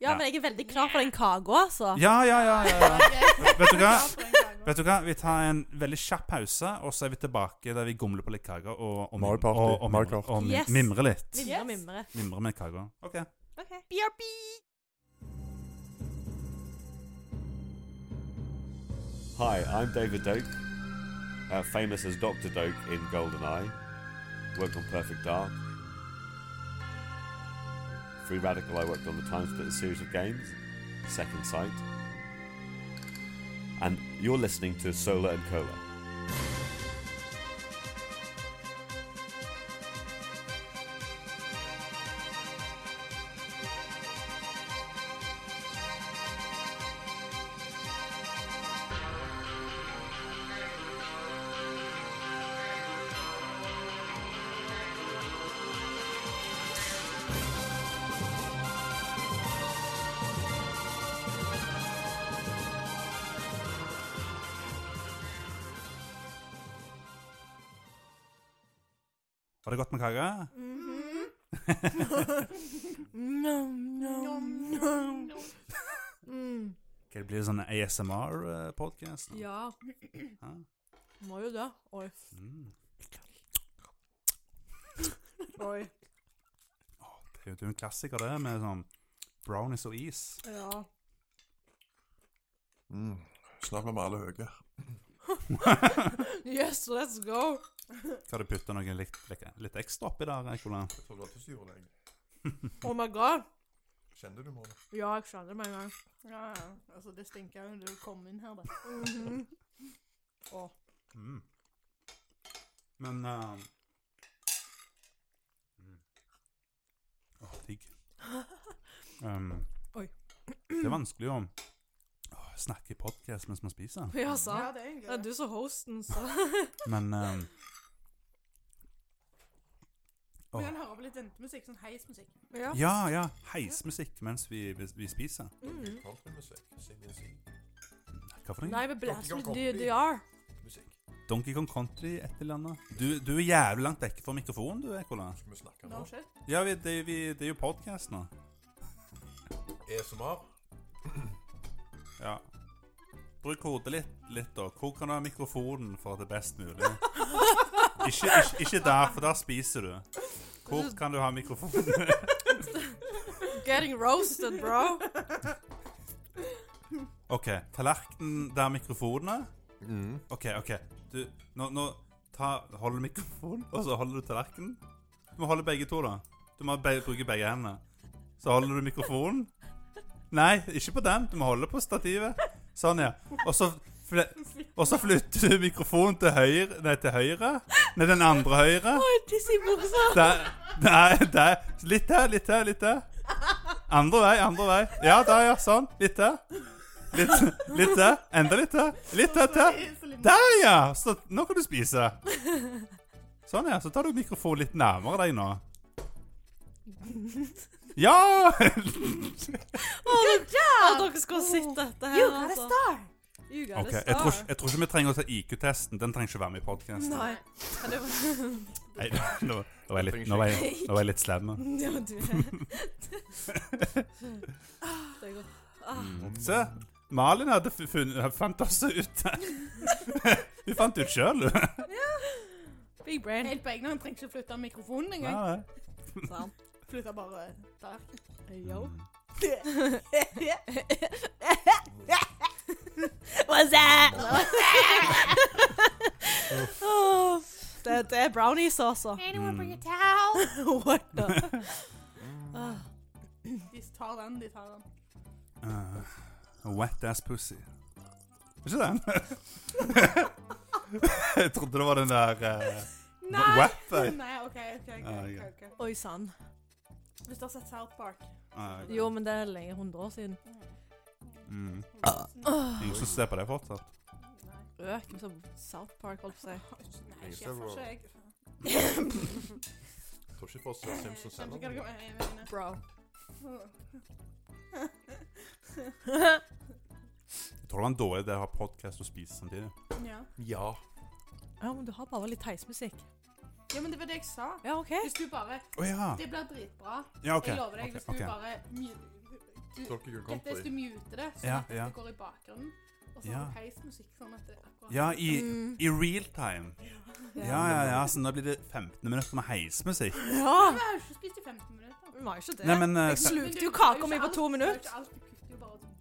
[SPEAKER 3] Ja, men jeg er veldig klar for den kaka, altså.
[SPEAKER 1] Ja, ja, ja. ja,
[SPEAKER 4] <laughs>
[SPEAKER 1] ja. Vet du hva?
[SPEAKER 4] hva? <laughs>
[SPEAKER 1] Vet du hva, Vi tar en veldig kjapp pause, og så er vi tilbake der vi gumler på litt kaker og, og, mim-
[SPEAKER 2] Mario Party.
[SPEAKER 1] og, og,
[SPEAKER 2] Mario
[SPEAKER 1] mimre-
[SPEAKER 2] Kart.
[SPEAKER 1] og mim-
[SPEAKER 3] Yes.
[SPEAKER 1] mimre litt.
[SPEAKER 3] Mimre,
[SPEAKER 4] Yes.
[SPEAKER 3] mimre.
[SPEAKER 1] Mimre med kaker. OK.
[SPEAKER 6] Hi, I'm David Doak, uh, famous as Dr. Doak in GoldenEye, worked on Perfect Dark. Free Radical, I worked on the Time Splitter series of games, Second Sight. And you're listening to Solar and Cola.
[SPEAKER 1] Var det godt med kake?
[SPEAKER 3] Mm-hmm.
[SPEAKER 4] Mhm.
[SPEAKER 3] Nom, nom, nom. Mm.
[SPEAKER 1] Ok, Det blir jo sånn ASMR-podkast.
[SPEAKER 3] Ja, må jo det. Oi.
[SPEAKER 1] Mm.
[SPEAKER 3] Oi.
[SPEAKER 1] Det er jo- det er jo en klassiker, det, med sånn brownies og
[SPEAKER 3] <laughs>
[SPEAKER 1] is.
[SPEAKER 3] Ja.
[SPEAKER 2] Mm. Snart blir vi alle høye.
[SPEAKER 3] Yes, let's go.
[SPEAKER 1] Skal du putte noe litt, litt, litt ekstra oppi der, eh, Ekole?
[SPEAKER 2] Jeg trodde alltid du gjorde det. jeg.
[SPEAKER 3] Oh my god.
[SPEAKER 2] Kjente du målet?
[SPEAKER 3] Ja, jeg skjønner det med en gang.
[SPEAKER 4] Ja, ja. Altså, det stinker jo når du kom inn her, da.
[SPEAKER 3] Mhm.
[SPEAKER 1] Mm. Men eh, mm. Åh,
[SPEAKER 3] <laughs>
[SPEAKER 1] digg. Um,
[SPEAKER 3] Oi.
[SPEAKER 1] Det er vanskelig å å snakke i podkast mens man spiser,
[SPEAKER 3] Ja, sant.
[SPEAKER 4] det er egentlig
[SPEAKER 3] Det er du som er hosten, så
[SPEAKER 1] men um,
[SPEAKER 4] Vi
[SPEAKER 1] åh.
[SPEAKER 4] kan høre på litt ventemusikk, sånn heismusikk.
[SPEAKER 3] Ja.
[SPEAKER 1] Ja, ja. Heismusikk mens vi, vi, vi spiser.
[SPEAKER 4] Mm.
[SPEAKER 3] Mhm.
[SPEAKER 2] Countrymusikk. Sing-sing.
[SPEAKER 1] Hva for noe?
[SPEAKER 3] Nei, vi blaster litt DDR.
[SPEAKER 2] Musikk.
[SPEAKER 1] Donkey Kong Country, et eller annet. Du, du er jævlig langt vekk fra mikrofonen, du, Ekola.
[SPEAKER 2] Skal vi snakke
[SPEAKER 4] No
[SPEAKER 2] nå?
[SPEAKER 4] shit.
[SPEAKER 1] Ja, vi, det, vi, det er jo podkast nå.
[SPEAKER 2] E ASMR.
[SPEAKER 1] Ja. Bruk hodet litt, litt da. Hvor kan du ha mikrofonen for at det er best mulig? Ikke, ikke, ikke der, for der spiser du. Hvor kan du ha mikrofonen?
[SPEAKER 3] Getting roasted, <laughs> bro.
[SPEAKER 1] OK. Tallerkenen der mikrofonen er.
[SPEAKER 2] Mm.
[SPEAKER 1] OK, OK. Du, nå, nå ta, Hold mikrofonen, og så holder du tallerkenen. Du må holde begge to, da. Du må be, bruke begge hendene. Så holder du mikrofonen. Nei, ikke på den. Du må holde på stativet. Sånn, ja. Og så, fle, og så flytter du mikrofonen til høyre Nei, til høyre. Nei, den andre høyre.
[SPEAKER 3] Oi, tiss i <laughs> buksa.
[SPEAKER 1] Der, der, der. Litt til, litt til, litt til. Andre vei, andre vei. Ja, der, ja. Sånn. Litt til. Litt, litt til. Enda litt til. Litt til, til. Der, ja! Så nå kan du spise. Sånn, ja. Så tar du mikrofonen litt nærmere deg nå. Ja!
[SPEAKER 3] Å, oh, dere skulle ha sett dette her.
[SPEAKER 4] You got a
[SPEAKER 1] altså.
[SPEAKER 3] star. You got
[SPEAKER 1] Ok, Jeg
[SPEAKER 3] a star.
[SPEAKER 1] tror, ikke- jeg tror ikke vi trenger å ta IQ-testen. Den trenger ikke være med i podkasten.
[SPEAKER 3] Nei. Kan det være
[SPEAKER 1] Nå, nå var jeg litt, nå var jeg, nå var jeg litt slem.
[SPEAKER 3] <laughs> Ja, du Det <laughs> er godt. Ah,
[SPEAKER 1] Se, Malin hadde fu- funnet, fant oss ut. <laughs> Hun fant ut sjøl, hun.
[SPEAKER 3] big brain.
[SPEAKER 4] Helt på egen hånd. Trenger ikke flytte mikrofonen
[SPEAKER 1] Ja,
[SPEAKER 4] engang.
[SPEAKER 1] det.
[SPEAKER 3] Sant.
[SPEAKER 4] Flytter bare der.
[SPEAKER 3] Yo.
[SPEAKER 1] Mm.
[SPEAKER 3] <laughs> What's that? <laughs> Åh, Oh, det, det er brownies, altså.
[SPEAKER 1] Anyone bring a
[SPEAKER 3] towel? <laughs> What <laughs> the? Ah,
[SPEAKER 4] De tar den, de tar den.
[SPEAKER 1] Uh, wet ass pussy. Ikke den? <laughs> jeg trodde det var den der uh, Wet.
[SPEAKER 4] <laughs> Nei, OK. ok, ok,
[SPEAKER 1] Ah,
[SPEAKER 4] ok,
[SPEAKER 1] ja.
[SPEAKER 4] ok.
[SPEAKER 3] Oi sann.
[SPEAKER 4] Hvis du har sett South Park Mm.
[SPEAKER 1] Uh,
[SPEAKER 3] Jo, men det er lenge. 100 år siden.
[SPEAKER 1] mm.
[SPEAKER 3] Åh,
[SPEAKER 1] Ingen som ser på det fortsatt?
[SPEAKER 3] Røk som South Park, holdt på å si.
[SPEAKER 4] Nei, ikke jeg får ikke jeg.
[SPEAKER 2] Jeg tror ikke folk ser Simpsons
[SPEAKER 4] Skjønner ikke hva
[SPEAKER 2] heller.
[SPEAKER 4] det
[SPEAKER 3] <laughs>
[SPEAKER 4] kommer-
[SPEAKER 3] Bro.
[SPEAKER 1] Jeg tror det var en dårlig idé å ha podkast og spise samtidig.
[SPEAKER 4] <laughs> Ja.
[SPEAKER 2] Ja.
[SPEAKER 3] Ja, men du har bare litt heismusikk.
[SPEAKER 4] ja, men det var det jeg sa.
[SPEAKER 3] Ja, OK.
[SPEAKER 4] Hvis du bare
[SPEAKER 1] Å ja.
[SPEAKER 4] Det blir dritbra.
[SPEAKER 1] ja! Ah. OK.
[SPEAKER 4] Jeg lover deg.
[SPEAKER 1] ok,
[SPEAKER 4] Hvis du
[SPEAKER 1] ok.
[SPEAKER 4] bare mu- du-
[SPEAKER 2] Donkey Kong
[SPEAKER 4] Dette er hvis du
[SPEAKER 2] Country.
[SPEAKER 4] muter det, sånn
[SPEAKER 1] Ja,
[SPEAKER 4] at
[SPEAKER 1] ja.
[SPEAKER 4] det går i bakgrunnen. Og så
[SPEAKER 1] Ja.
[SPEAKER 4] har du heismusikk sånn at det er akkurat
[SPEAKER 1] Ja, i,
[SPEAKER 3] Mm.
[SPEAKER 1] i real time. Ja, ja, ja. Så nå blir det 15 minutter med heismusikk.
[SPEAKER 3] Ja!
[SPEAKER 4] Du har jo ikke spist i 15 minutter.
[SPEAKER 3] Vi var jo ikke det.
[SPEAKER 1] Nei, men uh,
[SPEAKER 3] Jeg
[SPEAKER 1] sa-
[SPEAKER 4] Men
[SPEAKER 3] slukte
[SPEAKER 4] du-
[SPEAKER 3] jo
[SPEAKER 4] det er
[SPEAKER 3] kaka mi
[SPEAKER 4] ikke
[SPEAKER 3] på
[SPEAKER 4] alt-
[SPEAKER 3] to
[SPEAKER 4] det er jo ikke
[SPEAKER 3] minutter.
[SPEAKER 4] alt, Du kutter jo bare sånn.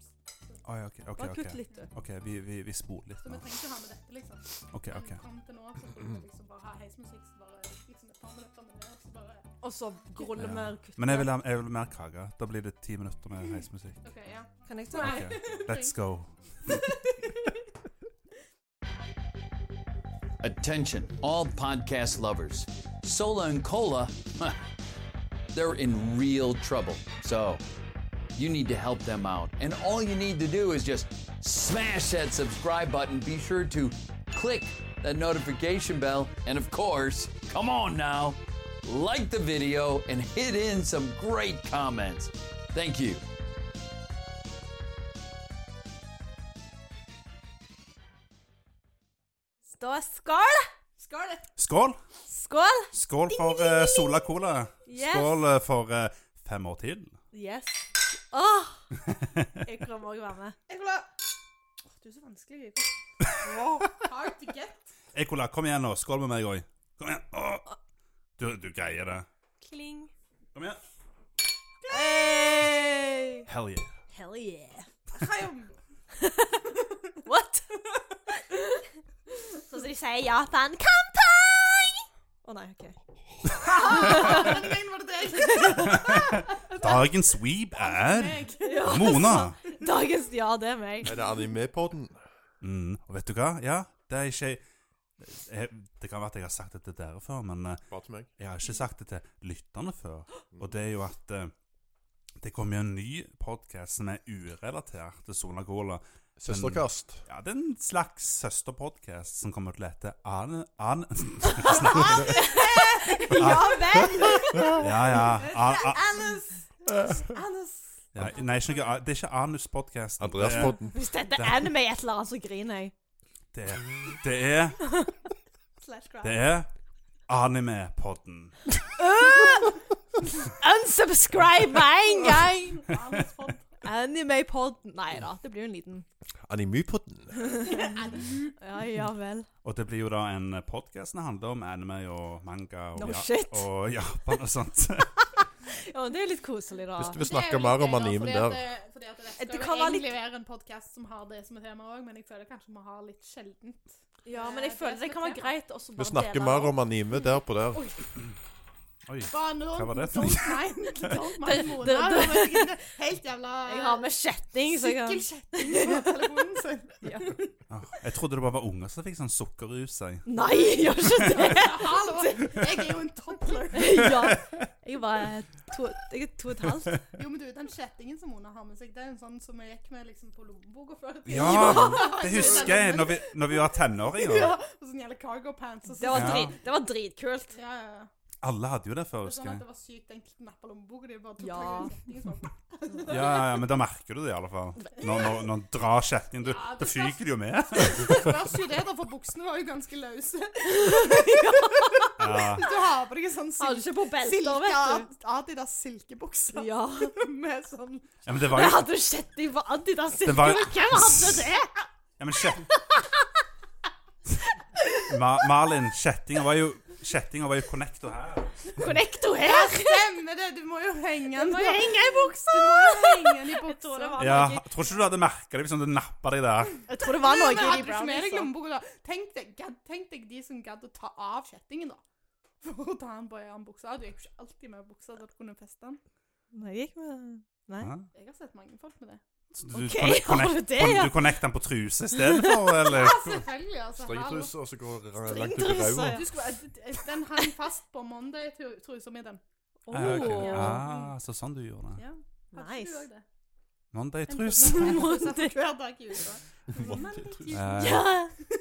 [SPEAKER 1] Oi, OK, OK.
[SPEAKER 3] Bare kutt
[SPEAKER 1] ok.
[SPEAKER 3] litt, du.
[SPEAKER 1] Ok, vi, vi, vi spoler litt
[SPEAKER 4] Så vi
[SPEAKER 1] nå.
[SPEAKER 4] trenger ikke ha med dette, liksom.
[SPEAKER 1] OK, OK.
[SPEAKER 4] Men fram til nå så kunne vi liksom bare ha heismusikk, så bare liksom et par minutter med det, og så bare
[SPEAKER 3] Og så grulle
[SPEAKER 1] Ja.
[SPEAKER 3] mer kutt.
[SPEAKER 1] Men jeg vil, ha, jeg vil ha mer kake. Da blir det ti minutter
[SPEAKER 4] <laughs>
[SPEAKER 1] med heismusikk.
[SPEAKER 4] OK, ja.
[SPEAKER 3] Kan jeg ta
[SPEAKER 4] <laughs>
[SPEAKER 1] Ok, Let's go.
[SPEAKER 7] Attention, all podcast lovers. Sola and Cola, huh, they're in real trouble. So you need to help them out. And all you need to do is just smash that subscribe button. Be sure to click that notification bell. And of course, come on now, like the video and hit in some great comments. Thank you.
[SPEAKER 3] Da er skål!
[SPEAKER 4] Scarlett!
[SPEAKER 1] Skål!
[SPEAKER 3] Skål!
[SPEAKER 1] Skål for eh, Sola Cola.
[SPEAKER 3] Yes.
[SPEAKER 1] Skål eh, for eh, fem år til.
[SPEAKER 3] Yes.
[SPEAKER 1] <laughs>
[SPEAKER 3] Åh! Jeg kommer òg være med.
[SPEAKER 4] Jeg vil ha Åh, Du er så vanskelig. Vivi. Wow, hard to get.
[SPEAKER 1] Ei cola, kom igjen nå. Skål med meg òg. Kom igjen. Åh. Du, du greier det.
[SPEAKER 3] Kling.
[SPEAKER 1] Kom igjen.
[SPEAKER 3] Hey!
[SPEAKER 1] Hell yeah.
[SPEAKER 3] Hell yeah.
[SPEAKER 4] Chaim.
[SPEAKER 3] What? <laughs> Sånn som de sier i Japan. Kanpai! Å nei, OK.
[SPEAKER 4] Den gangen var det deg.
[SPEAKER 1] Dagens weeb er
[SPEAKER 4] Meg.
[SPEAKER 1] <laughs>
[SPEAKER 4] <laughs>
[SPEAKER 1] Mona.
[SPEAKER 3] Dagens Ja, det er meg.
[SPEAKER 2] Er det anime-podden?
[SPEAKER 1] Mm, og vet du hva? Ja, det er ikke jeg, Det kan være at jeg har sagt det til dere før, men eh,
[SPEAKER 2] Bare til meg.
[SPEAKER 1] jeg har ikke sagt det til lytterne før. Og det er jo at eh, det kommer jo en ny podkast som er urelatert til Sola Cola.
[SPEAKER 2] Søsterkast.
[SPEAKER 1] Ja, det er en slags søsterpodkast som kommer til å hete An... An
[SPEAKER 3] <laughs> Ja vel!
[SPEAKER 1] <laughs> ja, ja. An, an,
[SPEAKER 4] Hannes.
[SPEAKER 1] ja nei, ikke noe, an- det er ikke Anuspodkasten.
[SPEAKER 2] Andreas-podden.
[SPEAKER 3] Hvis dette er anime i et eller annet, så griner jeg.
[SPEAKER 1] Det er, det er, det er,
[SPEAKER 4] Slash
[SPEAKER 1] det er Animepodden.
[SPEAKER 3] Øh! Unsubscribe med en gang!
[SPEAKER 4] <laughs> Hannes-pod.
[SPEAKER 3] Animepod Nei da, det blir jo en liten
[SPEAKER 2] Anime-podden.
[SPEAKER 3] Ja, ja vel.
[SPEAKER 1] Og det blir jo da en podkast som handler om anime og manga
[SPEAKER 2] Oh,
[SPEAKER 1] og,
[SPEAKER 3] No
[SPEAKER 1] ja,
[SPEAKER 3] shit.
[SPEAKER 1] og Japan og sånt. <laughs>
[SPEAKER 3] Ja, men det er litt koselig, da.
[SPEAKER 2] Hvis du vil snakke mer om animen der.
[SPEAKER 4] Fordi at det
[SPEAKER 3] Du
[SPEAKER 4] skal
[SPEAKER 3] kan være
[SPEAKER 4] jo
[SPEAKER 3] litt-
[SPEAKER 4] egentlig være en podkast som har det som et tema òg, men jeg føler kanskje vi har litt sjeldent.
[SPEAKER 3] Ja, men jeg
[SPEAKER 4] Eh,
[SPEAKER 3] føler
[SPEAKER 4] det
[SPEAKER 3] det
[SPEAKER 4] som
[SPEAKER 3] kan
[SPEAKER 4] er
[SPEAKER 3] være greit også
[SPEAKER 2] Vi
[SPEAKER 3] bare
[SPEAKER 2] snakker mer om anime der på der.
[SPEAKER 1] Oi.
[SPEAKER 4] Bare nå,
[SPEAKER 1] Hva var det for
[SPEAKER 4] don't
[SPEAKER 1] <laughs>
[SPEAKER 4] mind, don't mind Mona.
[SPEAKER 3] det-
[SPEAKER 4] Hun er sikkert Helt jævla
[SPEAKER 3] Jeg har med kjetting, så jeg kan
[SPEAKER 4] sykkelkjetting på telefonen sin.
[SPEAKER 1] Ah, Jeg trodde det bare var unger som fikk sånn sukkerrus. jeg.
[SPEAKER 3] Nei, gjør ikke <laughs> det!
[SPEAKER 4] Hallo, jeg er jo en toddler.
[SPEAKER 3] Ja. Jeg var to, jeg er to og et halvt.
[SPEAKER 4] Jo, men du, den kjettingen som Mona har med seg, det er en sånn som jeg gikk med liksom på lommeboka før.
[SPEAKER 1] Ja, det husker jeg når vi, når vi var tenåringer.
[SPEAKER 4] Ja, og sånn gjelder cargo pants og sånn.
[SPEAKER 3] Det var,
[SPEAKER 1] Ja.
[SPEAKER 3] drit, det var dritkult.
[SPEAKER 4] Ja, ja, ja.
[SPEAKER 1] Alle hadde jo det før,
[SPEAKER 4] Det er
[SPEAKER 1] husker
[SPEAKER 4] sånn at
[SPEAKER 1] jeg.
[SPEAKER 4] det var sykt enkelt å nappe lommeboka di. Bare tok
[SPEAKER 3] Ja.
[SPEAKER 4] tak i den kjettingen sånn.
[SPEAKER 1] Ja, ja, ja, men da merker du det i alle fall. Når, når, når han drar kjettingen, du-
[SPEAKER 4] Ja, det
[SPEAKER 1] da fyker det jo med.
[SPEAKER 4] Det spørs jo det, da, for buksene var jo ganske løse.
[SPEAKER 1] Ja.
[SPEAKER 4] Hvis du har på deg en sånn
[SPEAKER 3] Hadde
[SPEAKER 4] silke,
[SPEAKER 3] ikke på belter,
[SPEAKER 4] silke
[SPEAKER 3] vet
[SPEAKER 4] Adidas silkebukser
[SPEAKER 3] du. Ja.
[SPEAKER 4] <laughs> med sånn
[SPEAKER 1] ja, men det var
[SPEAKER 3] Men
[SPEAKER 1] jo
[SPEAKER 3] hadde du kjetting på Adidas
[SPEAKER 1] Det var-
[SPEAKER 3] silke? Hvem hadde det?
[SPEAKER 1] Ja, men kjet... Ma Malin, kjettinga var jo Kjettinga var jo connector her.
[SPEAKER 3] Connecto her!
[SPEAKER 4] Stemmer det! Du må jo henge den.
[SPEAKER 3] Må jeg henge i buksa!
[SPEAKER 4] Du må jo henge den i
[SPEAKER 3] Jeg tror det
[SPEAKER 4] buksa.
[SPEAKER 3] var
[SPEAKER 1] Ja,
[SPEAKER 3] noe,
[SPEAKER 1] Tror ikke du hadde merka det hvis han hadde nappa deg der.
[SPEAKER 3] jeg tror det var noe
[SPEAKER 4] Men
[SPEAKER 3] i
[SPEAKER 4] hadde
[SPEAKER 3] de
[SPEAKER 4] du ikke med deg
[SPEAKER 3] browniesene.
[SPEAKER 4] lommeboka da? Tenk deg, gadd- tenk deg de som gadd å ta av kjettingen, da. <laughs> For å ta den på en annen bukse. Du gikk jo ikke alltid med buksa der du kunne feste den.
[SPEAKER 3] Nei, jeg gikk med- Nei.
[SPEAKER 1] Ja.
[SPEAKER 4] Jeg har sett mange folk med det.
[SPEAKER 1] Så Du,
[SPEAKER 3] Ok,
[SPEAKER 1] connect-
[SPEAKER 3] har du
[SPEAKER 1] connect-
[SPEAKER 3] det,
[SPEAKER 1] kon-
[SPEAKER 3] ja?
[SPEAKER 1] du connecter den på truse istedenfor, eller?
[SPEAKER 4] <laughs> Selvfølgelig, altså. hallo.
[SPEAKER 2] Stringtruse, og så går det langt ut i
[SPEAKER 3] Stringtruse,
[SPEAKER 2] ræva.
[SPEAKER 3] ja.
[SPEAKER 4] Du skulle, den hang fast på Monday-trusa mi, den.
[SPEAKER 1] Ja, ok.
[SPEAKER 3] Åh.
[SPEAKER 1] Ah, så sånn du gjorde det.
[SPEAKER 4] Ja. Hadde ikke du
[SPEAKER 3] Nice.
[SPEAKER 4] også det?
[SPEAKER 3] <laughs>
[SPEAKER 4] En
[SPEAKER 1] Monday-trus.
[SPEAKER 4] sånn Monday-truse for Hver dag i uka. Monday-truse.
[SPEAKER 1] Eh,
[SPEAKER 3] Ja!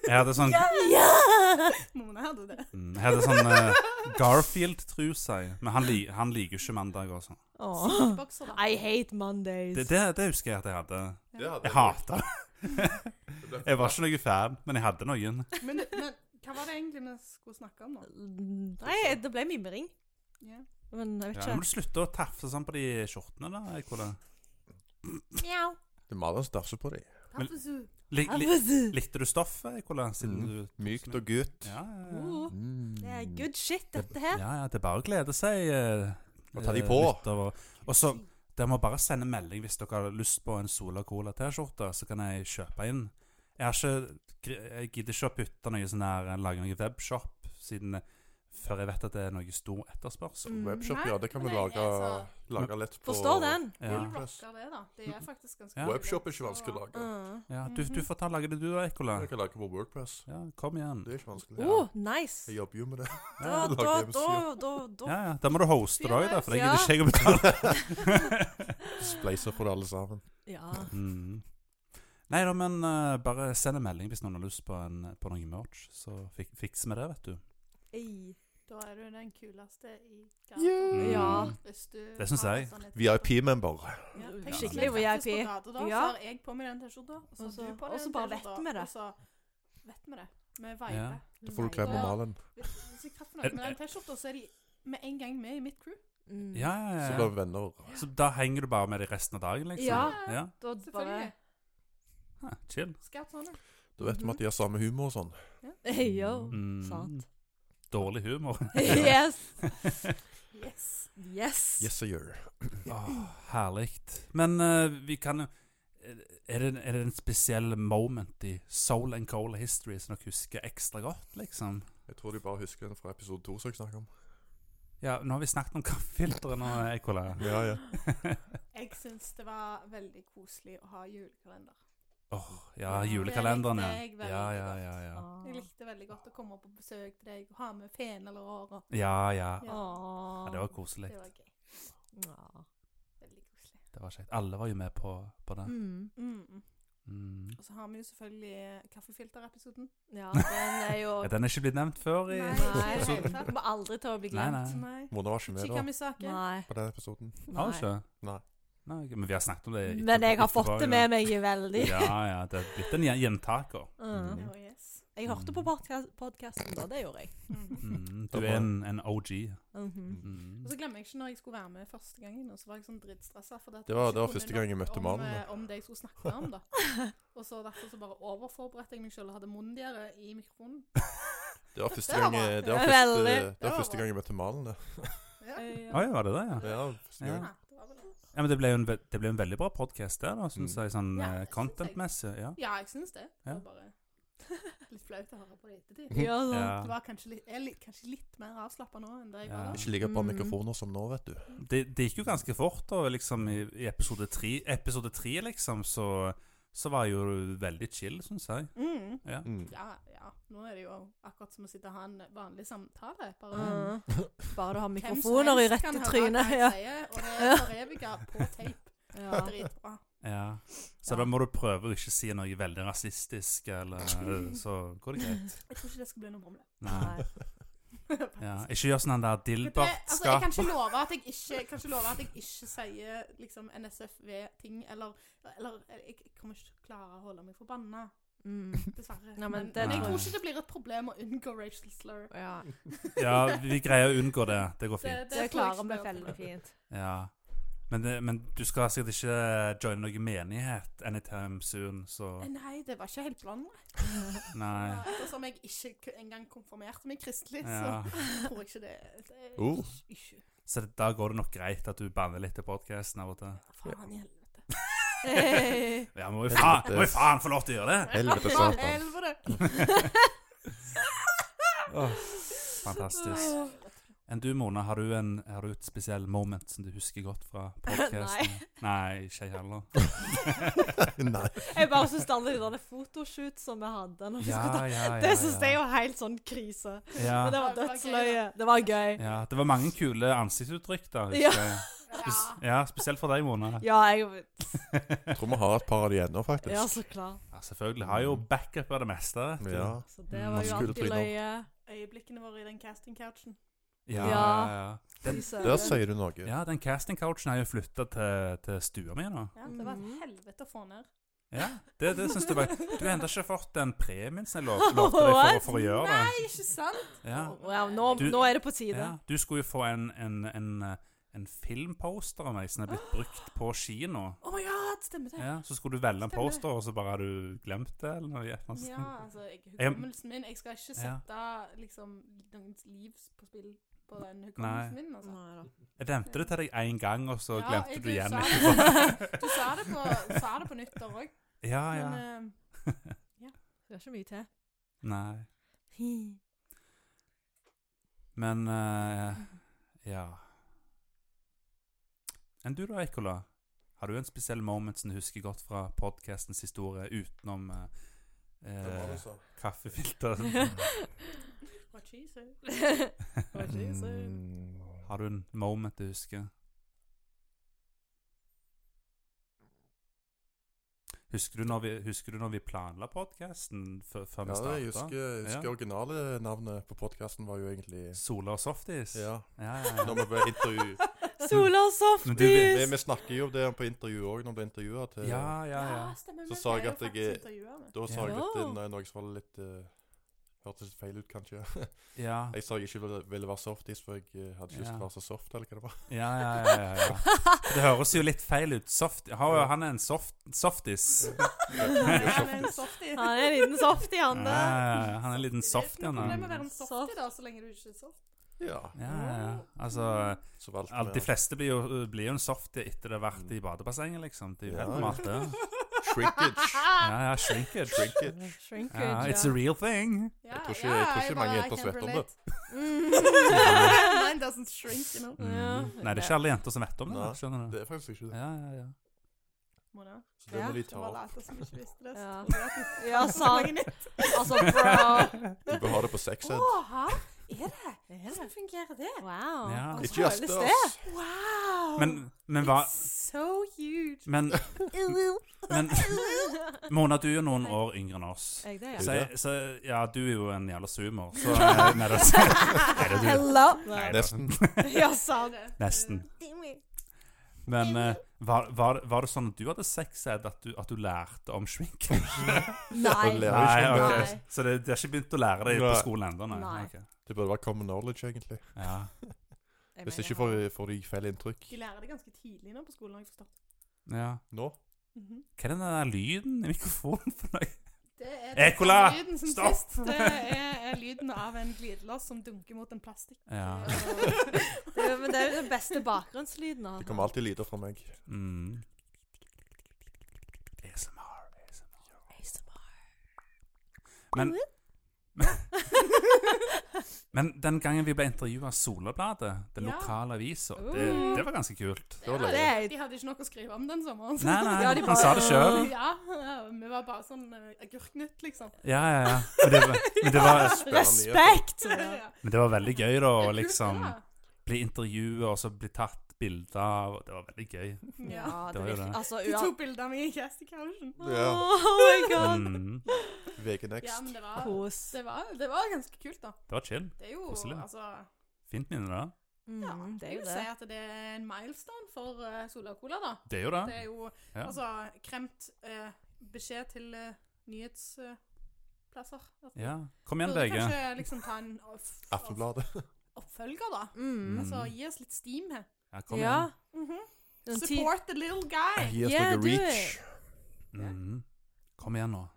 [SPEAKER 1] jeg hadde sånn,
[SPEAKER 3] Ja!
[SPEAKER 4] Mona hadde det.
[SPEAKER 1] mm, jeg hadde sånn eh, Garfield-truse, jeg. men han, li han liker ikke mandag og sånn.
[SPEAKER 3] Åh.
[SPEAKER 4] Bokser, da.
[SPEAKER 3] I hate Mondays.
[SPEAKER 1] Det, det, det husker jeg at jeg hadde.
[SPEAKER 2] Det hadde
[SPEAKER 1] Jeg hata det. Jeg var ikke noe fan, men jeg hadde noen.
[SPEAKER 4] Men, men hva var det egentlig vi skulle snakke om nå?
[SPEAKER 3] Nei, det ble mimring.
[SPEAKER 4] Ja.
[SPEAKER 3] Men
[SPEAKER 1] Ja,
[SPEAKER 3] jeg vet
[SPEAKER 1] nå må
[SPEAKER 3] ikke.
[SPEAKER 1] du slutte å tafse sånn på de skjortene, da. jeg, Hvordan?
[SPEAKER 3] Mjau.
[SPEAKER 2] Det er Malin stafser på dem.
[SPEAKER 1] Men-
[SPEAKER 4] Tapesu.
[SPEAKER 1] Li li
[SPEAKER 3] Det
[SPEAKER 1] likte du stoffet, Ekola?
[SPEAKER 2] Mm.
[SPEAKER 1] Siden du
[SPEAKER 2] Mykt og gutt.
[SPEAKER 1] ja, ja,
[SPEAKER 3] Oh.
[SPEAKER 1] ja.
[SPEAKER 3] er good shit, dette her.
[SPEAKER 1] Ja, ja, det er bare å glede seg. eh,
[SPEAKER 2] Og ta de
[SPEAKER 1] eh,
[SPEAKER 2] på.
[SPEAKER 1] lytter Og, og så, Dere må bare sende melding hvis dere har lyst på en Sola Cola T-skjorte, så kan jeg kjøpe inn. Jeg har ikke gr- Jeg gidder ikke å putte noe sånn her Lage noe webshop siden eh, før jeg vet at det er noe stor etterspørsel.
[SPEAKER 2] Webshop,
[SPEAKER 4] Nei,
[SPEAKER 2] ja. Det kan vi
[SPEAKER 4] men
[SPEAKER 2] lage,
[SPEAKER 4] altså-
[SPEAKER 2] lage lett på
[SPEAKER 3] Forstår den.
[SPEAKER 1] Ja.
[SPEAKER 4] Will rocker det, da. Det er faktisk ganske
[SPEAKER 1] Ja.
[SPEAKER 4] kul.
[SPEAKER 2] Webshop er ikke vanskelig å lage.
[SPEAKER 3] Uh.
[SPEAKER 1] Ja, du, du får ta og lage det du da, Ekola.
[SPEAKER 2] Jeg kan lage på Wordpress.
[SPEAKER 1] Ja, kom igjen.
[SPEAKER 2] Det er ikke vanskelig.
[SPEAKER 3] Oh, nice.
[SPEAKER 2] Jeg jobber jo med det. <laughs>
[SPEAKER 3] Da,
[SPEAKER 2] Lager
[SPEAKER 3] da,
[SPEAKER 2] hjemmesider.
[SPEAKER 3] da, da, da.
[SPEAKER 1] Ja, ja, Da må du hoste det òg, da, for det gidder ikke jeg å betale.
[SPEAKER 2] Spleiser for det alle sammen.
[SPEAKER 3] Ja.
[SPEAKER 1] Mm. Nei da, men eh, bare send en melding hvis noen har lyst på, en, på noe merch, så fik fikser vi det, vet du.
[SPEAKER 3] Ei.
[SPEAKER 4] Da er du den kuleste i
[SPEAKER 1] Mm.
[SPEAKER 3] Ja.
[SPEAKER 4] Hvis du
[SPEAKER 1] Det synes
[SPEAKER 4] har
[SPEAKER 1] jeg.
[SPEAKER 4] sånn et-
[SPEAKER 2] VIP-member.
[SPEAKER 4] Ja, tenk hvis
[SPEAKER 3] Skikkelig
[SPEAKER 4] vi treffes
[SPEAKER 3] VIP.
[SPEAKER 4] på gata da,
[SPEAKER 3] Ja.
[SPEAKER 4] Så har jeg på meg den T-skjorta, og så
[SPEAKER 3] Og så-
[SPEAKER 4] har du på
[SPEAKER 3] og
[SPEAKER 4] deg
[SPEAKER 3] så
[SPEAKER 4] den
[SPEAKER 3] bare
[SPEAKER 4] T-skjorta,
[SPEAKER 3] vet vi det.
[SPEAKER 4] Og så vet vi det. Vi viber.
[SPEAKER 1] Ja.
[SPEAKER 2] Da får du kle på
[SPEAKER 4] Ja.
[SPEAKER 2] malen.
[SPEAKER 4] Hvis jeg treffer noen med den T-skjorta, så er de med en gang med i mitt crew.
[SPEAKER 3] Mm.
[SPEAKER 1] Ja,
[SPEAKER 2] Så
[SPEAKER 1] ja,
[SPEAKER 2] blir
[SPEAKER 1] ja.
[SPEAKER 2] vi venner.
[SPEAKER 1] Så da henger du bare med dem resten av dagen, liksom?
[SPEAKER 3] Ja.
[SPEAKER 1] ja.
[SPEAKER 3] Da bare
[SPEAKER 4] Selvfølgelig.
[SPEAKER 1] Ah, chill.
[SPEAKER 4] Skarpt sånn.
[SPEAKER 2] Da vet vi at de har samme humor og sånn.
[SPEAKER 3] <laughs> Hey,
[SPEAKER 4] Oh,
[SPEAKER 3] yo.
[SPEAKER 1] Mm.
[SPEAKER 3] Sant.
[SPEAKER 1] Dårlig
[SPEAKER 4] <laughs>
[SPEAKER 1] humor.
[SPEAKER 3] Yes.
[SPEAKER 4] Yes.
[SPEAKER 3] Yes.
[SPEAKER 2] Yes, I gjør.
[SPEAKER 1] Åh, herlig. Men eh, vi kan jo eh, er det, er det en spesiell moment i Soul and Cola History som dere husker ekstra godt, liksom?
[SPEAKER 2] Jeg tror de bare husker den fra episode to som jeg snakket om.
[SPEAKER 1] Ja, nå har vi snakket om kaffefilteret nå, Ekola.
[SPEAKER 2] Ja,
[SPEAKER 1] <laughs>
[SPEAKER 2] ja.
[SPEAKER 4] Jeg syns det var veldig koselig å ha julekalender.
[SPEAKER 1] Åh, ja, julekalenderen,
[SPEAKER 4] Det likte jeg
[SPEAKER 1] ja. Ja,
[SPEAKER 4] veldig
[SPEAKER 1] ja, ja. ja.
[SPEAKER 3] Ah.
[SPEAKER 4] Jeg likte veldig godt å komme på besøk til deg og ha med fenalår. og-
[SPEAKER 1] Ja, ja.
[SPEAKER 4] Ja.
[SPEAKER 3] Ah.
[SPEAKER 1] ja det var koselig.
[SPEAKER 4] Det var gøy.
[SPEAKER 3] Ah.
[SPEAKER 4] Veldig koselig.
[SPEAKER 1] Det var kjekt. Alle var jo med på, på det.
[SPEAKER 3] Mm.
[SPEAKER 4] Mm. mm.
[SPEAKER 1] Mm.
[SPEAKER 4] Og så har vi jo selvfølgelig eh, kaffefilterepisoden.
[SPEAKER 3] Ja, den er jo
[SPEAKER 1] <laughs> Ja, den er ikke blitt nevnt før i
[SPEAKER 4] Nei,
[SPEAKER 3] Nei,
[SPEAKER 4] ikke i det hele tatt.
[SPEAKER 3] den kommer aldri til å bli
[SPEAKER 1] Nei,
[SPEAKER 3] glemt.
[SPEAKER 1] nei.
[SPEAKER 4] Nei.
[SPEAKER 2] Mona var ikke med da,
[SPEAKER 4] Shikamisake.
[SPEAKER 3] Nei.
[SPEAKER 2] på den episoden.
[SPEAKER 1] Har du
[SPEAKER 3] nei.
[SPEAKER 1] ikke?
[SPEAKER 2] Nei.
[SPEAKER 1] Nei, ok, men vi har snakket om det etterpå-
[SPEAKER 3] Men jeg har fått
[SPEAKER 1] etterpå,
[SPEAKER 3] det
[SPEAKER 1] ja.
[SPEAKER 3] med meg i veldig.
[SPEAKER 1] Ja, ja. Det er blitt en gjen- gjentaker.
[SPEAKER 3] Mm.
[SPEAKER 4] Oh, yes.
[SPEAKER 3] Jeg hørte på podkasten da, det gjorde jeg.
[SPEAKER 4] Mhm.
[SPEAKER 1] Mm. <laughs> Du er en, en OG.
[SPEAKER 3] Mhm.
[SPEAKER 1] Mm.
[SPEAKER 4] Og så glemmer jeg ikke når jeg skulle være med første gangen, og så var jeg sånn drittstressa. fordi at
[SPEAKER 2] Det var-
[SPEAKER 4] jeg
[SPEAKER 2] det var
[SPEAKER 4] ikke
[SPEAKER 2] første
[SPEAKER 4] kunne
[SPEAKER 2] gang jeg
[SPEAKER 4] nok
[SPEAKER 2] møtte
[SPEAKER 4] om,
[SPEAKER 2] mannen,
[SPEAKER 4] eh, Om det jeg skulle snakke om, da. Og så derfor så bare overforberedte jeg meg selv og hadde mundiere i mikrofonen.
[SPEAKER 2] Det var første
[SPEAKER 4] Det var
[SPEAKER 2] gang jeg, det var
[SPEAKER 3] bra.
[SPEAKER 2] første,
[SPEAKER 3] Veldig.
[SPEAKER 2] det
[SPEAKER 4] Det var
[SPEAKER 2] var første
[SPEAKER 4] bra.
[SPEAKER 2] gang jeg møtte Malen. Det.
[SPEAKER 4] Eh, ja.
[SPEAKER 1] Oi, var det det, ja?
[SPEAKER 2] Ja, første gang.
[SPEAKER 4] Ja, det var vel det.
[SPEAKER 1] Ja, men Det ble jo en, ve det ble en veldig bra podkast der, da, syns
[SPEAKER 2] Mm.
[SPEAKER 1] jeg, sånn eh,
[SPEAKER 4] Ja, det synes jeg.
[SPEAKER 1] content-messig. Ja.
[SPEAKER 4] Ja, jeg syns det. Det
[SPEAKER 1] Ja.
[SPEAKER 4] var bare <laughs> litt flaut å høre på det ettertid.
[SPEAKER 3] Ja, så.
[SPEAKER 1] Ja.
[SPEAKER 4] Det var kanskje litt, jeg er litt, kanskje litt mer avslappa nå enn det jeg
[SPEAKER 1] Ja.
[SPEAKER 4] var da.
[SPEAKER 2] Ikke like bra
[SPEAKER 3] Mm.
[SPEAKER 2] mikrofoner som nå, vet du.
[SPEAKER 1] Det, det gikk jo ganske fort, da, liksom, i, i episode tre, episode tre liksom, så, så var jo du veldig chill, syns jeg.
[SPEAKER 4] Mm.
[SPEAKER 1] Ja.
[SPEAKER 2] Mm.
[SPEAKER 4] Ja, ja. Nå er det jo akkurat som å sitte og ha en vanlig samtale. Bare
[SPEAKER 3] Mm. Bare du har
[SPEAKER 4] Hvem som
[SPEAKER 3] mikrofoner i
[SPEAKER 4] helst kan
[SPEAKER 3] rette
[SPEAKER 4] høre
[SPEAKER 3] trynet.
[SPEAKER 4] hva jeg
[SPEAKER 3] Ja.
[SPEAKER 4] sier, og det er foreviga på tape.
[SPEAKER 3] Ja.
[SPEAKER 4] Dritbra.
[SPEAKER 1] Ja. Så
[SPEAKER 3] Ja.
[SPEAKER 1] da må du prøve å ikke si noe veldig rasistisk,
[SPEAKER 3] <laughs>
[SPEAKER 1] eller så går det greit.
[SPEAKER 4] Jeg tror ikke det skal bli noe <laughs> problem.
[SPEAKER 1] Nei.
[SPEAKER 3] Nei.
[SPEAKER 1] Ja. Ikke gjør sånn den der
[SPEAKER 4] Men det- Altså, jeg
[SPEAKER 1] Dilbert-skap.
[SPEAKER 4] kan ikke love at jeg ikke, jeg kan ikke, love at jeg ikke sier liksom, NSFV-ting, eller, eller Jeg jeg kommer ikke til å klare å holde meg forbanna,
[SPEAKER 3] Mm.
[SPEAKER 4] dessverre.
[SPEAKER 3] Ja, men
[SPEAKER 4] men,
[SPEAKER 3] det-
[SPEAKER 4] jeg
[SPEAKER 1] Nei.
[SPEAKER 4] tror ikke det blir et problem å unngå racial slur.
[SPEAKER 3] Ja.
[SPEAKER 1] Ja, vi
[SPEAKER 4] <laughs>
[SPEAKER 1] greier å unngå det. Det går fint.
[SPEAKER 3] Det
[SPEAKER 4] tror jeg
[SPEAKER 3] klarer vi
[SPEAKER 4] ikke blir et
[SPEAKER 3] veldig
[SPEAKER 4] problem.
[SPEAKER 1] <laughs>
[SPEAKER 3] fint.
[SPEAKER 1] Ja. Men, det, men du skal sikkert ikke eh, joine noen menighet anytime soon, så
[SPEAKER 4] Nei, det var ikke helt planlagt.
[SPEAKER 1] Nei.
[SPEAKER 4] Som jeg ikke k- engang konfirmerte meg kristelig,
[SPEAKER 1] Ja.
[SPEAKER 4] så tror jeg ikke det. det er
[SPEAKER 2] Oh.
[SPEAKER 4] ikke,
[SPEAKER 1] Så det, da går det nok greit at du banner litt i podkasten av og til.
[SPEAKER 4] faen i helvete.
[SPEAKER 3] Hey.
[SPEAKER 1] Ja, må jo faen, må jo faen få lov til å gjøre det!
[SPEAKER 2] Helvete satan.
[SPEAKER 4] Helvete!
[SPEAKER 1] Fantastisk. Enn du, Mona, har du, en, har du et spesiell moment som du husker godt fra podkasten? Nei. ikke jeg heller.
[SPEAKER 2] Nei.
[SPEAKER 3] Jeg bare syns alle de der fotoshoots som vi hadde når vi
[SPEAKER 1] Ja,
[SPEAKER 3] skulle ta
[SPEAKER 1] ja, ja.
[SPEAKER 3] Det syns jeg
[SPEAKER 1] ja.
[SPEAKER 3] var helt sånn krise. Men
[SPEAKER 1] Ja.
[SPEAKER 3] det var
[SPEAKER 4] Det var gøy, da.
[SPEAKER 3] dødsløye. Det var gøy.
[SPEAKER 1] ja. Det var mange kule ansiktsuttrykk, da.
[SPEAKER 3] Ja.
[SPEAKER 1] Husker jeg. Spes ja, spesielt for deg, Mona.
[SPEAKER 3] Ja, jeg
[SPEAKER 2] Jeg tror vi har et par av de ennå, faktisk.
[SPEAKER 3] Ja, så klart.
[SPEAKER 1] <laughs> Ja, selvfølgelig. Har jo backup av det meste. vet du.
[SPEAKER 2] Ja.
[SPEAKER 3] Så det
[SPEAKER 1] Mm.
[SPEAKER 3] var jo
[SPEAKER 2] Masse kule
[SPEAKER 3] alltid
[SPEAKER 2] tryner.
[SPEAKER 3] løye.
[SPEAKER 4] Øyeblikkene våre i den casting-couchen.
[SPEAKER 1] Ja,
[SPEAKER 3] Ja.
[SPEAKER 1] ja, ja.
[SPEAKER 3] Fy
[SPEAKER 1] Den,
[SPEAKER 3] søren.
[SPEAKER 2] Der sier du noe.
[SPEAKER 1] ja, den casting-couchen har jo flytta til, til stua mi nå.
[SPEAKER 4] Ja, det var et
[SPEAKER 3] Mhm.
[SPEAKER 4] helvete å få ned.
[SPEAKER 1] Ja, det, det syns jeg bare Du har ennå ikke fått den premien som jeg lov, lovte deg for, for å gjøre det.
[SPEAKER 4] Nei, ikke sant?
[SPEAKER 1] Ja.
[SPEAKER 3] Wow, nå,
[SPEAKER 1] Du-
[SPEAKER 3] nå er det på tide.
[SPEAKER 1] Ja, du skulle jo få en, en, en, eh, en filmposter av meg som er blitt brukt på kino.
[SPEAKER 4] Oh my god, stemmer det?
[SPEAKER 1] Ja, så skulle du velge en
[SPEAKER 4] Stemmer.
[SPEAKER 1] poster, og så bare har du glemt det? Eller noe, gjett noe sånt.
[SPEAKER 4] Ja, altså, jeg, hukommelsen min Jeg skal ikke sette liksom noens liv på spill på den hukommelsen min, altså.
[SPEAKER 3] Neida.
[SPEAKER 1] Jeg nevnte det til deg én gang, og så
[SPEAKER 4] Ja,
[SPEAKER 1] glemte
[SPEAKER 4] jeg-
[SPEAKER 1] du igjen.
[SPEAKER 4] sa
[SPEAKER 1] etterpå.
[SPEAKER 4] Du sa det på, sa det på nyttår òg,
[SPEAKER 1] <laughs> ja, Ah, ja.
[SPEAKER 4] men eh,
[SPEAKER 3] Det er ikke mye <laughs> til.
[SPEAKER 1] Nei. Men eh, ja Enn du da, Ekola? Har du en spesiell moment som du husker godt fra podkastens historie, utenom uh, kaffefilter?
[SPEAKER 2] <laughs>
[SPEAKER 4] What she
[SPEAKER 3] <laughs>
[SPEAKER 4] said.
[SPEAKER 3] What she said.
[SPEAKER 1] Mm. Har du en moment du husker? Husker du når vi, husker du når vi planla podkasten før, før
[SPEAKER 2] Ja, jeg
[SPEAKER 1] vi
[SPEAKER 2] husker,
[SPEAKER 1] starta?
[SPEAKER 2] jeg husker
[SPEAKER 1] Ja.
[SPEAKER 2] originale navnet på podkasten var jo egentlig
[SPEAKER 1] Sola og softis?
[SPEAKER 2] Ja.
[SPEAKER 1] Ja, ja,
[SPEAKER 2] <laughs> Når
[SPEAKER 1] ja.
[SPEAKER 2] vi ble
[SPEAKER 1] <laughs>
[SPEAKER 2] intervju
[SPEAKER 3] Sola og
[SPEAKER 1] Men du-
[SPEAKER 2] vi,
[SPEAKER 3] softis!
[SPEAKER 2] vi snakker jo om det på intervju òg, når vi ble intervjua.
[SPEAKER 1] ja, ja, ja.
[SPEAKER 4] stemmer.
[SPEAKER 2] Så
[SPEAKER 4] men det
[SPEAKER 2] sa jeg
[SPEAKER 4] er jo
[SPEAKER 2] at jeg
[SPEAKER 4] faktisk
[SPEAKER 2] <laughs> er-
[SPEAKER 4] intervjuet med.
[SPEAKER 2] Da sa jeg at
[SPEAKER 3] Ja.
[SPEAKER 2] det er noe som var litt eh, Hørtes feil ut, kanskje. <laughs>
[SPEAKER 1] Ja,
[SPEAKER 2] Jeg sa jeg ikke ville, ville være softis, for jeg eh, hadde ikke lyst til
[SPEAKER 1] Ja.
[SPEAKER 2] å være så soft. eller
[SPEAKER 1] <laughs>
[SPEAKER 2] hva det var.
[SPEAKER 1] ja, ja. ja, ja, ja. Det høres jo litt feil ut. Soft, har jo- han er en soft, softis.
[SPEAKER 4] Han er en softie.
[SPEAKER 3] Han er en liten softie,
[SPEAKER 1] Ja,
[SPEAKER 3] han
[SPEAKER 1] ja,
[SPEAKER 3] der.
[SPEAKER 1] ja. han er en liten soft,
[SPEAKER 4] Det er
[SPEAKER 1] han.
[SPEAKER 4] ikke noe problem å
[SPEAKER 1] er.
[SPEAKER 4] være en softie, da, så lenge du ikke er soft.
[SPEAKER 2] Ja,
[SPEAKER 1] Ja, ja, ja. Altså,
[SPEAKER 2] så valgte
[SPEAKER 1] Alt, de
[SPEAKER 2] vi å
[SPEAKER 1] fleste blir jo, blir jo en softie etter det har vært i badebassenget, liksom. Det er jo
[SPEAKER 2] Ja.
[SPEAKER 1] helt normalt, det. <laughs>
[SPEAKER 3] <laughs>
[SPEAKER 2] Shrinkage.
[SPEAKER 1] Ja, ja, shrinkage.
[SPEAKER 2] Shrinkage.
[SPEAKER 3] Shrinkage,
[SPEAKER 1] Ja, it's a
[SPEAKER 3] ja.
[SPEAKER 1] real thing.
[SPEAKER 4] Ja,
[SPEAKER 2] Jeg tror ikke- jeg tror ikke mange jenter svetter om det.
[SPEAKER 3] Mm.
[SPEAKER 4] Mine doesn't shrink, you know.
[SPEAKER 1] Mm.
[SPEAKER 3] Ja.
[SPEAKER 1] Nei, det er ikke alle jenter som vet om det.
[SPEAKER 2] Nei,
[SPEAKER 1] skjønner du?
[SPEAKER 2] Det er faktisk ikke det.
[SPEAKER 1] Ja, ja, ja.
[SPEAKER 4] Må det.
[SPEAKER 2] Så det må de
[SPEAKER 4] Det
[SPEAKER 2] ta
[SPEAKER 4] var
[SPEAKER 2] opp.
[SPEAKER 4] later som ikke visste det. så
[SPEAKER 3] Ja.
[SPEAKER 4] tror jeg at de-
[SPEAKER 3] <laughs> Ja, sant. Altså, <laughs> bro.
[SPEAKER 2] De bør ha det på sex ed.
[SPEAKER 3] Åh, er det? Hvordan fungerer det? altså. Wow.
[SPEAKER 1] Ja.
[SPEAKER 3] Og så
[SPEAKER 2] Ikke
[SPEAKER 3] føles
[SPEAKER 2] gjester,
[SPEAKER 3] det.
[SPEAKER 2] ass.
[SPEAKER 3] Wow.
[SPEAKER 1] Men, men hva
[SPEAKER 3] So <laughs> huge.
[SPEAKER 1] Men, men Mona, du er jo noen år yngre enn oss.
[SPEAKER 3] Jeg det,
[SPEAKER 1] Så,
[SPEAKER 3] ja.
[SPEAKER 1] jeg- så Ja, du er jo en jævla sumo, så <laughs> eh, Nei, det er det du.
[SPEAKER 3] Hello.
[SPEAKER 1] Nei, det
[SPEAKER 2] Nesten.
[SPEAKER 3] Ja, sant.
[SPEAKER 1] Nesten. Men eh, var, var, var det sånn at du hadde sex ed at du, at du lærte om shrink?
[SPEAKER 3] Nei.
[SPEAKER 2] Å lære.
[SPEAKER 1] Nei, ok.
[SPEAKER 3] Nei.
[SPEAKER 1] Så det, de har ikke begynt å lære det på
[SPEAKER 2] Nei.
[SPEAKER 1] skolen ennå? Nei.
[SPEAKER 3] Nei.
[SPEAKER 1] ok.
[SPEAKER 2] Det burde være common knowledge, egentlig.
[SPEAKER 1] Ja.
[SPEAKER 3] Jeg
[SPEAKER 2] Hvis
[SPEAKER 3] mener,
[SPEAKER 2] ikke får, får de feil inntrykk
[SPEAKER 4] De lærer det ganske tidlig nå på skolen, har jeg forstått.
[SPEAKER 1] ja.
[SPEAKER 2] nå.
[SPEAKER 4] Mhm.
[SPEAKER 1] Hva er den der lyden i mikrofonen for noe?
[SPEAKER 4] Det er
[SPEAKER 1] Ekola!
[SPEAKER 4] den lyden som
[SPEAKER 1] Stopp!
[SPEAKER 4] sist. Det er, er lyden av en glidelås som dunker mot en plastikk. Eh,
[SPEAKER 1] Ja.
[SPEAKER 3] Det, er jo- men det er jo den beste bakgrunnslyden.
[SPEAKER 2] De
[SPEAKER 3] Altså.
[SPEAKER 2] kommer alltid lyder fra meg.
[SPEAKER 1] Mm. ASMR, ASMR. Men, <laughs> men den gangen vi ble intervjua av Solabladet, den
[SPEAKER 4] Ja. Uh.
[SPEAKER 1] lokale avisa, det, det var ganske kult.
[SPEAKER 2] Det var
[SPEAKER 3] Det
[SPEAKER 2] løye.
[SPEAKER 3] er
[SPEAKER 4] De hadde ikke noe å skrive om den sommeren. så- <laughs>
[SPEAKER 1] Nei, nei,
[SPEAKER 3] Ja, de bare-
[SPEAKER 1] han sa det sjøl.
[SPEAKER 4] Ja, ja, vi var bare sånn eh, agurknytt, liksom.
[SPEAKER 1] Ja, ja, ja. Men det, var, men, det var,
[SPEAKER 3] respekt.
[SPEAKER 4] <laughs> Ja.
[SPEAKER 1] men det var veldig gøy, da, å
[SPEAKER 4] Kult,
[SPEAKER 1] liksom
[SPEAKER 4] da.
[SPEAKER 1] bli intervjua og så bli tatt bilder av. Det var veldig gøy.
[SPEAKER 4] Ja.
[SPEAKER 3] Ja,
[SPEAKER 1] Det var
[SPEAKER 3] det
[SPEAKER 1] jo
[SPEAKER 3] virker.
[SPEAKER 1] det.
[SPEAKER 3] Altså,
[SPEAKER 4] De
[SPEAKER 3] ua...
[SPEAKER 4] tok bilder av meg i Casty Couchen.
[SPEAKER 2] Ja.
[SPEAKER 3] Oh my god.
[SPEAKER 1] Mm.
[SPEAKER 4] Ja,
[SPEAKER 2] VG Next.
[SPEAKER 4] men det var,
[SPEAKER 3] Kos.
[SPEAKER 4] det, var, det var ganske kult, da.
[SPEAKER 1] Det var chill.
[SPEAKER 4] Det er jo
[SPEAKER 1] Koselig.
[SPEAKER 4] altså
[SPEAKER 1] Fint minne, da.
[SPEAKER 4] Ja,
[SPEAKER 3] Mm, det er
[SPEAKER 4] jeg
[SPEAKER 3] jo
[SPEAKER 4] vil si
[SPEAKER 3] det.
[SPEAKER 4] at det er en milestone for eh, Sola og Cola, da.
[SPEAKER 1] Det er jo det.
[SPEAKER 4] Det er jo
[SPEAKER 1] Ja.
[SPEAKER 4] altså kremt eh, beskjed til eh, nyhetsplasser.
[SPEAKER 1] ja. Kom igjen, VG.
[SPEAKER 4] kanskje liksom ta en off-
[SPEAKER 2] Aftenbladet.
[SPEAKER 4] off- oppfølger, da.
[SPEAKER 3] Mm. Mhm.
[SPEAKER 4] Altså, gi oss litt steam her.
[SPEAKER 1] Ja, kom
[SPEAKER 3] Ja.
[SPEAKER 1] igjen.
[SPEAKER 3] Den ti-
[SPEAKER 4] Support the little guy!
[SPEAKER 2] Gi oss
[SPEAKER 3] Yeah,
[SPEAKER 2] noe
[SPEAKER 3] do it.
[SPEAKER 2] reach.
[SPEAKER 1] Mm. Kom igjen nå.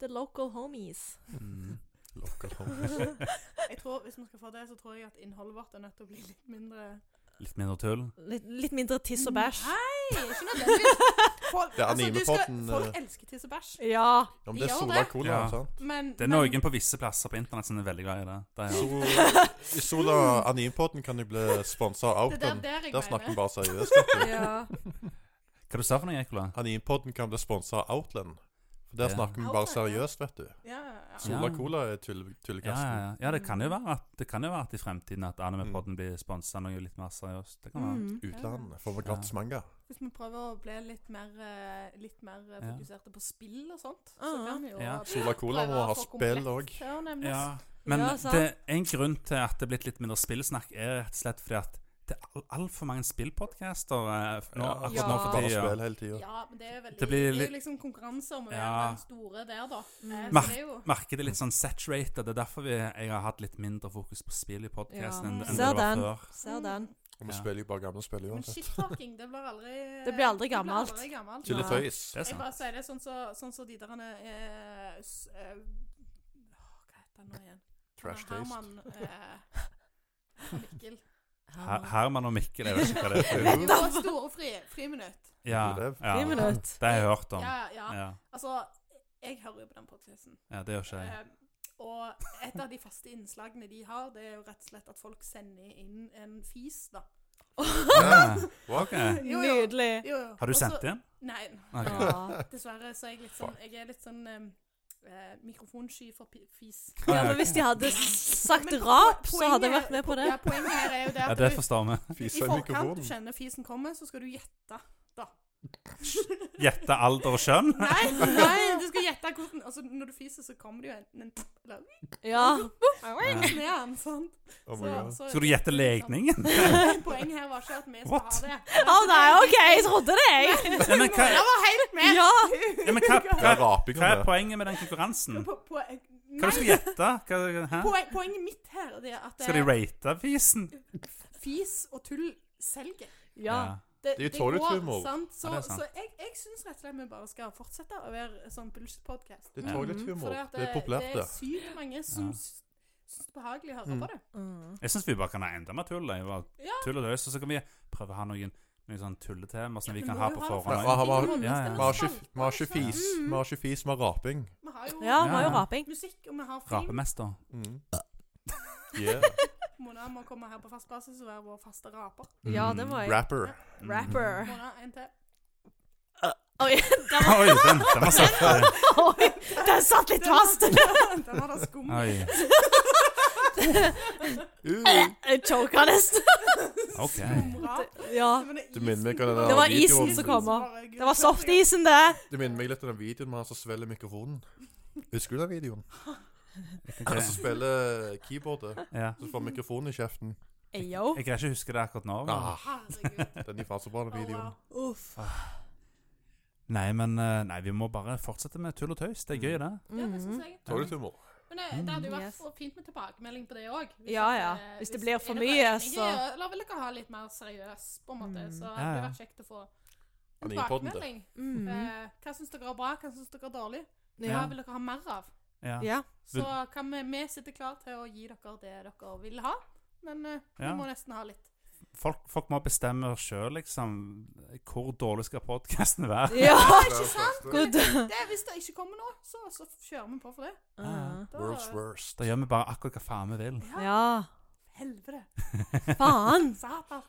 [SPEAKER 3] The local
[SPEAKER 1] <laughs>
[SPEAKER 3] homies.
[SPEAKER 1] Mm.
[SPEAKER 2] Local homies.
[SPEAKER 4] <laughs> Jeg tror, Hvis vi skal få det, så tror jeg at innholdet vårt er nødt til å bli litt mindre
[SPEAKER 1] Litt mindre tull.
[SPEAKER 3] Litt, litt mindre tiss og bæsj.
[SPEAKER 4] Nei,
[SPEAKER 3] <laughs>
[SPEAKER 4] ikke nødvendigvis. Folk,
[SPEAKER 2] Det er
[SPEAKER 4] altså, du skal,
[SPEAKER 2] animepotten,
[SPEAKER 4] folk
[SPEAKER 2] eh.
[SPEAKER 4] elsker tiss og bæsj,
[SPEAKER 3] Ja.
[SPEAKER 2] Ja, men det er
[SPEAKER 4] Gjør
[SPEAKER 2] Sola
[SPEAKER 4] det.
[SPEAKER 2] Cola,
[SPEAKER 1] Ja.
[SPEAKER 2] sant?
[SPEAKER 4] men
[SPEAKER 1] Det er
[SPEAKER 4] men-
[SPEAKER 1] noen på visse plasser på internett som er veldig glad i det. det er,
[SPEAKER 4] <laughs>
[SPEAKER 2] Sol, I Sola Animpodden kan de bli sponsa av
[SPEAKER 4] Det er der,
[SPEAKER 2] Outland.
[SPEAKER 4] der jeg
[SPEAKER 2] Der snakker vi
[SPEAKER 4] mener.
[SPEAKER 2] bare seriøst. vet du.
[SPEAKER 3] ja.
[SPEAKER 1] hva du sa for noe, Ekola?
[SPEAKER 2] Animpodden kan bli sponsa av Outland. For der
[SPEAKER 1] Ja.
[SPEAKER 2] snakker vi
[SPEAKER 4] Outland,
[SPEAKER 2] bare
[SPEAKER 4] ja.
[SPEAKER 2] seriøst, vet du.
[SPEAKER 4] Ja, ja, ja.
[SPEAKER 2] Sola
[SPEAKER 1] Ja.
[SPEAKER 2] Cola er tull-
[SPEAKER 1] Ja, ja,
[SPEAKER 2] tullekasten.
[SPEAKER 1] ja. ja, det kan jo være at, det kan jo være at i fremtiden at Animepodden blir sponsa noe litt mer seriøst. <laughs> Det kan være.
[SPEAKER 3] Mm.
[SPEAKER 2] Utlandet får vi gratis manga.
[SPEAKER 4] Hvis vi prøver å bli litt mer, eh, litt mer eh,
[SPEAKER 1] Ja.
[SPEAKER 4] fokuserte på spill og sånt, så
[SPEAKER 3] Ah.
[SPEAKER 4] kan vi jo
[SPEAKER 1] Ja.
[SPEAKER 2] Sola Cola må ha spill òg.
[SPEAKER 1] Ja.
[SPEAKER 4] òg.
[SPEAKER 1] Men
[SPEAKER 3] Ja, sant.
[SPEAKER 1] det er en grunn til at det er blitt litt mindre spillsnakk, er rett og slett fordi at det er altfor mange spillpodcaster eh, nå,
[SPEAKER 2] Ja.
[SPEAKER 1] akkurat nå for
[SPEAKER 2] Bare
[SPEAKER 1] tida.
[SPEAKER 2] spill hele tida.
[SPEAKER 4] Ja, men det er,
[SPEAKER 1] Det
[SPEAKER 4] veldig, det,
[SPEAKER 1] blir
[SPEAKER 4] er
[SPEAKER 1] litt-
[SPEAKER 4] jo liksom konkurranse om å være
[SPEAKER 1] Ja.
[SPEAKER 4] den store der, da. Eh,
[SPEAKER 1] Mer-
[SPEAKER 4] så det er jo
[SPEAKER 1] markedet er litt sånn saturated. Det er derfor vi, jeg har hatt litt mindre fokus på spill i podkasten
[SPEAKER 3] Ja.
[SPEAKER 1] enn, enn det var
[SPEAKER 3] Ser den.
[SPEAKER 1] før.
[SPEAKER 3] Ser den.
[SPEAKER 2] Og vi
[SPEAKER 1] Ja.
[SPEAKER 2] spiller jo bare gamle spill
[SPEAKER 4] Men
[SPEAKER 2] uansett.
[SPEAKER 4] shit-talking, det blir aldri
[SPEAKER 3] Det blir aldri gammelt.
[SPEAKER 4] aldri gammelt.
[SPEAKER 2] Til
[SPEAKER 3] Nei.
[SPEAKER 2] det tøys.
[SPEAKER 1] Det er
[SPEAKER 4] Jeg
[SPEAKER 1] sant.
[SPEAKER 4] bare sier det sånn som så, sånn så de der eh, s- eh, åh, Hva heter han nå igjen?
[SPEAKER 2] Trash
[SPEAKER 4] Han er
[SPEAKER 2] taste.
[SPEAKER 4] Herman eh, <laughs> Mikkel.
[SPEAKER 1] Her, Herman og Mikkel, jeg <laughs> vet ikke hva det er.
[SPEAKER 4] <laughs>
[SPEAKER 1] for-
[SPEAKER 4] Det var store fri, friminutt.
[SPEAKER 1] Ja,
[SPEAKER 3] Ti
[SPEAKER 1] ja.
[SPEAKER 3] minutter.
[SPEAKER 1] Det har jeg hørt om.
[SPEAKER 4] Ja, ja.
[SPEAKER 1] Ja,
[SPEAKER 4] Altså, jeg hører jo på den podcasten.
[SPEAKER 1] ja det gjør ikke jeg.
[SPEAKER 4] Eh, og et av de faste innslagene de har, det er jo rett og slett at folk sender inn en fis, da.
[SPEAKER 1] Ja,
[SPEAKER 2] What?
[SPEAKER 1] ok.
[SPEAKER 4] Jo, jo.
[SPEAKER 3] Nydelig.
[SPEAKER 4] Jo, jo.
[SPEAKER 1] Har du
[SPEAKER 4] Og så-
[SPEAKER 1] sendt inn?
[SPEAKER 4] Nei,
[SPEAKER 1] Ok.
[SPEAKER 3] Ja.
[SPEAKER 4] dessverre så er jeg litt sånn Jeg er litt sånn eh, eh, mikrofonsky for pi- fis.
[SPEAKER 3] ja, men hvis de hadde sagt
[SPEAKER 4] Men po-
[SPEAKER 3] rap, så
[SPEAKER 4] poenget-
[SPEAKER 3] hadde jeg vært med på det.
[SPEAKER 4] Ja, poenget her er jo det
[SPEAKER 1] Ja,
[SPEAKER 4] at
[SPEAKER 1] det
[SPEAKER 4] du,
[SPEAKER 1] forstår vi.
[SPEAKER 4] i
[SPEAKER 2] Fise i
[SPEAKER 4] forkant du
[SPEAKER 2] mikrofonen.
[SPEAKER 4] kjenner fisen kommer, så skal du gjette.
[SPEAKER 1] <laughs> Gjette alder og kjønn?
[SPEAKER 4] Nei, nei, du skal gjette hvordan Altså, når du fiser, så kommer det jo enten en eller
[SPEAKER 3] Ja.
[SPEAKER 4] Hvordan er
[SPEAKER 1] <laughs>
[SPEAKER 4] den, sant?
[SPEAKER 2] Oh my god.
[SPEAKER 1] Skal du gjette legningen?
[SPEAKER 4] <laughs> Poenget her var ikke at vi skal ha det.
[SPEAKER 3] Å nei, OK, jeg trodde det, <laughs> jeg.
[SPEAKER 1] Ja, men hva,
[SPEAKER 4] Jeg var helt med!
[SPEAKER 3] Ja.
[SPEAKER 1] ja, men hva,
[SPEAKER 2] Det
[SPEAKER 1] hva,
[SPEAKER 2] er raping
[SPEAKER 1] hva
[SPEAKER 2] om
[SPEAKER 1] er
[SPEAKER 2] det.
[SPEAKER 1] poenget med den konkurransen?
[SPEAKER 4] På, på,
[SPEAKER 1] Hva du skal gjette? Hva, hæ?
[SPEAKER 4] Poen, poenget mitt her det er at
[SPEAKER 1] Skal de
[SPEAKER 4] eh,
[SPEAKER 1] rate avisen?
[SPEAKER 4] fis og tull selger.
[SPEAKER 3] Ja.
[SPEAKER 2] Det er jo toilet-humor.
[SPEAKER 4] sant? Så,
[SPEAKER 1] Ja, det er sant.
[SPEAKER 4] så jeg, jeg syns rett og slett vi bare skal fortsette å være sånn bullshit-podkast.
[SPEAKER 2] Det
[SPEAKER 1] Mhm.
[SPEAKER 2] er toilet-humor.
[SPEAKER 4] Fordi Mm. at eh,
[SPEAKER 2] Det er populært,
[SPEAKER 4] Det
[SPEAKER 2] det.
[SPEAKER 4] er sykt mange som
[SPEAKER 1] Ja.
[SPEAKER 4] s- syns det er behagelig å høre
[SPEAKER 2] Mm.
[SPEAKER 4] på det.
[SPEAKER 3] Mm.
[SPEAKER 1] Jeg syns vi bare kan ha enda mer tull. Jeg. Bare
[SPEAKER 4] Ja.
[SPEAKER 1] Tull og løs, og så kan vi prøve å ha noen, noen sånne tulletemaer som vi
[SPEAKER 4] vi
[SPEAKER 1] kan
[SPEAKER 4] må
[SPEAKER 1] ha
[SPEAKER 4] jo
[SPEAKER 1] på
[SPEAKER 4] ha
[SPEAKER 1] forhånd.
[SPEAKER 2] Ja,
[SPEAKER 1] også.
[SPEAKER 2] ja, ja.
[SPEAKER 4] Ingen
[SPEAKER 1] Ja, ja.
[SPEAKER 4] mennesker
[SPEAKER 2] Vi har ikke-
[SPEAKER 4] skal-
[SPEAKER 2] vi har ikke fis,
[SPEAKER 4] Mm.
[SPEAKER 2] vi har ikke fis, vi har raping.
[SPEAKER 4] Vi har jo
[SPEAKER 3] Ja, vi har jo
[SPEAKER 1] Ja.
[SPEAKER 3] raping.
[SPEAKER 4] musikk, og vi har film.
[SPEAKER 1] Rapemester.
[SPEAKER 2] Mm.
[SPEAKER 1] Mm.
[SPEAKER 2] Yeah.
[SPEAKER 4] Mona må komme her på fast basis og være vår faste raper.
[SPEAKER 3] Ja, det må jeg.
[SPEAKER 2] Rapper.
[SPEAKER 1] Mm.
[SPEAKER 3] Rapper.
[SPEAKER 4] Mona, en til.
[SPEAKER 3] <laughs> Oi, den,
[SPEAKER 1] Oi, den, den var satt. eh,
[SPEAKER 3] oi, <laughs> den satt litt fast!
[SPEAKER 4] <laughs> Den var da skum.
[SPEAKER 1] Oi,
[SPEAKER 3] Jeg choka nesten.
[SPEAKER 1] OK.
[SPEAKER 4] Rap.
[SPEAKER 3] Ja.
[SPEAKER 4] Men det er
[SPEAKER 2] Du minner meg
[SPEAKER 4] isen
[SPEAKER 2] om den der
[SPEAKER 3] Det var
[SPEAKER 2] videoen.
[SPEAKER 3] isen som kom opp.
[SPEAKER 4] bare-
[SPEAKER 3] Det var softisen, det.
[SPEAKER 2] Det minner meg litt om den videoen med han som svelger mikrofonen. Husker du den videoen? Han
[SPEAKER 1] ok.
[SPEAKER 2] som spiller keyboardet,
[SPEAKER 1] Ja.
[SPEAKER 2] så får mikrofonen i kjeften.
[SPEAKER 3] Ayo.
[SPEAKER 1] Jeg greier ikke å huske det akkurat nå. Men.
[SPEAKER 2] Ah,
[SPEAKER 4] Herregud.
[SPEAKER 2] den gir faen så bra, den videoen.
[SPEAKER 4] Allah.
[SPEAKER 3] Uff.
[SPEAKER 1] Nei, men eh, nei, vi må bare fortsette med tull og tøys. Det er gøy, det.
[SPEAKER 3] Mm.
[SPEAKER 4] Ja, det
[SPEAKER 3] Mhm.
[SPEAKER 4] synes jeg.
[SPEAKER 2] Toilet-humor.
[SPEAKER 4] Men det, det hadde jo vært
[SPEAKER 3] Yes.
[SPEAKER 4] for fint med tilbakemelding på det òg.
[SPEAKER 3] Mm. Ja, ja.
[SPEAKER 4] eh,
[SPEAKER 3] Hvis det blir for mye, så
[SPEAKER 4] Eller vil dere ha litt mer seriøs, på en måte? Så det
[SPEAKER 1] Ja,
[SPEAKER 4] hadde
[SPEAKER 1] ja.
[SPEAKER 4] vært kjekt å få en
[SPEAKER 2] Han er inne på den, det.
[SPEAKER 4] tilbakemelding.
[SPEAKER 3] Mm.
[SPEAKER 4] Eh, hva syns dere er bra, hva syns dere er dårlig? Hva
[SPEAKER 1] Ja.
[SPEAKER 4] vil dere ha mer av?
[SPEAKER 1] Ja.
[SPEAKER 3] Ja.
[SPEAKER 4] Så kan vi, vi sitte klar til å gi dere det dere vil ha, men eh, vi
[SPEAKER 1] Ja.
[SPEAKER 4] må nesten ha litt.
[SPEAKER 1] Folk, folk må bestemme sjøl, liksom, hvor dårlig skal podkasten være.
[SPEAKER 3] <laughs> ja.
[SPEAKER 4] Ikke sant?
[SPEAKER 3] Good.
[SPEAKER 4] Det, hvis det ikke kommer noe, så, så kjører vi på for det.
[SPEAKER 3] Ah.
[SPEAKER 4] Da,
[SPEAKER 2] World's worst.
[SPEAKER 1] Da gjør vi bare akkurat hva faen vi vil.
[SPEAKER 3] Ja.
[SPEAKER 4] Helvete.
[SPEAKER 1] <laughs>
[SPEAKER 3] Faen.
[SPEAKER 4] Satan.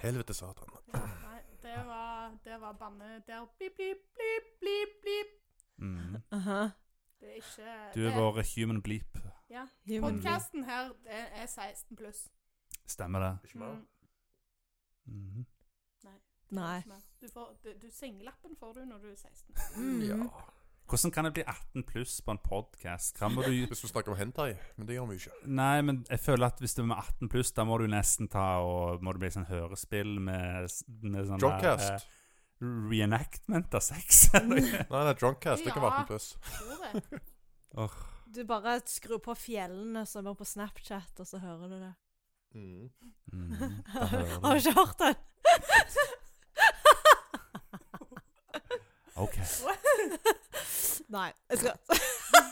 [SPEAKER 2] Helvete satan.
[SPEAKER 4] Mm. Nei, det var, det var banne der. Blip, blip, blip, blip, blip.
[SPEAKER 1] Mm.
[SPEAKER 3] Aha.
[SPEAKER 4] Det er ikke
[SPEAKER 1] Du er vår human bleep.
[SPEAKER 4] Ja.
[SPEAKER 3] Human.
[SPEAKER 4] Podkasten her det er 16 pluss.
[SPEAKER 1] Stemmer det?
[SPEAKER 2] Ikke mer.
[SPEAKER 4] Mm,
[SPEAKER 1] Mhm.
[SPEAKER 3] Nei.
[SPEAKER 4] ikke mer. Du får, du, du sengelappen får du når du er <laughs> 16.
[SPEAKER 2] Ja.
[SPEAKER 3] Mm.
[SPEAKER 1] Hvordan kan det bli 18 pluss på en podkast? Hva må
[SPEAKER 4] <laughs>
[SPEAKER 1] du
[SPEAKER 2] Hvis vi snakker om hentai, men det gjør vi jo ikke.
[SPEAKER 1] Nei, men jeg føler at hvis du er med 18 pluss, da må du nesten ta og Må det bli sånn hørespill med, s- med sånn
[SPEAKER 2] <laughs>
[SPEAKER 1] der,
[SPEAKER 2] Drunkcast.
[SPEAKER 1] eh, Reenactment av
[SPEAKER 4] <laughs>
[SPEAKER 1] sex? eller?
[SPEAKER 2] Nei, nei, drunkcast. Det kan være
[SPEAKER 4] Ja.
[SPEAKER 2] 18 pluss.
[SPEAKER 4] Tror jeg.
[SPEAKER 3] Du bare skrur på fjellene som er på Snapchat, og så hører du det.
[SPEAKER 2] Mm.
[SPEAKER 3] <laughs>
[SPEAKER 1] Mhm. Da hører
[SPEAKER 3] Har du
[SPEAKER 1] du.
[SPEAKER 3] ikke hørt den? <laughs>
[SPEAKER 1] OK.
[SPEAKER 3] Nei. Jeg skal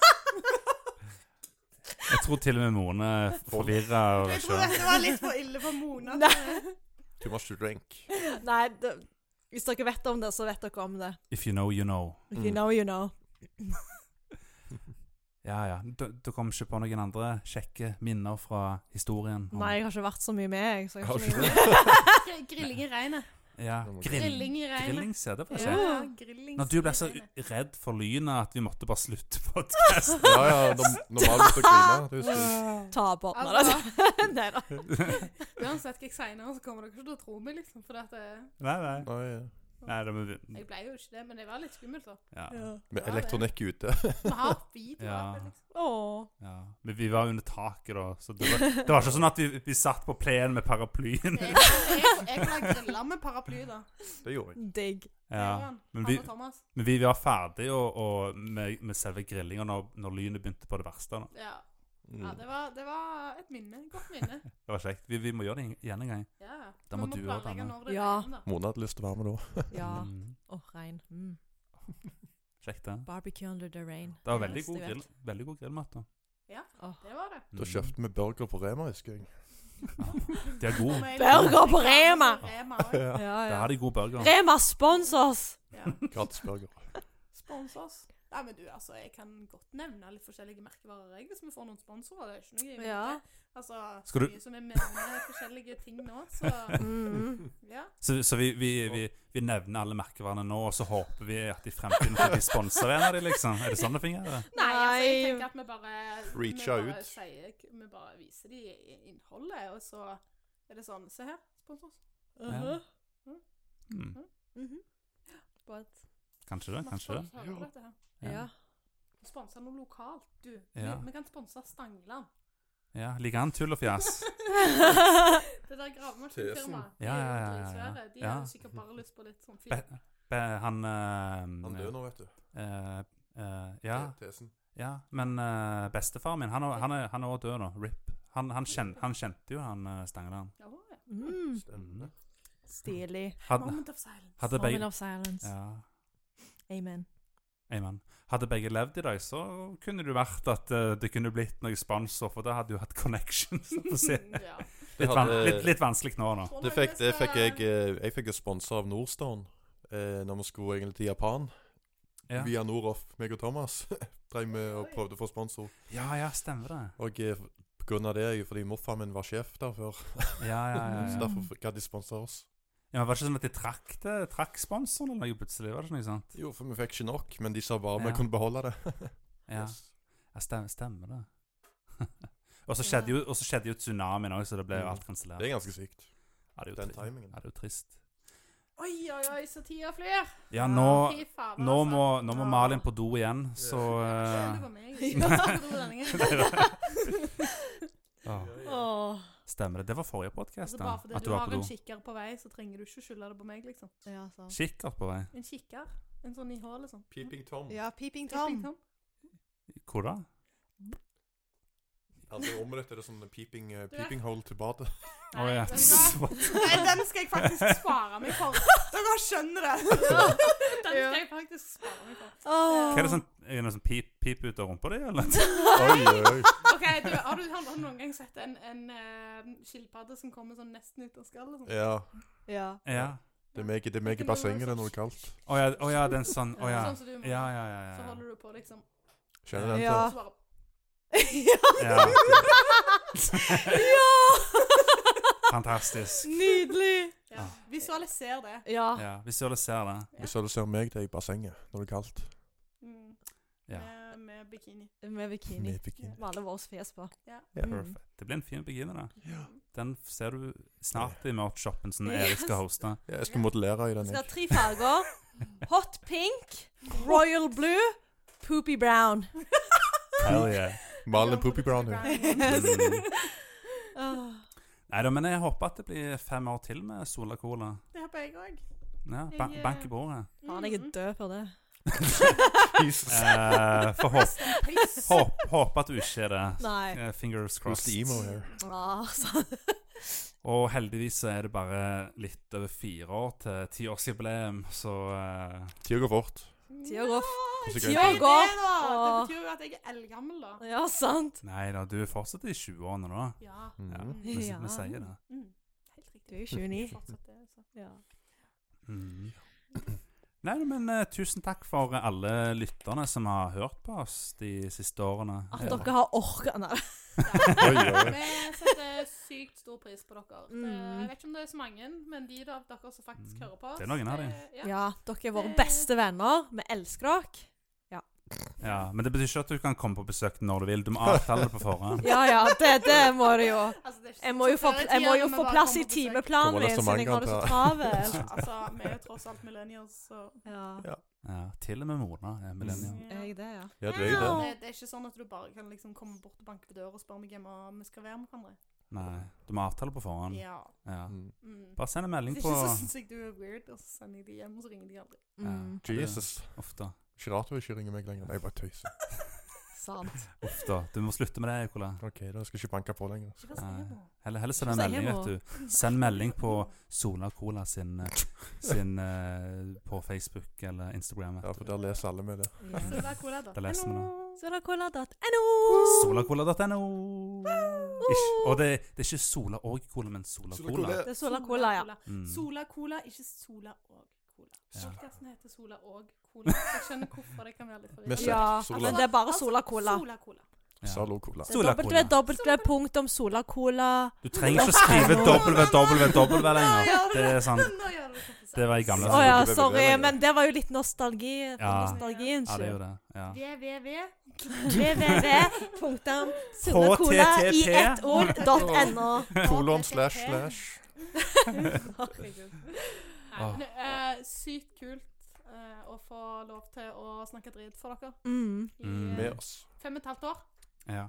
[SPEAKER 1] Jeg tror til og med Mone forvirra
[SPEAKER 4] Jeg tror
[SPEAKER 1] sjøl.
[SPEAKER 4] dette var litt for ille for Mona.
[SPEAKER 3] <laughs> Nei.
[SPEAKER 2] Too much to drink.
[SPEAKER 3] Nei, det... hvis dere vet om det, så vet dere om det.
[SPEAKER 1] If you know, you know.
[SPEAKER 3] If you know, you know.
[SPEAKER 1] Ja, ja. Du, du kom ikke på noen andre kjekke minner fra historien? om-
[SPEAKER 3] Nei, jeg har ikke vært så mye med, jeg. Så jeg har
[SPEAKER 2] Har
[SPEAKER 3] ikke
[SPEAKER 2] du
[SPEAKER 3] noe-
[SPEAKER 4] Gr- Grilling i regnet.
[SPEAKER 1] Ja. Grill,
[SPEAKER 4] Grilling i regnet.
[SPEAKER 1] grillings, ja. Det får jeg
[SPEAKER 4] Ja,
[SPEAKER 1] se.
[SPEAKER 4] grillings
[SPEAKER 1] Når du ble
[SPEAKER 4] i
[SPEAKER 1] så
[SPEAKER 4] regnet.
[SPEAKER 1] redd for lynet at vi måtte bare slutte podkasten
[SPEAKER 2] Ja,
[SPEAKER 1] <laughs>
[SPEAKER 2] ja, norm- normalt å grine.
[SPEAKER 3] <laughs>
[SPEAKER 2] Det husker jeg.
[SPEAKER 3] Taper. Nei da.
[SPEAKER 4] Altså,
[SPEAKER 3] <laughs> Nei da.
[SPEAKER 4] <laughs> uansett hva jeg sier nå, så kommer dere ikke til å tro meg, liksom. For at eh,
[SPEAKER 1] Nei, nei.
[SPEAKER 2] Nei, ja.
[SPEAKER 1] nei det må vi
[SPEAKER 4] jeg ble jo ikke det, men det var litt skummelt, da.
[SPEAKER 1] ja.
[SPEAKER 2] Med elektronikk ute.
[SPEAKER 4] Vi har video
[SPEAKER 1] Ja.
[SPEAKER 4] av det,
[SPEAKER 1] <laughs>
[SPEAKER 4] liksom.
[SPEAKER 3] Åh.
[SPEAKER 1] Ja. Men vi var under taket, da. Så det var, det var ikke sånn at vi, vi satt på plenen med paraplyen.
[SPEAKER 4] Jeg, jeg, jeg vil ha grilla med paraply, da.
[SPEAKER 2] Det gjorde jeg.
[SPEAKER 3] <laughs> Digg.
[SPEAKER 1] <laughs> Ja.
[SPEAKER 4] Aaron,
[SPEAKER 1] Men
[SPEAKER 4] han
[SPEAKER 1] vi-
[SPEAKER 4] og Thomas.
[SPEAKER 1] Men vi var ferdig og, og med, med selve grillinga når, når lynet begynte på det verste. Da.
[SPEAKER 4] Ja, ja
[SPEAKER 2] <laughs> Mm.
[SPEAKER 4] det, var, det var et minne. et Godt minne.
[SPEAKER 1] Det var kjekt. Vi, vi må gjøre det igjen en gang.
[SPEAKER 4] Ja.
[SPEAKER 1] Da
[SPEAKER 4] Vi
[SPEAKER 1] må du også
[SPEAKER 4] planlegge
[SPEAKER 1] danne.
[SPEAKER 4] når det
[SPEAKER 3] Ja.
[SPEAKER 4] regner, da.
[SPEAKER 2] Mona hadde lyst til å være med da.
[SPEAKER 3] Ja.
[SPEAKER 1] Mm.
[SPEAKER 3] Åh, regn. Mm.
[SPEAKER 1] Kjekt, det.
[SPEAKER 3] Barbecue under the rain.
[SPEAKER 1] Det var
[SPEAKER 3] Det er
[SPEAKER 1] veldig
[SPEAKER 3] det
[SPEAKER 1] god,
[SPEAKER 3] beste jeg
[SPEAKER 1] grill, veldig god grillmat. da.
[SPEAKER 3] Åh.
[SPEAKER 4] Det var det.
[SPEAKER 2] Da kjøpte vi burger på Rema, husker jeg.
[SPEAKER 1] Mm. De er gode.
[SPEAKER 3] Burger på Rema!
[SPEAKER 4] Rema også.
[SPEAKER 2] Ja.
[SPEAKER 3] Ja,
[SPEAKER 1] Der
[SPEAKER 3] ja.
[SPEAKER 1] har de god burger.
[SPEAKER 3] Rema, spons oss! <laughs>
[SPEAKER 4] ja.
[SPEAKER 2] <laughs> Gratis burger.
[SPEAKER 4] Spons oss. Nei, men du, altså, jeg kan godt nevne litt forskjellige merkevarer jeg, hvis vi får noen sponsorer. Det er ikke noe imot
[SPEAKER 3] Ja.
[SPEAKER 4] det. Altså,
[SPEAKER 1] Skal du-
[SPEAKER 4] mye som er med forskjellige ting nå, så
[SPEAKER 3] Mm.
[SPEAKER 4] ja.
[SPEAKER 1] Så, så vi, vi, vi, vi nevner alle merkevarene nå, og så håper vi at i fremtiden får vi sponser en av dem, liksom. Er det sånn det fungerer?
[SPEAKER 4] Nei, altså, jeg
[SPEAKER 3] Nei.
[SPEAKER 4] tenker at vi bare vi
[SPEAKER 2] Reach
[SPEAKER 4] bare
[SPEAKER 2] out.
[SPEAKER 4] Sier, vi bare viser de innholdet, og så er det sånn Se her, spons oss.
[SPEAKER 1] Ja. Mm.
[SPEAKER 3] Mhm. But,
[SPEAKER 1] Kanskje det, kanskje det.
[SPEAKER 4] Hører du dette her?
[SPEAKER 3] ja.
[SPEAKER 4] Sponsa noe lokalt, du.
[SPEAKER 1] Ja.
[SPEAKER 4] Vi, vi kan sponse Stangeland.
[SPEAKER 1] Ja, Liker han tull og fjas?
[SPEAKER 4] Det der gravemaskinfirmaet. de er
[SPEAKER 1] Ja,
[SPEAKER 4] jo
[SPEAKER 1] ja, ja, ja, ja.
[SPEAKER 4] dritsvære. De
[SPEAKER 1] Ja.
[SPEAKER 4] har sikkert bare lyst på litt sånn
[SPEAKER 1] Be,
[SPEAKER 4] fyr.
[SPEAKER 1] be, han eh,
[SPEAKER 2] Han dør nå, vet du.
[SPEAKER 1] eh, eh, Ja, Ja.
[SPEAKER 2] tesen.
[SPEAKER 1] Ja, men eh, bestefaren min, han, er- han er- han er også død nå. RIP. Han, han, kjen, han kjente jo han uh, Stangeland.
[SPEAKER 3] Mm.
[SPEAKER 2] Stemmer.
[SPEAKER 3] Stilig.
[SPEAKER 1] Hadde,
[SPEAKER 4] Moment of
[SPEAKER 1] <laughs>
[SPEAKER 4] silence.
[SPEAKER 1] hadde
[SPEAKER 3] Moment
[SPEAKER 1] begge
[SPEAKER 3] of silence.
[SPEAKER 1] Ja,
[SPEAKER 3] Amen.
[SPEAKER 1] amen. Hadde begge levd i dag, så kunne det jo vært at eh, det kunne blitt noe sponsor, for da hadde du hatt connections. så å
[SPEAKER 2] <laughs>
[SPEAKER 1] si.
[SPEAKER 4] Mm, ja.
[SPEAKER 1] Litt, van,
[SPEAKER 2] hadde-
[SPEAKER 1] litt, litt vanskelig nå, nå.
[SPEAKER 2] Det fikk, det fikk jeg eh, Jeg fikk jo sponsa av Nordstone eh, når vi skulle egentlig til Japan.
[SPEAKER 1] Ja.
[SPEAKER 2] Via Noroff, meg og Thomas. <laughs> Drev med og prøvde å få sponsor.
[SPEAKER 1] ja, ja, stemmer det.
[SPEAKER 2] Og eh, på grunn av det er jo fordi morfar min var sjef der før.
[SPEAKER 1] Ja, ja, ja,
[SPEAKER 2] Så
[SPEAKER 1] ja.
[SPEAKER 2] derfor gadd de sponsa oss.
[SPEAKER 1] ja men var det ikke sånn at de trakk, det, trakk sponsoren eller noe plutselig? Var det ikke noe sånt?
[SPEAKER 2] Jo, for vi fikk ikke nok, men de sa bare vi
[SPEAKER 1] Ja.
[SPEAKER 2] kunne beholde det. <laughs>
[SPEAKER 1] Ja,
[SPEAKER 2] Yes.
[SPEAKER 1] ja stemmer, stemmer det. <laughs> og så skjedde jo, og så skjedde jo tsunamien òg, så det ble jo alt
[SPEAKER 2] Det er
[SPEAKER 1] kansellert.
[SPEAKER 2] ganske sykt.
[SPEAKER 1] Ja, det er jo
[SPEAKER 2] Den
[SPEAKER 1] trist.
[SPEAKER 2] timingen.
[SPEAKER 1] Ja, det er jo trist.
[SPEAKER 4] Oi, oi, oi, så tida flyr.
[SPEAKER 1] Ja, nå,
[SPEAKER 4] Ah, Fy faen,
[SPEAKER 1] nå,
[SPEAKER 4] altså.
[SPEAKER 1] må, nå må Malin på do igjen, så
[SPEAKER 4] Ja,
[SPEAKER 1] eh,
[SPEAKER 4] det var
[SPEAKER 1] <laughs>
[SPEAKER 4] meg. Ja, det var denne gangen. <laughs>
[SPEAKER 1] ja,
[SPEAKER 3] Åh.
[SPEAKER 1] Stemmer det. Det var forrige podkast,
[SPEAKER 4] Altså, bare fordi
[SPEAKER 1] at
[SPEAKER 4] du
[SPEAKER 1] du var på
[SPEAKER 4] har
[SPEAKER 1] do.
[SPEAKER 4] en kikker på vei, så trenger du ikke skylde det på meg, liksom.
[SPEAKER 3] Ja, sant.
[SPEAKER 1] Kikkert på vei.
[SPEAKER 4] En kikker. En sånn i hålet, sånn.
[SPEAKER 2] Peeping Tom.
[SPEAKER 3] Ja, Peeping
[SPEAKER 4] Tom.
[SPEAKER 3] Tom.
[SPEAKER 1] Hvor da?
[SPEAKER 2] Altså, Rommet ditt er det sånn peeping, eh,
[SPEAKER 4] Du er-
[SPEAKER 2] peeping hole til badet.
[SPEAKER 1] Å ja.
[SPEAKER 4] vet
[SPEAKER 1] <laughs>
[SPEAKER 4] du hva? <laughs> Nei, den skal jeg faktisk spare meg for. Dere skjønner
[SPEAKER 3] <laughs>
[SPEAKER 4] det. Den skal jeg faktisk spare meg for.
[SPEAKER 1] Hva er det sånn, er det noe sånn pip, pip ut av rumpa di,
[SPEAKER 4] <laughs>
[SPEAKER 1] eller?
[SPEAKER 2] Oi, oi.
[SPEAKER 4] Ok, du, Har du har du noen gang sett en, en eh, skilpadde som kommer sånn nesten ut av skallet? Sånn?
[SPEAKER 2] Ja.
[SPEAKER 3] Ja.
[SPEAKER 1] Ja.
[SPEAKER 2] Det er meg, det er meg i bassenget, det er noe kaldt.
[SPEAKER 1] Å ja, å ja, det er en sånn Å ja.
[SPEAKER 4] Sånn som du må.
[SPEAKER 1] Ja, ja, ja.
[SPEAKER 4] Så
[SPEAKER 1] ja,
[SPEAKER 4] holder du på, liksom.
[SPEAKER 2] Kjenner den
[SPEAKER 3] Ja.
[SPEAKER 2] til?
[SPEAKER 4] Så bare
[SPEAKER 3] <laughs>
[SPEAKER 1] ja. ja.
[SPEAKER 3] ja!
[SPEAKER 1] Fantastisk.
[SPEAKER 3] Nydelig.
[SPEAKER 1] Ah.
[SPEAKER 4] ja. Visualiser det.
[SPEAKER 3] Ja.
[SPEAKER 1] Ja, visualiser det.
[SPEAKER 2] Hvis du ser meg, det er i bassenget når det er kaldt.
[SPEAKER 4] Mm.
[SPEAKER 1] Ja.
[SPEAKER 4] Med, med bikini.
[SPEAKER 3] Med bikini.
[SPEAKER 2] Med bikini.
[SPEAKER 3] Med alle våre fjes på.
[SPEAKER 2] Ja.
[SPEAKER 3] Mm.
[SPEAKER 1] Perfect. Det blir en fin begynner, da. Den ser du snart i merch-shoppen som Erik skal hoste.
[SPEAKER 4] <laughs>
[SPEAKER 2] Ja, jeg skal modellere i
[SPEAKER 3] Vi
[SPEAKER 2] den.
[SPEAKER 3] skal ha
[SPEAKER 2] Jeg.
[SPEAKER 3] tre
[SPEAKER 2] <laughs>
[SPEAKER 3] farger. Hot pink, royal blue, poopy brown.
[SPEAKER 4] Mm.
[SPEAKER 1] Hell yeah.
[SPEAKER 2] Malin Poopy Brown. hun.
[SPEAKER 1] Mm.
[SPEAKER 3] Åh.
[SPEAKER 1] Nei da, men jeg håper at det blir fem år til med Sola Cola.
[SPEAKER 4] Det håper jeg òg.
[SPEAKER 1] Ja,
[SPEAKER 4] Jeg,
[SPEAKER 1] ba
[SPEAKER 4] eh,
[SPEAKER 1] bank i
[SPEAKER 4] <laughs>
[SPEAKER 1] bordet. <laughs>
[SPEAKER 3] Faen, jeg er død for det.
[SPEAKER 2] Jesus.
[SPEAKER 1] Eh, Får håpe håp, håp at du ikke er
[SPEAKER 4] <laughs>
[SPEAKER 1] det.
[SPEAKER 3] Nei.
[SPEAKER 1] Eh, Fingers
[SPEAKER 2] Who's the emo
[SPEAKER 1] crossed.
[SPEAKER 2] here?
[SPEAKER 3] Ah, sant.
[SPEAKER 1] Og heldigvis så er det bare litt over fire år til tiårsjubileum, så eh,
[SPEAKER 2] Tida går fort.
[SPEAKER 3] Tida går.
[SPEAKER 2] Og så
[SPEAKER 3] Tida
[SPEAKER 2] gøy.
[SPEAKER 4] Mm. Det,
[SPEAKER 3] går.
[SPEAKER 4] da. det
[SPEAKER 3] Åh.
[SPEAKER 4] betyr jo at jeg er eldgammel, da.
[SPEAKER 3] Ja, sant.
[SPEAKER 1] Nei da, du er fortsatt i 20-årene nå.
[SPEAKER 4] Ja.
[SPEAKER 1] Ja,
[SPEAKER 2] Mhm.
[SPEAKER 1] vi,
[SPEAKER 3] Ja.
[SPEAKER 1] vi sier det.
[SPEAKER 4] Mm. Helt riktig.
[SPEAKER 3] Du er 29.
[SPEAKER 4] Fortsatt det, altså.
[SPEAKER 3] Ja.
[SPEAKER 1] Mm. <clears throat> Nei, men eh, tusen takk for alle lytterne som har hørt på oss de siste årene.
[SPEAKER 3] At
[SPEAKER 4] Ah,
[SPEAKER 1] Eh,
[SPEAKER 3] dere har orka Nei.
[SPEAKER 2] Oi, oi, oi.
[SPEAKER 4] Vi setter sykt stor pris på dere. Det, jeg
[SPEAKER 3] Mm.
[SPEAKER 4] vet ikke om det er så mange, men de av dere som faktisk
[SPEAKER 1] Mm.
[SPEAKER 4] hører på oss
[SPEAKER 1] Det er noen av de.
[SPEAKER 4] eh, Ja.
[SPEAKER 3] Ja, dere er våre beste venner. Vi elsker dere.
[SPEAKER 1] Ja, men det betyr ikke at du kan komme på besøk når du vil. Du må avtale det på
[SPEAKER 4] <laughs>
[SPEAKER 1] forhånd.
[SPEAKER 3] Ja ja, det, det må du jo.
[SPEAKER 4] Altså, det er
[SPEAKER 3] Jeg
[SPEAKER 4] ikke sånn
[SPEAKER 3] må jo
[SPEAKER 4] som
[SPEAKER 3] få,
[SPEAKER 4] før i
[SPEAKER 3] jeg må
[SPEAKER 4] tida,
[SPEAKER 3] jo
[SPEAKER 4] når vi
[SPEAKER 3] få
[SPEAKER 4] bare
[SPEAKER 3] plass
[SPEAKER 4] kom
[SPEAKER 3] i
[SPEAKER 4] på besøk.
[SPEAKER 3] timeplanen
[SPEAKER 2] Kommer
[SPEAKER 3] min,
[SPEAKER 2] det så
[SPEAKER 3] siden jeg
[SPEAKER 2] mange
[SPEAKER 3] har det så
[SPEAKER 2] ganger?
[SPEAKER 3] travelt.
[SPEAKER 4] Altså, vi er jo tross alt millennials, så
[SPEAKER 3] Ja,
[SPEAKER 1] Ja, til og med Mona er millennium.
[SPEAKER 4] Mm.
[SPEAKER 3] er jeg det, ja?
[SPEAKER 2] <laughs> Ja, du er jo det.
[SPEAKER 4] Det, det er ikke sånn at du bare kan liksom komme bort og banke på døra og spørre meg hjemme om vi skal være med hverandre.
[SPEAKER 1] Nei, du må avtale på forhånd.
[SPEAKER 4] Ja.
[SPEAKER 1] Ja.
[SPEAKER 2] Mm.
[SPEAKER 4] Mm.
[SPEAKER 1] Bare send en melding
[SPEAKER 4] Hvis
[SPEAKER 1] på
[SPEAKER 4] ikke så syns jeg du er weird, og så sender jeg de hjem, og så ringer de aldri.
[SPEAKER 3] Mm,
[SPEAKER 1] Ja, det er
[SPEAKER 2] Jesus.
[SPEAKER 1] Ofte.
[SPEAKER 2] Ikke rart du ikke ringer meg lenger. Nei, jeg bare tøyser.
[SPEAKER 3] sant.
[SPEAKER 1] Ofte. Du må slutte med det, Ekola.
[SPEAKER 2] OK, da skal jeg ikke banke på lenger.
[SPEAKER 4] Hva skal jeg
[SPEAKER 1] Nei.
[SPEAKER 4] på?
[SPEAKER 1] Heller, heller send en
[SPEAKER 3] Ikke si
[SPEAKER 1] melding,
[SPEAKER 3] hemo.
[SPEAKER 1] vet du. Send melding på Sola Cola sin, eh, sin eh, På Facebook eller Instagram.
[SPEAKER 2] Ja,
[SPEAKER 1] vet
[SPEAKER 2] for
[SPEAKER 1] du.
[SPEAKER 2] der leser alle med det.
[SPEAKER 3] Mm.
[SPEAKER 4] Så det er cola, da.
[SPEAKER 1] Da leser vi det.
[SPEAKER 4] Hallo.
[SPEAKER 3] Solacola.no.
[SPEAKER 1] Solacola.no. Ikke- Og det, det er ikke Sola og Cola, men Sola Cola.
[SPEAKER 3] Det er Sola Cola, ja.
[SPEAKER 1] Mm.
[SPEAKER 4] Sola Cola, ikke Sola og Cola.
[SPEAKER 1] Ja.
[SPEAKER 4] Podkasten heter Sola og Cola. så Jeg skjønner hvorfor det kan være litt forvirrende.
[SPEAKER 2] Med
[SPEAKER 4] Altså,
[SPEAKER 2] søtt.
[SPEAKER 3] Ja,
[SPEAKER 2] Sola.
[SPEAKER 3] men det er bare Sola Cola.
[SPEAKER 4] Sola Cola.
[SPEAKER 1] Ja.
[SPEAKER 2] Salo Cola.
[SPEAKER 1] Sola Cola.
[SPEAKER 3] www.solacola.
[SPEAKER 1] Du trenger ikke å skrive www lenger. Det er sånn
[SPEAKER 4] Nå gjør du det komplisert.
[SPEAKER 1] Det var i gamle
[SPEAKER 3] Å
[SPEAKER 1] dager.
[SPEAKER 3] ja,
[SPEAKER 2] www,
[SPEAKER 3] sorry,
[SPEAKER 2] ja.
[SPEAKER 3] men det var jo litt nostalgi.
[SPEAKER 1] Ja.
[SPEAKER 3] Nostalgien,
[SPEAKER 1] Ja, det er jo
[SPEAKER 3] sjø.
[SPEAKER 1] det. Ja.
[SPEAKER 4] www.
[SPEAKER 3] www.solacola i ett ord.no.
[SPEAKER 2] Kolon slash
[SPEAKER 4] <laughs>
[SPEAKER 2] slash.
[SPEAKER 4] Nei, men, eh, Sykt kult eh, å få lov til å snakke dritt for dere
[SPEAKER 3] Mm.
[SPEAKER 4] i
[SPEAKER 1] Mm.
[SPEAKER 4] eh,
[SPEAKER 2] Med oss.
[SPEAKER 4] fem og et halvt år.
[SPEAKER 1] Ja.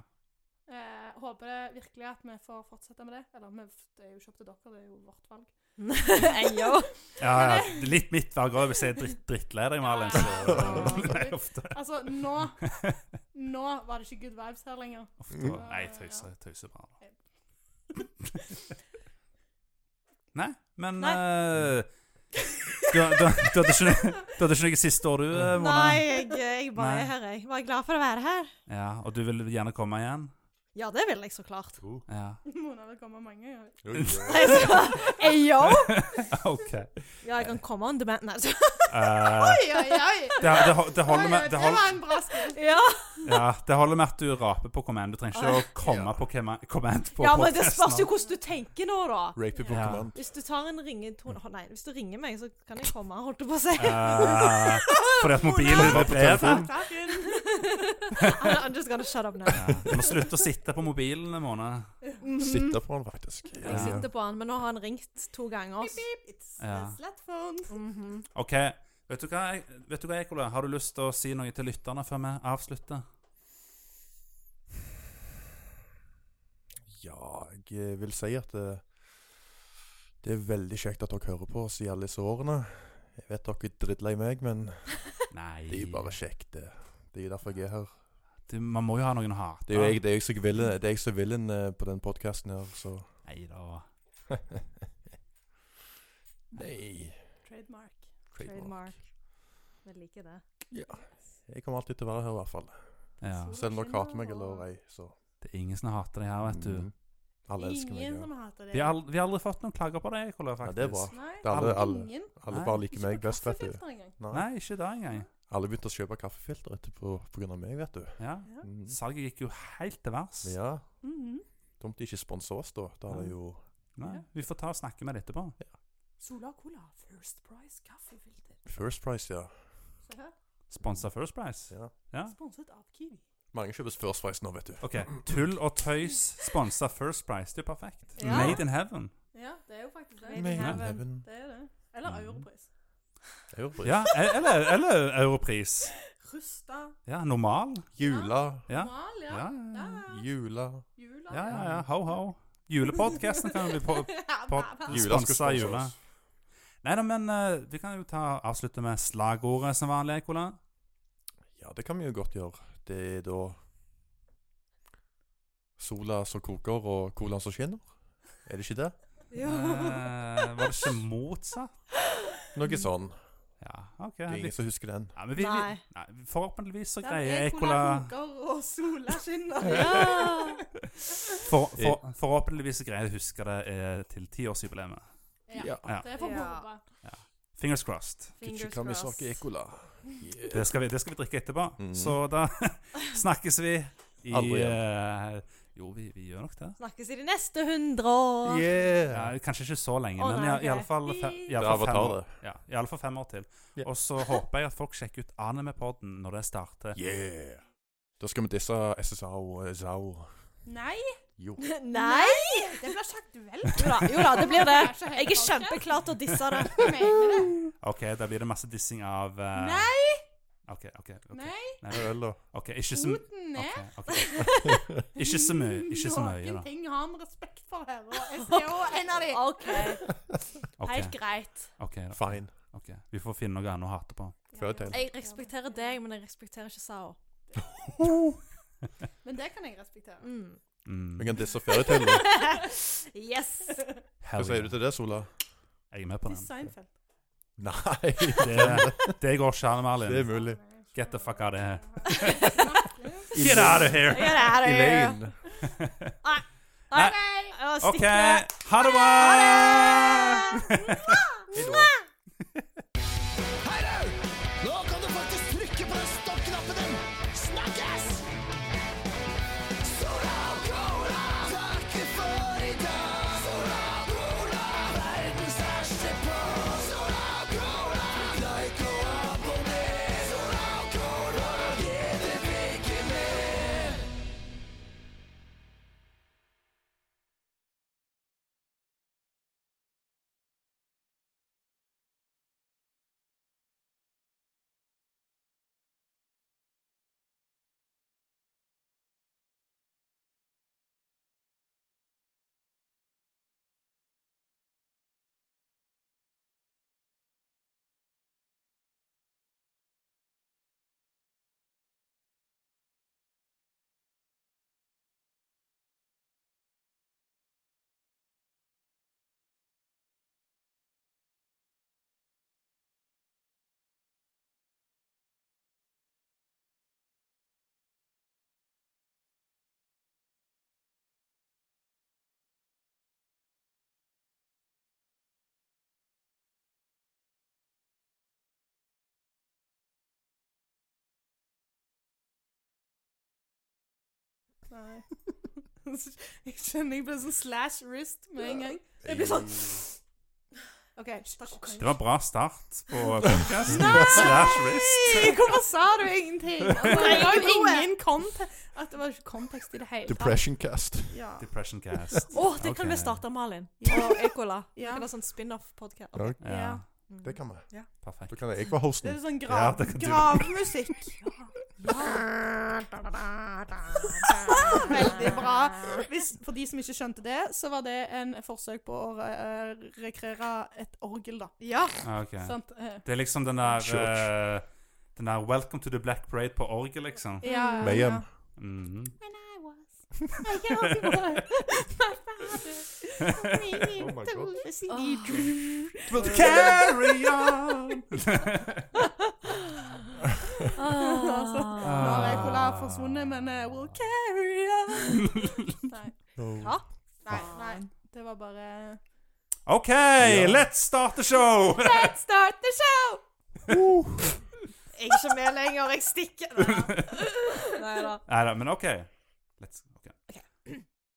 [SPEAKER 4] Eh, håper det virkelig at vi får fortsette med det. Eller vi, det er jo ikke opp til dere, det er jo vårt valg.
[SPEAKER 3] Enyo.
[SPEAKER 1] Ja, ja, litt mitt valg òg. Hvis jeg er dritt, drittlei deg, Malin, så Nei, ofte.
[SPEAKER 4] Altså, nå
[SPEAKER 1] <laughs>
[SPEAKER 4] Nå var det ikke good vibes her lenger. <laughs>
[SPEAKER 1] ofte nei, jeg tøyser, jeg tøyser bare. <laughs> Nei, men
[SPEAKER 3] Nei.
[SPEAKER 1] eh, du, du, du, hadde ikke, noe- du hadde ikke noe siste år, du, eh, Mona?
[SPEAKER 3] Nei, jeg, jeg bare
[SPEAKER 1] Nei.
[SPEAKER 3] er her, jeg. Var glad for å være her.
[SPEAKER 1] Ja, og du vil gjerne komme igjen?
[SPEAKER 3] Ja, det vil jeg så klart.
[SPEAKER 1] Ja.
[SPEAKER 4] Mona vil komme mange ganger.
[SPEAKER 3] Jeg skal- Ayo!
[SPEAKER 1] <laughs> OK.
[SPEAKER 3] Ja, jeg kan komme on demand. Nei, så <laughs>
[SPEAKER 1] Eh,
[SPEAKER 4] Oi, oi, <laughs> oi!
[SPEAKER 1] det, det, det holder med det
[SPEAKER 4] det
[SPEAKER 1] holder,
[SPEAKER 4] var en bra spill.
[SPEAKER 3] Ja,
[SPEAKER 1] ja, det holder med at du raper på command. Du trenger ikke å komme på command- command på
[SPEAKER 3] ja men det
[SPEAKER 1] podcasten.
[SPEAKER 3] spørs jo hvordan du tenker nå, da.
[SPEAKER 2] Rape på
[SPEAKER 1] Ja.
[SPEAKER 2] command.
[SPEAKER 3] Hvis du tar en ringetone Å Nei, hvis du ringer meg, så kan jeg komme, holdt jeg på å si.
[SPEAKER 1] Eh, fordi at mobilen
[SPEAKER 3] <laughs>
[SPEAKER 2] Mona!
[SPEAKER 1] vibrerer.
[SPEAKER 3] I'm I'm just gonna shut up now.
[SPEAKER 1] Ja, du må slutte å sitte på mobilen en måned.
[SPEAKER 2] Sitte på den, faktisk.
[SPEAKER 3] Jeg sitter på han, men nå har han ringt to ganger. så-
[SPEAKER 4] It's
[SPEAKER 1] Ja.
[SPEAKER 4] the slut phone.
[SPEAKER 3] Mhm.
[SPEAKER 1] OK. Vet du hva, vet du hva Ekola? Har du lyst til å si noe til lytterne før vi avslutter?
[SPEAKER 2] Ja, jeg eh, vil si at det, det er veldig kjekt at dere hører på oss i alle disse årene. Jeg vet dere er drittlei meg, men
[SPEAKER 1] Nei
[SPEAKER 2] det er jo bare kjekt, det. Det er jo derfor jeg er her.
[SPEAKER 1] Du, Man må jo ha noen å hate.
[SPEAKER 2] Det er jo jeg, det er jeg som vil, det er jeg som vil en eh, på den podkasten her, så
[SPEAKER 1] Nei da.
[SPEAKER 2] <laughs> Nei.
[SPEAKER 4] Trademark.
[SPEAKER 3] Trademark. Vi liker det.
[SPEAKER 2] Jeg kommer alltid til å være her, i hvert fall.
[SPEAKER 1] Ja.
[SPEAKER 2] Selv om dere hater meg eller ei, så
[SPEAKER 1] Det er ingen som hater deg her, vet du.
[SPEAKER 2] Mhm. Alle elsker meg.
[SPEAKER 4] Ingen
[SPEAKER 2] Ja.
[SPEAKER 4] som hater det.
[SPEAKER 1] Vi har, aldri, vi har aldri fått noen klager på deg, Ekola,
[SPEAKER 2] Ja,
[SPEAKER 1] faktisk.
[SPEAKER 2] det er bra.
[SPEAKER 4] Nei,
[SPEAKER 2] Det er alle, alle,
[SPEAKER 4] ingen.
[SPEAKER 2] alle
[SPEAKER 1] Nei.
[SPEAKER 2] bare liker
[SPEAKER 4] på
[SPEAKER 2] meg best, vet du.
[SPEAKER 4] kaffefilter engang.
[SPEAKER 2] Nei.
[SPEAKER 1] Nei, ikke det engang.
[SPEAKER 2] Alle begynte å kjøpe kaffefilter etterpå pga. meg, vet du.
[SPEAKER 1] Ja.
[SPEAKER 4] Ja.
[SPEAKER 2] Mm.
[SPEAKER 1] Salget gikk jo helt til værs.
[SPEAKER 2] Ja.
[SPEAKER 4] Mhm.
[SPEAKER 2] Dumt de ikke sponser oss, da. Da er det jo
[SPEAKER 1] Nei, Vi får ta og snakke med det etterpå.
[SPEAKER 4] Sola Cola First Price kaffefilter.
[SPEAKER 2] First Price, ja.
[SPEAKER 4] Se her.
[SPEAKER 1] Sponsa First Price.
[SPEAKER 2] ja.
[SPEAKER 1] Ja.
[SPEAKER 4] Sponset av Kiwi.
[SPEAKER 2] Mange kjøper First Price nå, vet du.
[SPEAKER 1] OK. Tull og tøys sponsa First Price. Det er jo perfekt.
[SPEAKER 4] Ja.
[SPEAKER 1] Made in heaven.
[SPEAKER 4] Ja, det er jo faktisk det.
[SPEAKER 3] Made in
[SPEAKER 2] Made in
[SPEAKER 3] heaven.
[SPEAKER 2] heaven.
[SPEAKER 4] Det er det. Eller
[SPEAKER 1] Mhm.
[SPEAKER 4] europris.
[SPEAKER 2] Europris.
[SPEAKER 1] Ja, e- eller, eller Europris.
[SPEAKER 4] Rusta.
[SPEAKER 1] Ja, normal.
[SPEAKER 2] Jula.
[SPEAKER 1] Ja.
[SPEAKER 4] Mal, ja.
[SPEAKER 1] Ja,
[SPEAKER 4] ja.
[SPEAKER 1] ja,
[SPEAKER 4] ja.
[SPEAKER 2] Jula.
[SPEAKER 4] Jula.
[SPEAKER 1] ja.
[SPEAKER 4] <laughs>
[SPEAKER 1] ja, ja. Ho, ho. Julepodkasten kan jo bli på, på
[SPEAKER 2] Jula skal
[SPEAKER 1] sponsa
[SPEAKER 2] sponse
[SPEAKER 1] jula.
[SPEAKER 2] oss.
[SPEAKER 1] Nei da, men eh, vi kan jo ta avslutte med slagordet som vanlig, Ekola.
[SPEAKER 2] Ja, det kan vi jo godt gjøre. Det er da Sola som koker, og colaen som skinner. Er det ikke det?
[SPEAKER 1] Eh, var det ikke motsatt?
[SPEAKER 2] Noe sånn.
[SPEAKER 1] Ja, OK.
[SPEAKER 2] Det er
[SPEAKER 1] Vi,
[SPEAKER 2] ingen som husker den.
[SPEAKER 1] ja, men vi, vi,
[SPEAKER 3] Nei.
[SPEAKER 1] nei, forhåpentligvis så
[SPEAKER 4] Den
[SPEAKER 1] greier
[SPEAKER 4] er Cola
[SPEAKER 1] Ekola
[SPEAKER 4] koker og sola skinner.
[SPEAKER 3] <laughs> Ja.
[SPEAKER 1] For, for, forhåpentligvis greier jeg å huske det eh, til tiårsjubileet.
[SPEAKER 2] Ja.
[SPEAKER 1] Ja.
[SPEAKER 4] Det får vi
[SPEAKER 3] Ja.
[SPEAKER 4] håpe.
[SPEAKER 1] Fingers crossed.
[SPEAKER 3] Fingers
[SPEAKER 2] Kan vi
[SPEAKER 3] crossed.
[SPEAKER 2] snakke ekola?
[SPEAKER 1] Det skal vi, det skal vi drikke etterpå.
[SPEAKER 2] Mhm.
[SPEAKER 1] Så da <laughs> snakkes vi i
[SPEAKER 2] Aldri
[SPEAKER 1] eh, Jo, vi, vi gjør nok det.
[SPEAKER 3] Snakkes i de neste hundre år.
[SPEAKER 1] Ja,
[SPEAKER 2] Yeah!
[SPEAKER 1] kanskje ikke så lenge,
[SPEAKER 3] Å,
[SPEAKER 1] men
[SPEAKER 3] nei,
[SPEAKER 1] i-
[SPEAKER 3] ok.
[SPEAKER 1] i alle fall fe- i alle
[SPEAKER 2] Det er
[SPEAKER 1] fall fem
[SPEAKER 2] Avatar,
[SPEAKER 1] år.
[SPEAKER 2] det.
[SPEAKER 1] Ja, i alle fall fem år til.
[SPEAKER 2] Ja.
[SPEAKER 1] Og så håper jeg at folk sjekker ut Animepodden når det starter.
[SPEAKER 2] Yeah! Da skal vi disse SSAO eh, ZAO.
[SPEAKER 4] <laughs> Nei,
[SPEAKER 2] Jo.
[SPEAKER 3] Nei!
[SPEAKER 4] det blir sagt vel.
[SPEAKER 3] Jo da, jo da, det blir det. Jeg er kjempeklar til å disse det.
[SPEAKER 4] Jeg mener det.
[SPEAKER 1] OK, da blir det masse dissing av eh,
[SPEAKER 4] Nei!
[SPEAKER 1] OK, OK. ok.
[SPEAKER 4] Nei,
[SPEAKER 2] Øl, da.
[SPEAKER 1] Ok, Ikke så mye.
[SPEAKER 4] foten ned.
[SPEAKER 1] <laughs> Ikke så mye, ikke så mye da.
[SPEAKER 4] Noen ting har vi respekt for her, og jeg skal
[SPEAKER 3] <laughs>
[SPEAKER 4] jo en av de.
[SPEAKER 3] OK. Helt
[SPEAKER 1] OK,
[SPEAKER 3] greit.
[SPEAKER 1] ok da.
[SPEAKER 2] Fine.
[SPEAKER 1] ok. Vi får finne noe annet å hate
[SPEAKER 2] <laughs>
[SPEAKER 1] på.
[SPEAKER 2] Fairytale.
[SPEAKER 3] Jeg respekterer deg, men jeg respekterer ikke Sao.
[SPEAKER 4] Men det kan jeg respektere.
[SPEAKER 3] Mm.
[SPEAKER 1] Mm.
[SPEAKER 2] Vi kan disse fairytale. <laughs> da.
[SPEAKER 3] Yes!
[SPEAKER 2] Hva sier du til det, Sola?
[SPEAKER 1] Jeg er med på
[SPEAKER 4] Til
[SPEAKER 1] den.
[SPEAKER 4] Seinfeld.
[SPEAKER 2] <laughs> Nei,
[SPEAKER 1] Det, det går ikke an,
[SPEAKER 2] det er
[SPEAKER 1] Marlin.
[SPEAKER 2] mulig.
[SPEAKER 1] Get the fuck out of
[SPEAKER 4] <laughs>
[SPEAKER 1] here.
[SPEAKER 2] Get
[SPEAKER 1] out of here!
[SPEAKER 3] Get out of here.
[SPEAKER 2] Elaine.
[SPEAKER 3] Nei,
[SPEAKER 1] Nei.
[SPEAKER 3] nei. Jeg
[SPEAKER 1] OK,
[SPEAKER 3] stikker.
[SPEAKER 1] ha det bra! <laughs>
[SPEAKER 8] Hei, du! Nå kan du faktisk trykke på den stoppknappen din! Snakkes! Sola og cola takker for i dag. Sola og cola, verdens verste pod. Sola og cola, like og abonner. Sola og cola, gidder vi ikke mer.
[SPEAKER 4] Nei. <laughs> Jeg kjenner jeg blir sånn slash wrist med en gang. Jeg blir sånn OK. takk.
[SPEAKER 1] <laughs> Det var Dus bra start på
[SPEAKER 4] <laughs>
[SPEAKER 1] podkasten.
[SPEAKER 4] Nei!
[SPEAKER 1] Slash wrist.
[SPEAKER 4] Hvorfor sa du ingenting? Altså, det var jo
[SPEAKER 5] Blodet.
[SPEAKER 4] ingen kontekst At det var ikke kontekst i det hele tatt.
[SPEAKER 2] Depression cast.
[SPEAKER 4] Ja.
[SPEAKER 1] Depression cast.
[SPEAKER 3] Å, det kan
[SPEAKER 1] Ok.
[SPEAKER 3] vi starte med, Alin.
[SPEAKER 4] Ja.
[SPEAKER 3] Og Ekola.
[SPEAKER 4] Ja.
[SPEAKER 3] Kan ha sånn spin-off-podkast.
[SPEAKER 2] Ja,
[SPEAKER 1] Ja,
[SPEAKER 4] Ja.
[SPEAKER 2] det kan vi.
[SPEAKER 1] perfekt.
[SPEAKER 2] Da kan jeg være
[SPEAKER 4] Det
[SPEAKER 2] hosten.
[SPEAKER 4] er sånn
[SPEAKER 1] Ja,
[SPEAKER 4] grav,
[SPEAKER 1] det kan du-
[SPEAKER 4] gravmusikk. <laughs> Veldig bra. Hvis, for de som ikke skjønte det, så var det en forsøk på å eh, rekreere et orgel, da.
[SPEAKER 3] Ja.
[SPEAKER 1] Ah, ok.
[SPEAKER 4] Sant? Eh,
[SPEAKER 1] Det er liksom den der
[SPEAKER 2] Church.
[SPEAKER 1] eh, Den der 'Welcome to the Black Parade' på orgel, liksom.
[SPEAKER 4] Ja, ja,
[SPEAKER 2] Mayhem.
[SPEAKER 1] Mhm. <laughs>
[SPEAKER 2] Oh my god.
[SPEAKER 1] We'll carry on!
[SPEAKER 4] <laughs> Nå har Ekola forsvunnet, men eh, we'll carry on. Nei,
[SPEAKER 2] Oh.
[SPEAKER 4] nei, nei. Det var bare
[SPEAKER 1] OK,
[SPEAKER 2] Ja.
[SPEAKER 1] let's start the show!
[SPEAKER 4] <laughs>
[SPEAKER 1] <laughs>
[SPEAKER 4] Let's start the show!
[SPEAKER 3] Jeg er ikke med lenger. Jeg stikker. Nei da.
[SPEAKER 1] Ah, Nei da, men OK. Let's